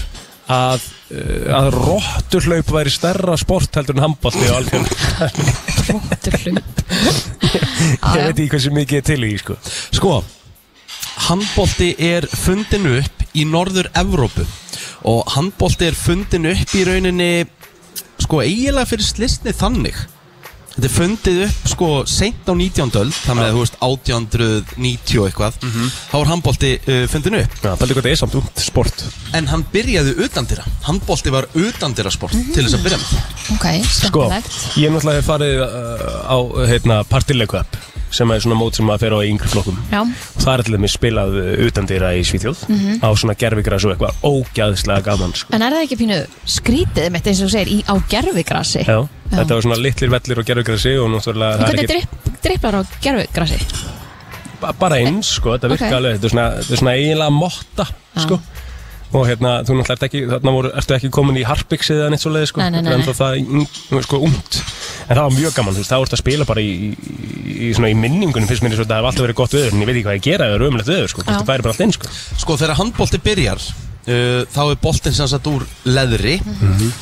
Speaker 3: að, uh, að rotturhlaup væri stærra sport heldur en handbólti og alveg sko- Ég veit ekki hversu mikið er til í því, sko
Speaker 7: Sko, handbolti er fundin upp í Norður-Evrópu og handbolti er fundin upp í rauninni, sko, eiginlega fyrir slisni þannig. Þetta er fundið upp, sko, seint á 19. öld, þannig að, þú veist, 1890 og eitthvað, þá er handbolti uh, fundin upp.
Speaker 3: Já, Bældi hvað það er samt umt sport
Speaker 7: En hann byrjaði utandira Handbólti var utandira sport til þess að byrja með
Speaker 4: Ok,
Speaker 3: Sko,
Speaker 4: skemmtilegt
Speaker 3: ég er náttúrulega hef farið uh, á heitna, partileikup sem er svona mót sem maður fer á í yngri flokkum
Speaker 4: Já, Mhm.
Speaker 3: Það er til dæmis spilað uh, utandýra í Svíþjóð á svona gerfigræs og eitthvað ógæðslega gaman sko.
Speaker 4: en er það ekki pínu skrítið mitt eins og þú segir í, á gerfugrassi?
Speaker 3: Já, þetta var svona litlir vellir og gerfigræsi og náttúrulega það er
Speaker 4: Hvernig drip, driplar á gerfugrassi?
Speaker 3: ba- bara eins sko, þetta virka
Speaker 4: Ok.
Speaker 3: alveg þetta er svona, þetta er svona eiginlega motta sko. og hérna, þú náttúrulega ert ekki þarna voru, ertu ekki komin í harpix eða neitt svo leið sko,
Speaker 4: Nei, nei,
Speaker 3: Þetta
Speaker 4: nei,
Speaker 3: er ennþá það í- sko umt En það var mjög gaman, þú veist, það voru að spila bara í, í, í, svona, í minningunum fyrst minni svo það hef alltaf verið gott viður en ég veit ekki hvað ég gera ef það er ömulegt viður, sko,
Speaker 4: Já.
Speaker 3: það væri bara allt einn, sko
Speaker 2: Sko þegar handbólti byrjar uh, Þá er boltin sem sagt úr leðri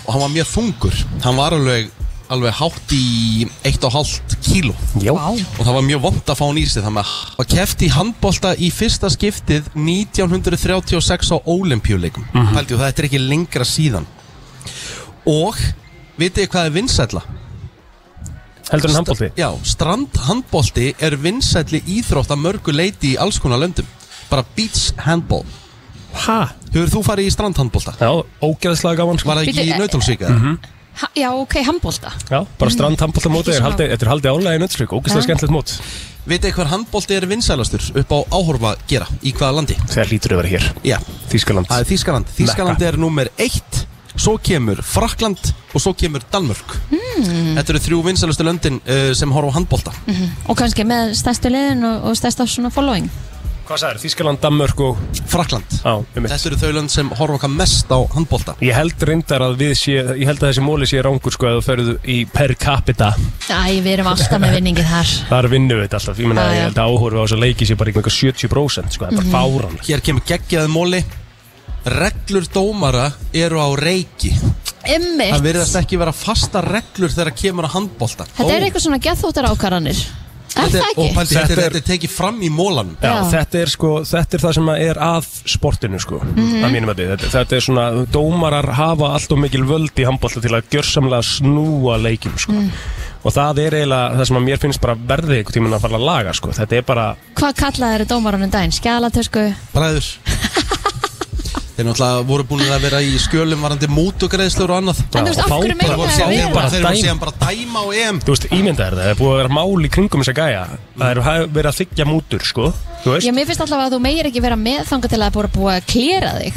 Speaker 2: Og hann var mjög þungur Hann var alveg, alveg hátt í 1,5 kíló
Speaker 3: Já,
Speaker 2: Og það var mjög vond að fá hann í sig Þannig að hann var keft í handbólta í fyrsta skiptið 1936 á Olimpíuleikum mm -hmm. og þetta er ekki lengra síðan Og Vitið þið hvað er vinsætla?
Speaker 3: heldur en handbólti
Speaker 2: Já, strandhandbólti er vinsætli íþrótt að mörgu leiti í alls konar löndum Bara beach handball
Speaker 3: Ha?
Speaker 2: Hefur þú farið í strandhandbólta?
Speaker 3: Já, ógeðslega gaman, sko
Speaker 2: Var það ekki
Speaker 4: Bíddu,
Speaker 2: í
Speaker 4: eh,
Speaker 2: Nautalsvík eða?
Speaker 4: Ha, já, ok, handbólta
Speaker 3: Já, bara strand handbólta móti,
Speaker 4: Mm. Ekki
Speaker 3: þetta er
Speaker 4: smá.
Speaker 3: haldið- þetta er haldið álega í nöttsvík, ógeðslega
Speaker 4: Já.
Speaker 3: skemmtilegt mót
Speaker 2: Vitið þið hver handbólti er vinsælastur upp á áhorfa gera? Í hvaða landi?
Speaker 3: Þegar lítur að vera hér,
Speaker 2: Já,
Speaker 3: Þískaland
Speaker 2: það er Þískaland Þískaland er nummer eitt Svo kemur Frakland og svo kemur Danmörk
Speaker 4: Hmm.
Speaker 2: Þetta eru þrjú vinsælustu löndin uh, sem horfa á handbólta
Speaker 4: og kannski með stærstu liðin og, og stærsta svona following
Speaker 3: Hvað sagður, Þískaland, Danmörk og,
Speaker 2: Frakland
Speaker 3: á, um
Speaker 2: Þetta eru þau lönd sem horfa okkar mest á handbólta
Speaker 3: Ég held reyndar að við sé, ég held að þessi móli sé rangur sko að þú ferðu í per capita
Speaker 4: Æ, við erum alltaf með vinningið þar
Speaker 3: þar vinnum við þetta alltaf, ég meina
Speaker 4: Já, Mhm. já.
Speaker 3: ég held að áhorfa á þessu leiki sé bara eitthvað 70% sko, það er bara fáran
Speaker 2: Hér kemur geggjaði móli Reglur dómara eru á reiki Það
Speaker 4: Ymmið,
Speaker 2: verðast ekki vera fasta reglur þegar kemur á handbólta
Speaker 4: þetta er eitthvað svona geðþóttar ákvarðanir Er það
Speaker 2: Og
Speaker 4: ekki?
Speaker 2: pældi, þetta er,
Speaker 3: Þetta er-
Speaker 2: þetta er tekið fram í mólanum
Speaker 3: Já,
Speaker 4: Já.
Speaker 3: þetta er sko, þetta er það sem að er að sportinu sko,
Speaker 4: Mhm.
Speaker 3: að mínum að þetta, þetta er svona, dómarar hafa allt og mikil völd í handbólta til að gjörsamlega snúa leikinu sko
Speaker 4: Mm.
Speaker 3: og það er eiginlega það sem að mér finnst bara verðið einhvern tíminn að fara að laga sko, þetta er bara,
Speaker 4: Hvað kallaði þeirri dómaranum daginn? Skjalatösku?
Speaker 2: Bræður Þeir náttúrulega voru búin að vera í skjölum varandi mútugreðslur og annað
Speaker 4: En þú veist,
Speaker 3: og
Speaker 4: af hverju
Speaker 3: fá bara-
Speaker 4: meina
Speaker 2: Þeir
Speaker 4: það
Speaker 2: voru
Speaker 4: vera?
Speaker 2: bara, þeir voru
Speaker 3: dæma.
Speaker 2: síðan bara að dæma á EM
Speaker 3: Þú veist, ímyndaður það, það er búið að vera mál í kringum þessa gæja Það er verið að þykja mútur, sko Þú veist,
Speaker 4: Já, mér finnst alltaf að þú meir ekki vera með þangað til að það er búið að búið að klera þig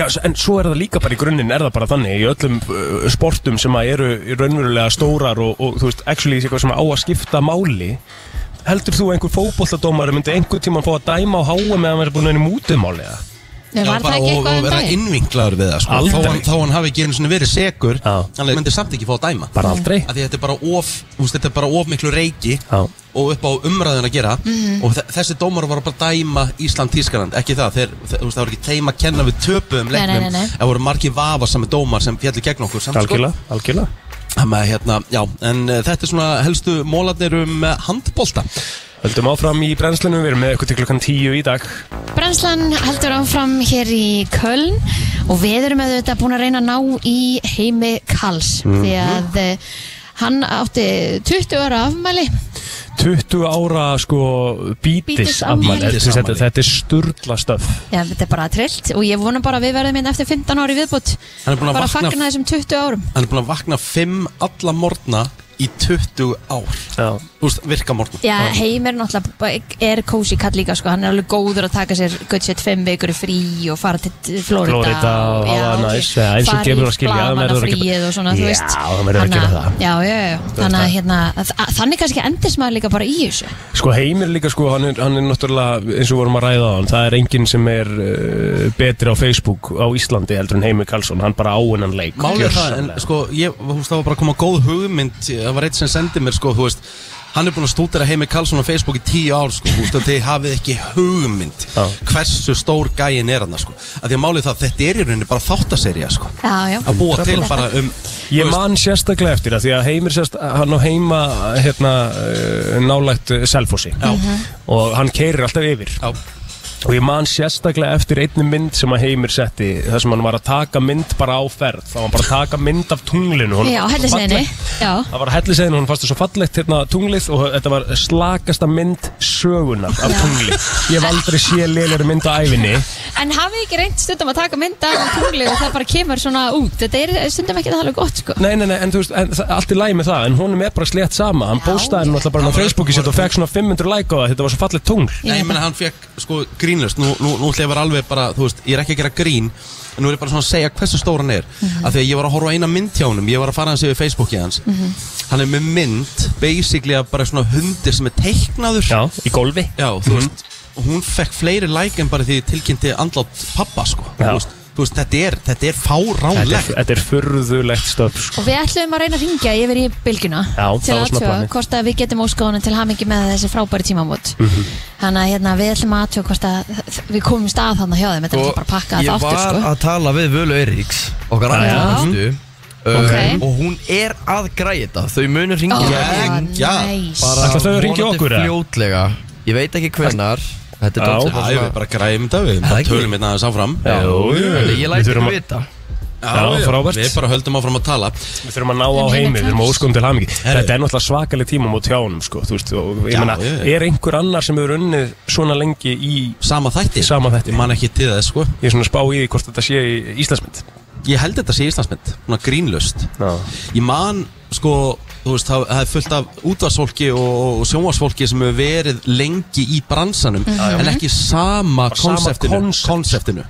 Speaker 3: já, s- en svo er það líka bara í grunninn Er það bara þannig, í öllum uh, sportum sem að eru raunverulega stórar Og, og þú veist, actually, eitthvað sem á að skipta máli Heldur þú að einhver fótbolladómari myndi einhver tímann fá að dæma á háa meðan hann er búin að vera í mútumáli eða?
Speaker 4: Nei,
Speaker 2: Já,
Speaker 4: Var það
Speaker 2: bara
Speaker 4: ekki
Speaker 2: og-
Speaker 4: eitthvað
Speaker 2: og
Speaker 4: um
Speaker 2: vera
Speaker 4: daginn?
Speaker 2: innvinklaður við það sko.
Speaker 3: Aldrei.
Speaker 2: þó, hann, þó hann hafi ekki einu sinni verið segur
Speaker 3: Já.
Speaker 2: hann myndi samt ekki fá að dæma
Speaker 3: Bara aldrei
Speaker 2: að því þetta er bara of, þú veist, þetta er bara of miklu reiki
Speaker 3: Já.
Speaker 2: og upp á umræðun að gera
Speaker 4: Mhm.
Speaker 2: og þe- þessi dómar var bara að dæma Ísland Tískaland, ekki það, þeir, þeir, þú veist, það voru ekki teima að kenna við töpuðum
Speaker 4: Nei, nei,
Speaker 2: leiknum
Speaker 4: nei, nei.
Speaker 2: það voru margi vafa saman dómar sem fjallu gegn okkur samt, sko.
Speaker 3: Algjörlega, algjörlega
Speaker 2: Þannig að hérna, já, en uh, þetta er svona helstu mólarnir um uh, handbólta
Speaker 3: Höldum áfram í brennslunum, við erum með eitthvað til klukkan 10 í dag
Speaker 4: Brennslan heldur áfram hér í Köln og við erum auðvitað búin að reyna að ná í heimi Karls því
Speaker 2: Mhm.
Speaker 4: að eh, hann átti 20 ára afmæli
Speaker 3: 20 ára sko bítis
Speaker 4: Bítisafmæli.
Speaker 3: Þetta þetta er sturla stöf
Speaker 4: Já, þetta er bara trillt og ég vonum bara að við verðum hérna eftir 15 ári viðbútt
Speaker 2: Hann er búinn að
Speaker 4: bara
Speaker 2: vakna-
Speaker 4: fagna þessum 20 árum
Speaker 2: hann er búin að vakna 5 alla morgna í 20 ár
Speaker 3: Já
Speaker 2: þú veist, virka morgna
Speaker 4: Já, heimir náttúrulega bara- er kósi kall líka sko, hann er alveg góður að taka sér guttsett 5 vikur í frí og fara til Florida
Speaker 3: Florida og
Speaker 4: já,
Speaker 3: hafa það
Speaker 4: ok.
Speaker 3: næs, já, eins og
Speaker 4: Fara
Speaker 3: gefur
Speaker 4: í
Speaker 3: að skilja, það verður að gera-
Speaker 4: blaðamannafríið og svona,
Speaker 3: Já,
Speaker 4: þú veist
Speaker 3: það verður að
Speaker 4: Þannig
Speaker 3: gera
Speaker 4: að-
Speaker 3: það.
Speaker 4: Já, já, já, þannig að hérna, að- þannig kannski endis maður líka bara í þessu
Speaker 3: Sko heimir líka sko, hann er, hann er náttúrulega eins og vorum að ræða á hann, það er enginn sem er uh, betri á Facebook á Íslandi heldur en Heimir Karlsson, hann bara á hennan leik
Speaker 2: Málið er það, en
Speaker 3: Gjörsamlega.
Speaker 2: sko, ég, þú veist, það var bara að koma góð hugmynd, það var eitt sem sendi mér, sko, þú veist, hann er búinn að stúdera Heimi Karlsson á Facebook í tíu ár, sko, þú veist, og þið hafið ekki hugmynd
Speaker 3: Já.
Speaker 2: hversu stór gæin er hann, sko, að því að málið er það, þetta er í rauninni bara þáttaserja, sko,
Speaker 4: Já, já
Speaker 2: að búa til bara um,
Speaker 3: Ég man sérstaklega eftir það því að Heimir sérst, hann á heima hérna uh, nálægt uh, Selfossi
Speaker 4: Mhm.
Speaker 3: og hann keirir alltaf yfir
Speaker 2: Já.
Speaker 3: og ég man sérstaklega eftir einni mynd sem að Heimir setti þar sem hann var að taka mynd bara á ferð þá var hann bara að taka mynd af tunglinu honum
Speaker 4: Já,
Speaker 3: fannst svo
Speaker 4: hellisleiðinni.
Speaker 3: fallegt.
Speaker 4: Já.
Speaker 3: Það var hellisegin, hún fannst það svo fallegt hérna tunglið og þetta var slakasta mynd sögunar af tungli Ég hef aldrei sé lélir mynd á æfinni
Speaker 4: En hafið þið ekki reynd stundum að taka mynda á tungli og það bara kemur svona út Þetta er stundum ekki það alveg gott sko
Speaker 3: Nei, nei, nei, en þú veist, en, það- allt í læg með það En honum er bara slétt sama Hann
Speaker 4: Já.
Speaker 3: postaði hann alltaf bara á Facebooki sitt Og fekk svona 500 like á það Þetta var svo fallið tungl
Speaker 2: Nei, ég meina hann fekk sko grínlust Nú, nú, nú ætla ég að vera alveg bara, þú veist, ég er ekki að gera grín En nú er ég bara svona að segja hversu stór hann er mm Af því að ég var að horfa á eina mynd hjá honum Ég var að fara hans yfir Facebooki hans Hann er með mynd, basically að bara svona hundir sem er teiknaður
Speaker 3: Já, í golfi
Speaker 2: Já, þú veist, hún fekk fleiri like en bara því tilkynnti andlátt pappa, sko
Speaker 3: Já.
Speaker 2: Þú veist,
Speaker 1: þú veist, þetta er, þetta er
Speaker 3: Þetta er,
Speaker 1: fáránlegt
Speaker 3: þetta er furðulegt stöf sko.
Speaker 4: Og við ætlum að reyna að ringja yfir í bylgjuna
Speaker 3: Já,
Speaker 4: til
Speaker 3: það var
Speaker 4: að
Speaker 3: svona planið.
Speaker 4: hvort að við getum óskóðunum til hamingi með þessi frábæri tímamót
Speaker 3: Mhm.
Speaker 4: Þannig að hérna, við ætlum að atjóða hvort að við komum stað þannig hjá þeim Þetta er
Speaker 8: Og
Speaker 4: náttúrulega bara að pakka þetta
Speaker 8: Ég
Speaker 4: aftur
Speaker 8: var
Speaker 4: sko
Speaker 8: að tala við Völu Eiríks Okkar
Speaker 4: Já. Mhm.
Speaker 8: aðeins
Speaker 4: Ok.
Speaker 8: Og hún er að græja þetta Þau
Speaker 4: Ó,
Speaker 8: munur ringja
Speaker 4: næs.
Speaker 3: Ætla þau að hringja okkur, eða?
Speaker 8: Fljótlega Ég veit ekki hvenar Þetta
Speaker 3: Já.
Speaker 8: er dálítið
Speaker 1: Já, ég vil
Speaker 8: svona-
Speaker 1: bara
Speaker 2: um
Speaker 1: græðum þetta við,
Speaker 8: Það
Speaker 1: bara
Speaker 8: ekki.
Speaker 1: tölum hérna þess áfram
Speaker 3: Já, jú,
Speaker 8: En Ég
Speaker 3: Við
Speaker 8: læti
Speaker 3: þurfum
Speaker 8: ekki
Speaker 3: að-
Speaker 8: vita
Speaker 3: Já, frábært.
Speaker 1: Við bara höldum áfram að tala
Speaker 3: Við þurfum að ná á
Speaker 4: En
Speaker 3: heimi, við
Speaker 4: hérna
Speaker 3: þurfum að óskum til hamingi
Speaker 1: Herru.
Speaker 3: Þetta er náttúrulega svakaleg tíma mót hjá honum sko, þú veist, og ég
Speaker 1: Já,
Speaker 3: meina,
Speaker 1: já, já.
Speaker 3: er einhver annar sem hefur unnið svona lengi í
Speaker 1: Sama þætti
Speaker 3: Sama þætti.
Speaker 1: Ég man ekki til þess sko
Speaker 3: ég er svona að spá í því hvort þetta sé í Íslandsmynd
Speaker 1: Ég held þetta sé Íslandsmynd Svona grínlust
Speaker 3: Já.
Speaker 1: Ég man sko Þú veist, það það er fullt af útvarsfólki og, og sjónvarsfólki sem hefur verið lengi í bransanum
Speaker 3: Mhm.
Speaker 1: en ekki sama
Speaker 3: sama
Speaker 1: konseptinu,
Speaker 3: konsept.
Speaker 1: konseptinu.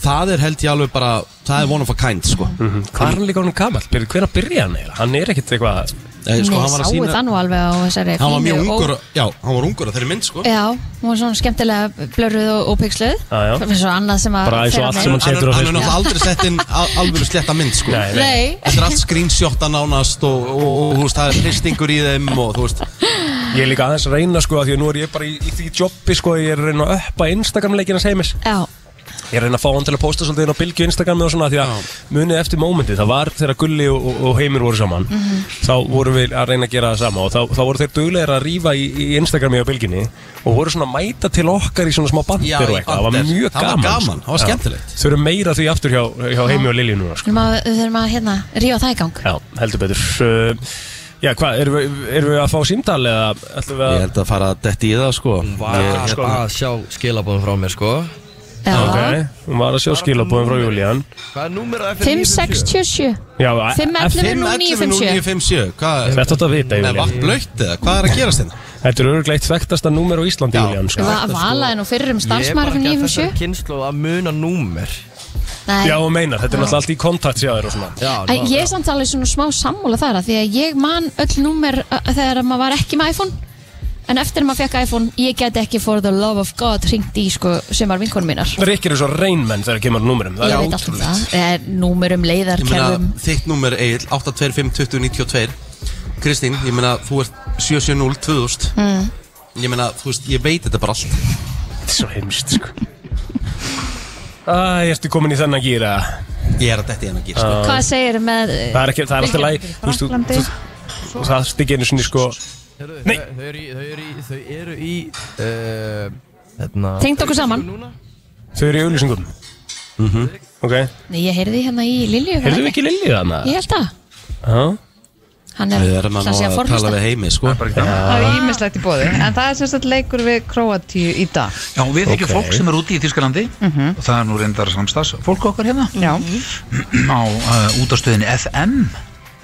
Speaker 1: Það er held ég alveg bara það er one of a kind sko.
Speaker 3: Hm, Hvað er hann líka honum gamall? Hvernig byrja hann eiginlega? Hann er ekkit eitthvað
Speaker 1: Eh, sko,
Speaker 4: Nei,
Speaker 1: hann var að
Speaker 4: sáu
Speaker 1: sýna
Speaker 4: það nú alveg á þessari
Speaker 1: hann var
Speaker 4: fínu
Speaker 1: mjög
Speaker 4: og-
Speaker 1: ungur já, hann var ungur á þeirri mynd sko.
Speaker 4: Já, hún var svona skemmtilega blörruð og, og pixluð
Speaker 3: Já, já.
Speaker 4: Fyrir svo annað sem að
Speaker 3: Bara eins og
Speaker 4: fer
Speaker 3: allt
Speaker 4: þarna
Speaker 3: sem
Speaker 4: inn.
Speaker 3: hann
Speaker 1: hann
Speaker 3: setur
Speaker 1: er
Speaker 3: á
Speaker 1: hann er
Speaker 3: Facebook
Speaker 1: náttúrulega aldrei sett inn al- alveg sletta mynd sko.
Speaker 3: Nei, nei.
Speaker 4: Nei,
Speaker 1: þetta er allt screenshotta nánast og, og, og þú veist, það er hristingur í þeim og þú veist
Speaker 3: Ég er líka aðeins að reyna sko, af því að nú er ég bara í, í því jobbi sko, ég er að reyna að uppa Instagram-leikina seimis
Speaker 4: já,
Speaker 3: Ég er að reyna að fá hann til að posta svolítið inn á bylgju Instagrami og svona því að munið eftir mómenti það var þegar Gulli og, og- og Heimir voru saman þá voru við að reyna að gera það sama og þá, þá voru þeir duglegir að rífa í, í Instagrami á bylginni og voru svona að mæta til okkar í svona smá bandir
Speaker 1: Já,
Speaker 3: og
Speaker 1: í
Speaker 3: eitthvað, það var
Speaker 1: bandir.
Speaker 3: mjög
Speaker 1: Það var
Speaker 3: gaman
Speaker 1: gaman, það
Speaker 3: sko.
Speaker 1: var
Speaker 3: Já.
Speaker 1: skemmtilegt.
Speaker 3: Þau eru meira því aftur hjá, hjá Heimi og Lilju núna sko.
Speaker 4: við þurfum að, við þurfum að hérna, rífa það í gang
Speaker 3: Já, heldur betur uh, Já, hvað, erum við, erum við að fá símtal eða ætlum við
Speaker 1: Ég
Speaker 3: að
Speaker 1: held að fara að detti í það sko hérna-
Speaker 3: Vá,
Speaker 8: Ég
Speaker 3: sko.
Speaker 8: er að sjá skilabóðum frá mér sko
Speaker 4: Já,
Speaker 3: Ok, hún var að sjá skilabóðum frá Júlían
Speaker 8: Hvað er númerið að
Speaker 4: 567
Speaker 3: Já,
Speaker 4: 511 0957
Speaker 1: 511-0957 Hvað
Speaker 3: Þetta átt að vita,
Speaker 1: Nei,
Speaker 3: Júlían
Speaker 1: vatn blöytt eða? Hvað er að gerast hérna?
Speaker 3: Þetta er örglega eitt þekktasta númer á Íslandi,
Speaker 1: Já.
Speaker 3: Júlían sko.
Speaker 4: Va- Valaði nú fyrir um starfsmaður fyrir 957
Speaker 8: kynslu að muna númer
Speaker 4: Nei,
Speaker 3: Já, um- og meinar, þetta er náttúrulega allt í kontakt sér og svona
Speaker 8: Já,
Speaker 4: Æ, ég er samt alveg svona smá sammála þar að því að ég man öll númer uh, þegar að maður var ekki með iPhone en eftir að maður fekk iPhone, ég get ekki for the love of God ringt í sko sem var vinkonum mínar
Speaker 3: Rikkir er svo reynmenn þegar kemur að númerum Það
Speaker 4: Ég
Speaker 3: er
Speaker 4: veit allt um það, er númerum,
Speaker 1: Ég meina,
Speaker 4: leiðarkerfum
Speaker 1: þitt númer Egil 825-2092 Kristín, ég meina, þú ert 770-2000 Ég meina, þú veist, ég veit þetta bara allt
Speaker 3: út- svo heimst sko. Æ, ertu komin í þennan gýra
Speaker 1: Ég er að detti hérna að gera sko.
Speaker 4: Hvað segir með
Speaker 3: Það er ekki, það er alltaf læg Þú veist, þú- þú- þú- það stikir einu sinni sko Nei.
Speaker 8: Þau eru í, þau eru í, þau eru í uh, Þarna
Speaker 4: Tengd okkur saman
Speaker 3: Þau eru í auðlýsingum Ok,
Speaker 4: Nei, ég heyrði hérna í Lilju var
Speaker 3: heyrðu
Speaker 4: það
Speaker 3: ekki Lilli þarna?
Speaker 4: Ég held að
Speaker 3: Já
Speaker 4: Hann er
Speaker 1: Við erum að,
Speaker 4: ætlar
Speaker 1: ná
Speaker 4: sig
Speaker 1: að
Speaker 4: forfesta.
Speaker 1: tala við heimi sko.
Speaker 10: Það er ímislegt í bóði, en það er semst að leikur við Kroatíu í dag. Mhm.
Speaker 11: Já, við þykjum
Speaker 3: Ok.
Speaker 11: fólk sem er úti í Þískalandi og það er nú reyndar samstags fólk okkar hérna
Speaker 10: Já.
Speaker 11: á uh, útastöðinni FM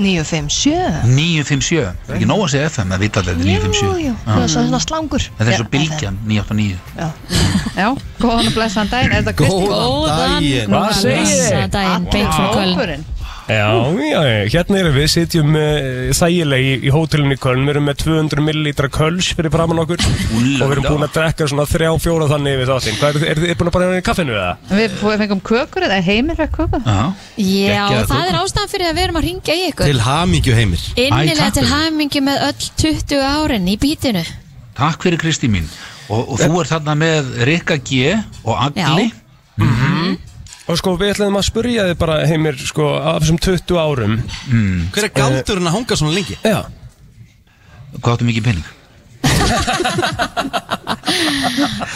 Speaker 10: 957.
Speaker 11: 957, Það er ekki nóg að segja FM að vita allir þetta er 957
Speaker 10: Jú, jú, það er svona slangur.
Speaker 11: Þetta er svo bylgjan 989
Speaker 10: Já, góðan og blessan daginn, er þetta Kristi?
Speaker 1: Góðan daginn
Speaker 3: Hvað segið þið?
Speaker 4: Blessaðan daginn, beint frá Köln
Speaker 3: Já, já, já, hérna erum við, sitjum uh, þægilegi í, í hótelinu í Köln, við erum með 200 millilitra Kölns fyrir framann okkur og við erum búin að drekka svona þrjá, fjóra þannig við þáttinn. Hvað er þið búin að bara hérna í kaffinu eða?
Speaker 10: Við fó- fengum kökur, eða heimir fekk köku.
Speaker 4: Já, það er ástæðan fyrir að við erum að ringja í ykkur
Speaker 1: Til hamingju heimir
Speaker 4: Innilega
Speaker 11: takk
Speaker 4: til
Speaker 11: fyrir.
Speaker 4: hamingi með öll 20 árin í bítinu
Speaker 11: Takk fyrir Kristi mín og, og þú er þarna með Rikka G og Agli
Speaker 4: Já.
Speaker 3: Og sko, við ætlum að spurja þið bara heimir, sko, af þessum 20 árum.
Speaker 1: Hver er galdurinn að hanga svona lengi?
Speaker 3: Já.
Speaker 11: Hvað áttu mikið pening?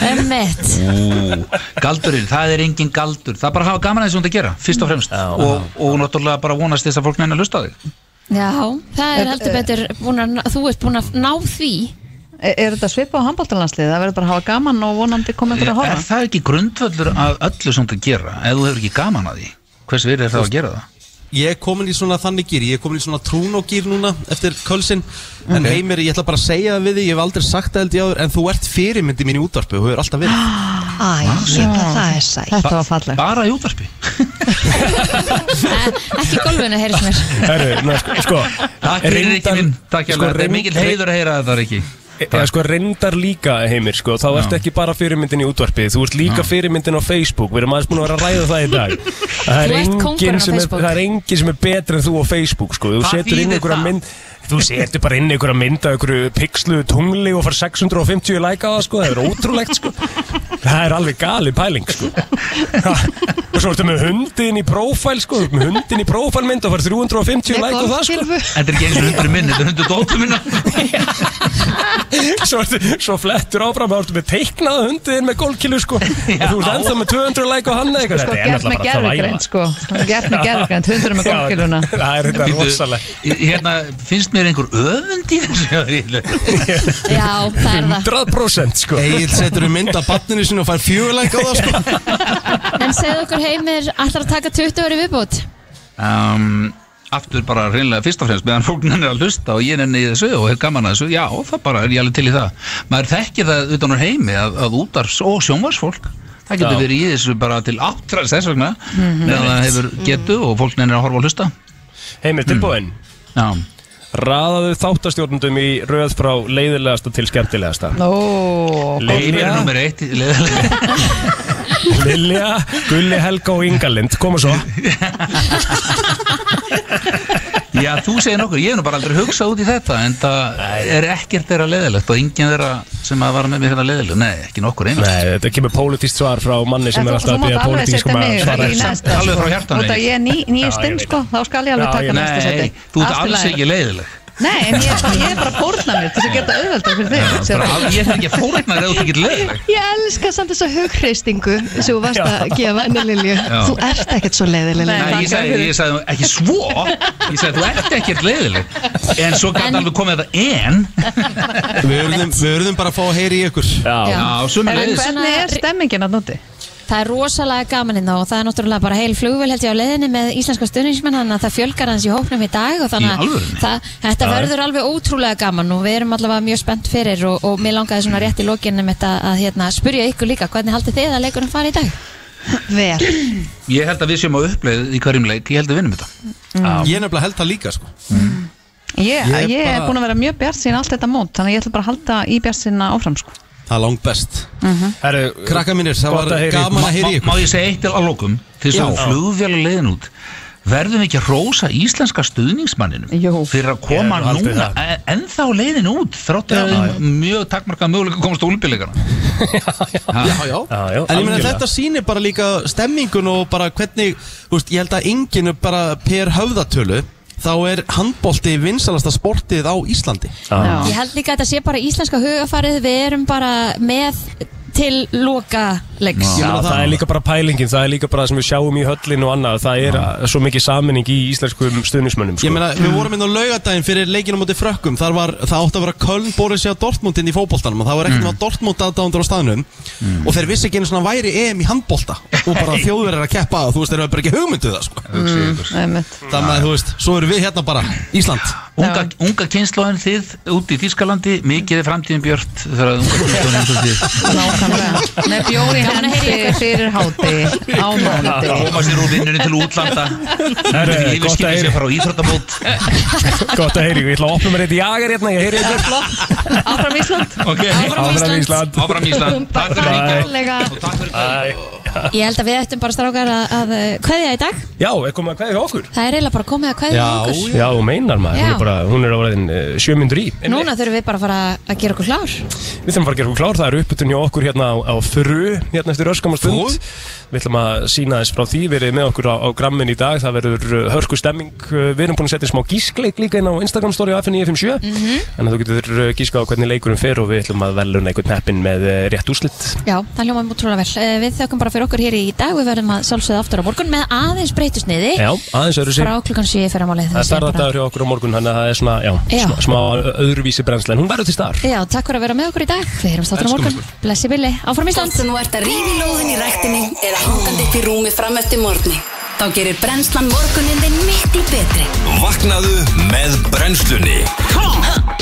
Speaker 4: Ömmett
Speaker 11: Galdurinn, það er engin galdur Það er bara að hafa gaman að þessu um þetta að gera, fyrst og fremst og, og náttúrulega bara vonast þess að fólk neina að hlusta á þig
Speaker 4: Já, það er heldur betur búin að, þú ert búin að ná því
Speaker 10: Er, er þetta svipað á handbóltalanslið? Það verður bara að hafa gaman og vonandi koma ykkur að horfa.
Speaker 11: Er það ekki grundvöldur að öllu sem þetta gera ef þú hefur ekki gaman að því? Hvers verið er það að gera það?
Speaker 1: Ég er komin í svona þannig gýr, ég er komin í svona trúnogýr núna eftir kölsinn En heimir, ég ætla bara að segja það við þig, ég hef aldrei sagt það held ég áður En þú ert fyrirmyndi mín í útvarpi og hefur alltaf verið
Speaker 12: Æ, líka það er sætt
Speaker 10: Þetta var falleg.
Speaker 11: Bara í útvarpi
Speaker 4: Eh, Ekki í gólfinu, heyrðis mér
Speaker 3: Herru, ná, sko, sko
Speaker 11: Takk fyrir Rikki
Speaker 3: reyndar-
Speaker 11: minn, takk
Speaker 3: sko,
Speaker 11: hjá Þetta er
Speaker 3: reynd-
Speaker 11: mikil heiður að heyra þetta Rikki
Speaker 3: eða sko reyndar líka heimir sko, þá ertu ekki bara fyrirmyndin í útvarpið þú ert líka fyrirmyndin á Facebook við erum aðeins búin að vera að ræða það í dag það er,
Speaker 13: Þú ert kóngurinn
Speaker 3: engin
Speaker 13: á
Speaker 3: sem er,
Speaker 13: Facebook.
Speaker 3: það er engin sem er betri en þú á Facebook sko. þú
Speaker 13: Hvað
Speaker 3: setur inn
Speaker 13: þýðir
Speaker 3: einhverja
Speaker 13: það?
Speaker 3: mynd Þú setur bara inn einhverja mynd af einhverju pixlu tungli og far 650 læka á það sko, það er ótrúlegt sko. Það er alveg gali pæling sko. Og svo ertu með hundin í prófæl sko, þú ert með hundin í prófælmynd og far 350 læka á það sko.
Speaker 8: Þetta er ekki eins og hundur minn, þetta er hundur dóttur minna
Speaker 3: svo, ertu, svo flettur áfram þá ertu með teiknaða hundin með gólkilu sko og þú ert ennþá með 200 like á hann eða eitthvað
Speaker 10: Sko, gert með gerðugreind, sko. Gert með gerðugreind, hundur með
Speaker 3: Já.
Speaker 10: gólkiluna.
Speaker 3: Það er þetta
Speaker 8: Bíddu,
Speaker 3: rosalegt.
Speaker 8: Hérna, finnst mér einhver öfund í þessu?
Speaker 4: Já, það er það
Speaker 3: 100% sko
Speaker 7: Egil setur um mynd af banninu sinu og fær fjögulæk á það sko
Speaker 4: En segðu okkur heimir, ætlar að taka 20 ári viðbútt?
Speaker 8: um, aftur bara hreinlega fyrst og fremst meðan fólk nennir að hlusta og ég nenni í þessu og er gaman að þessu, já, það bara er ég alveg til í það maður þekkir það utan úr heimi að, að útars og sjónvarsfólk það getur
Speaker 3: Já.
Speaker 8: verið í þessu bara til áttra þess vegna,
Speaker 3: Mhm.
Speaker 8: meðan það hefur getu og fólk nennir að horfa að hlusta
Speaker 3: Heimir, tilbúinn?
Speaker 8: Já
Speaker 3: Raðaðu þáttastjórnundum í röð frá leiðilegasta til skemmtilegasta
Speaker 10: Nó,
Speaker 8: Leifur er nummer eitt í- leiðilega
Speaker 3: Lilja, Gulli Helga og Ingalind Koma svo
Speaker 8: Já, þú segir nokkuð, ég hef nú bara aldrei hugsað út í þetta en það er ekkert þeirra leðilegt og enginn þeirra sem að vara með mér hérna leðilegt Nei, ekki nokkur einast
Speaker 3: Nei, þetta kemur pólitískt svar frá manni sem er alltaf að bíða pólitískum að svara
Speaker 10: sko.
Speaker 8: Alveg frá hjartanu,
Speaker 10: Þú veit að ég er ný- nýstinn, sko, þá skal ég alveg taka næsta seti.
Speaker 8: Nei, þú ert
Speaker 10: Allt í
Speaker 8: alls
Speaker 10: lagi.
Speaker 8: ekki leiðileg
Speaker 10: Nei, en ég er bara- ég er bara að fórna mér til þess að gera þetta auðveldar fyrir þig.
Speaker 8: Já,
Speaker 10: sérðu.
Speaker 8: bara al- Ég þarf ekki að fórna þér ef þú ert ekki leiðileg
Speaker 9: Ég elska samt þessa hugreistingu sem þú varst að gefa henni Lilju.
Speaker 8: Já.
Speaker 9: Þú ert ekkert svo leiðileg
Speaker 8: Nei,
Speaker 9: Lilja.
Speaker 8: ég sagði, ég sagði ekki svo Ég sagði þú ert ekkert leiðileg En svo gæti alveg komið þetta en
Speaker 7: Við urðum, við urðum bara að fá að heyri í ykkur
Speaker 8: Já,
Speaker 10: En
Speaker 8: sömuleiðis
Speaker 10: hvernig er stemmingin að núti?
Speaker 4: Það er rosalega gaman hérna og það er náttúrulega bara heil flugvél held ég á leiðinni með íslenska stundingsmenn þannig að það fjölgar hans í hóknum í dag og þannig
Speaker 8: Í
Speaker 4: að
Speaker 8: alvörunni?
Speaker 4: það, þetta
Speaker 8: Já.
Speaker 4: verður alveg ótrúlega gaman og við erum allavega mjög spennt fyrir og, og mér langaði svona rétt í lokinni mitt að, að hérna, spurja ykkur líka hvernig haldið þið að leikunum fara í dag?
Speaker 9: Vel.
Speaker 8: Ég held að við séum á uppleið í hverjum leik Ég held að vinnum þetta
Speaker 7: Ég er nefnilega held það líka sko
Speaker 10: Ég,
Speaker 7: Ég er
Speaker 10: ég er
Speaker 7: bara-
Speaker 10: búin að vera mjög bjart sín allt þetta mót, þannig að ég ætla bara að halda í bjart sína áfram, sko.
Speaker 7: Það er langt best
Speaker 3: Herru,
Speaker 7: Krakka mínir, það
Speaker 3: gott
Speaker 7: var
Speaker 3: að heyra í ykkur.
Speaker 7: gaman að heyri
Speaker 8: Má
Speaker 7: ykkur
Speaker 8: ég segja eitt til að lokum Til þess
Speaker 7: Já.
Speaker 8: að flugvél leiðin út Verðum við ekki að rósa íslenska stuðningsmanninum
Speaker 10: Jó.
Speaker 8: fyrir að koma
Speaker 3: Ég er nú haldið
Speaker 8: núna en- ennþá leiðin út þráttur að þeim mjög takmarkað möguleika að komast á olimpíuleikana
Speaker 7: Já, já.
Speaker 3: Já, já,
Speaker 7: En ég meina
Speaker 3: algjörlega.
Speaker 7: þetta sýnir bara líka stemmingun og bara hvernig, þú veist, ég held að enginu bara per höfðatölu þá er handbólti vinsalasta sportið á Íslandi
Speaker 10: Já.
Speaker 4: Ég held líka að þetta sé bara íslenska hugafarið við erum bara með til loka leiks
Speaker 7: Já.
Speaker 3: Já, það,
Speaker 7: það-
Speaker 3: er líka bara pælingin, það er líka bara það sem við sjáum í höllin og annað, það er að, svo mikið saminning í íslenskum stuðnismönnum sko.
Speaker 7: Ég meina, við vorum inn á laugardaginn fyrir leikinu mútið frökkum Þar var, það átti að vera Köln Borussia Dortmund inn í fótboltanum og það var ekkert mm. Dortmund aðdándur á staðnum og þeir vissi ekki einu svona væri EM í handbolta og bara þjóðverðar að keppa og þú veist, þeir hafa bara ekki hugmynduð það
Speaker 10: Mm.
Speaker 7: sko.
Speaker 10: Einmitt.
Speaker 7: Þannig að þú veist, svo eru við hérna bara Ísland
Speaker 8: unga, unga kynnslóðin þið út í Þískalandi mikið er framtíðin björt þegar að unga kynnslóðin út í
Speaker 10: Nákvæmlega. Með bjóri
Speaker 4: Gaman að heyra í
Speaker 10: hendi
Speaker 4: ykkur.
Speaker 10: fyrir háti á mánuti.
Speaker 8: koma sér úr vinnunni til útlanda
Speaker 3: Herru, gott að
Speaker 8: lífeskipið sér
Speaker 3: heyri.
Speaker 8: fara á íþróttamót
Speaker 3: Gott að heyri, ég ætla að opna mér eitt jager hérna, ég heyri þetta
Speaker 10: Áfram Ísland.
Speaker 8: ok,
Speaker 3: Áfram Ísland
Speaker 8: áfram Ísland takk fyrir að hringja. og takk fyrir
Speaker 3: Æ.
Speaker 4: Ég held að við ættum bara strákar að, að eh, kveðja í dag
Speaker 3: Já, er komið að kveðja hjá okkur
Speaker 4: Það er eiginlega bara komið að kveðja
Speaker 7: Já,
Speaker 4: okkur
Speaker 3: Já, hún meinar maður, hún
Speaker 4: Já.
Speaker 3: er bara, hún er á ræðin uh, sjömyndur í
Speaker 4: Núna þurfum við bara að fara að gera okkur klár
Speaker 3: Við þurfum bara að gera okkur klár, það er uppbytun hjá okkur hérna á, á fyrru, hérna eftir öskama stund Við ætlum að sína þess frá því, verið með okkur á, á grammin í dag, það verður uh, hörku stemming uh, Við erum búin að setja smá gískleik líka inn á Instagram story á FN957 mm
Speaker 4: Mhm.
Speaker 3: En þú getur uh, gískað á hvernig leikurum fer og við ætlum að velun einhvern heppin með uh, rétt úslit
Speaker 4: Já, það hljóma mjög trúlega vel. Eh, Við þökkum bara fyrir okkur hér í dag. Við verðum að sjálfsögða aftur á morgun með aðeins breytusniði
Speaker 3: Já, aðeins öðru sig
Speaker 4: frá klukkan 7 fyrir að málið.
Speaker 3: Það er starðardagur hjá okkur á morgun, þannig að það er svona, já,
Speaker 4: Já.
Speaker 3: smá, smá öðruvísi brennsla En hún verður til staðar
Speaker 4: Já, takk fyrir að vera með okkur í dag. Við heyrumst aftur á
Speaker 8: Elskum
Speaker 4: morgun. Blessi Billi. Áfram Ísland.
Speaker 5: Hvort sem þú ert að rífi lóðin í ræktinni eða hangandi upp í rúmi fram eftir morgni. Þá gerir brennslan morgunin þinn miklu betri.
Speaker 14: Vaknaðu með brennslunni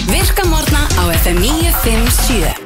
Speaker 5: Virka morgna á FM 957.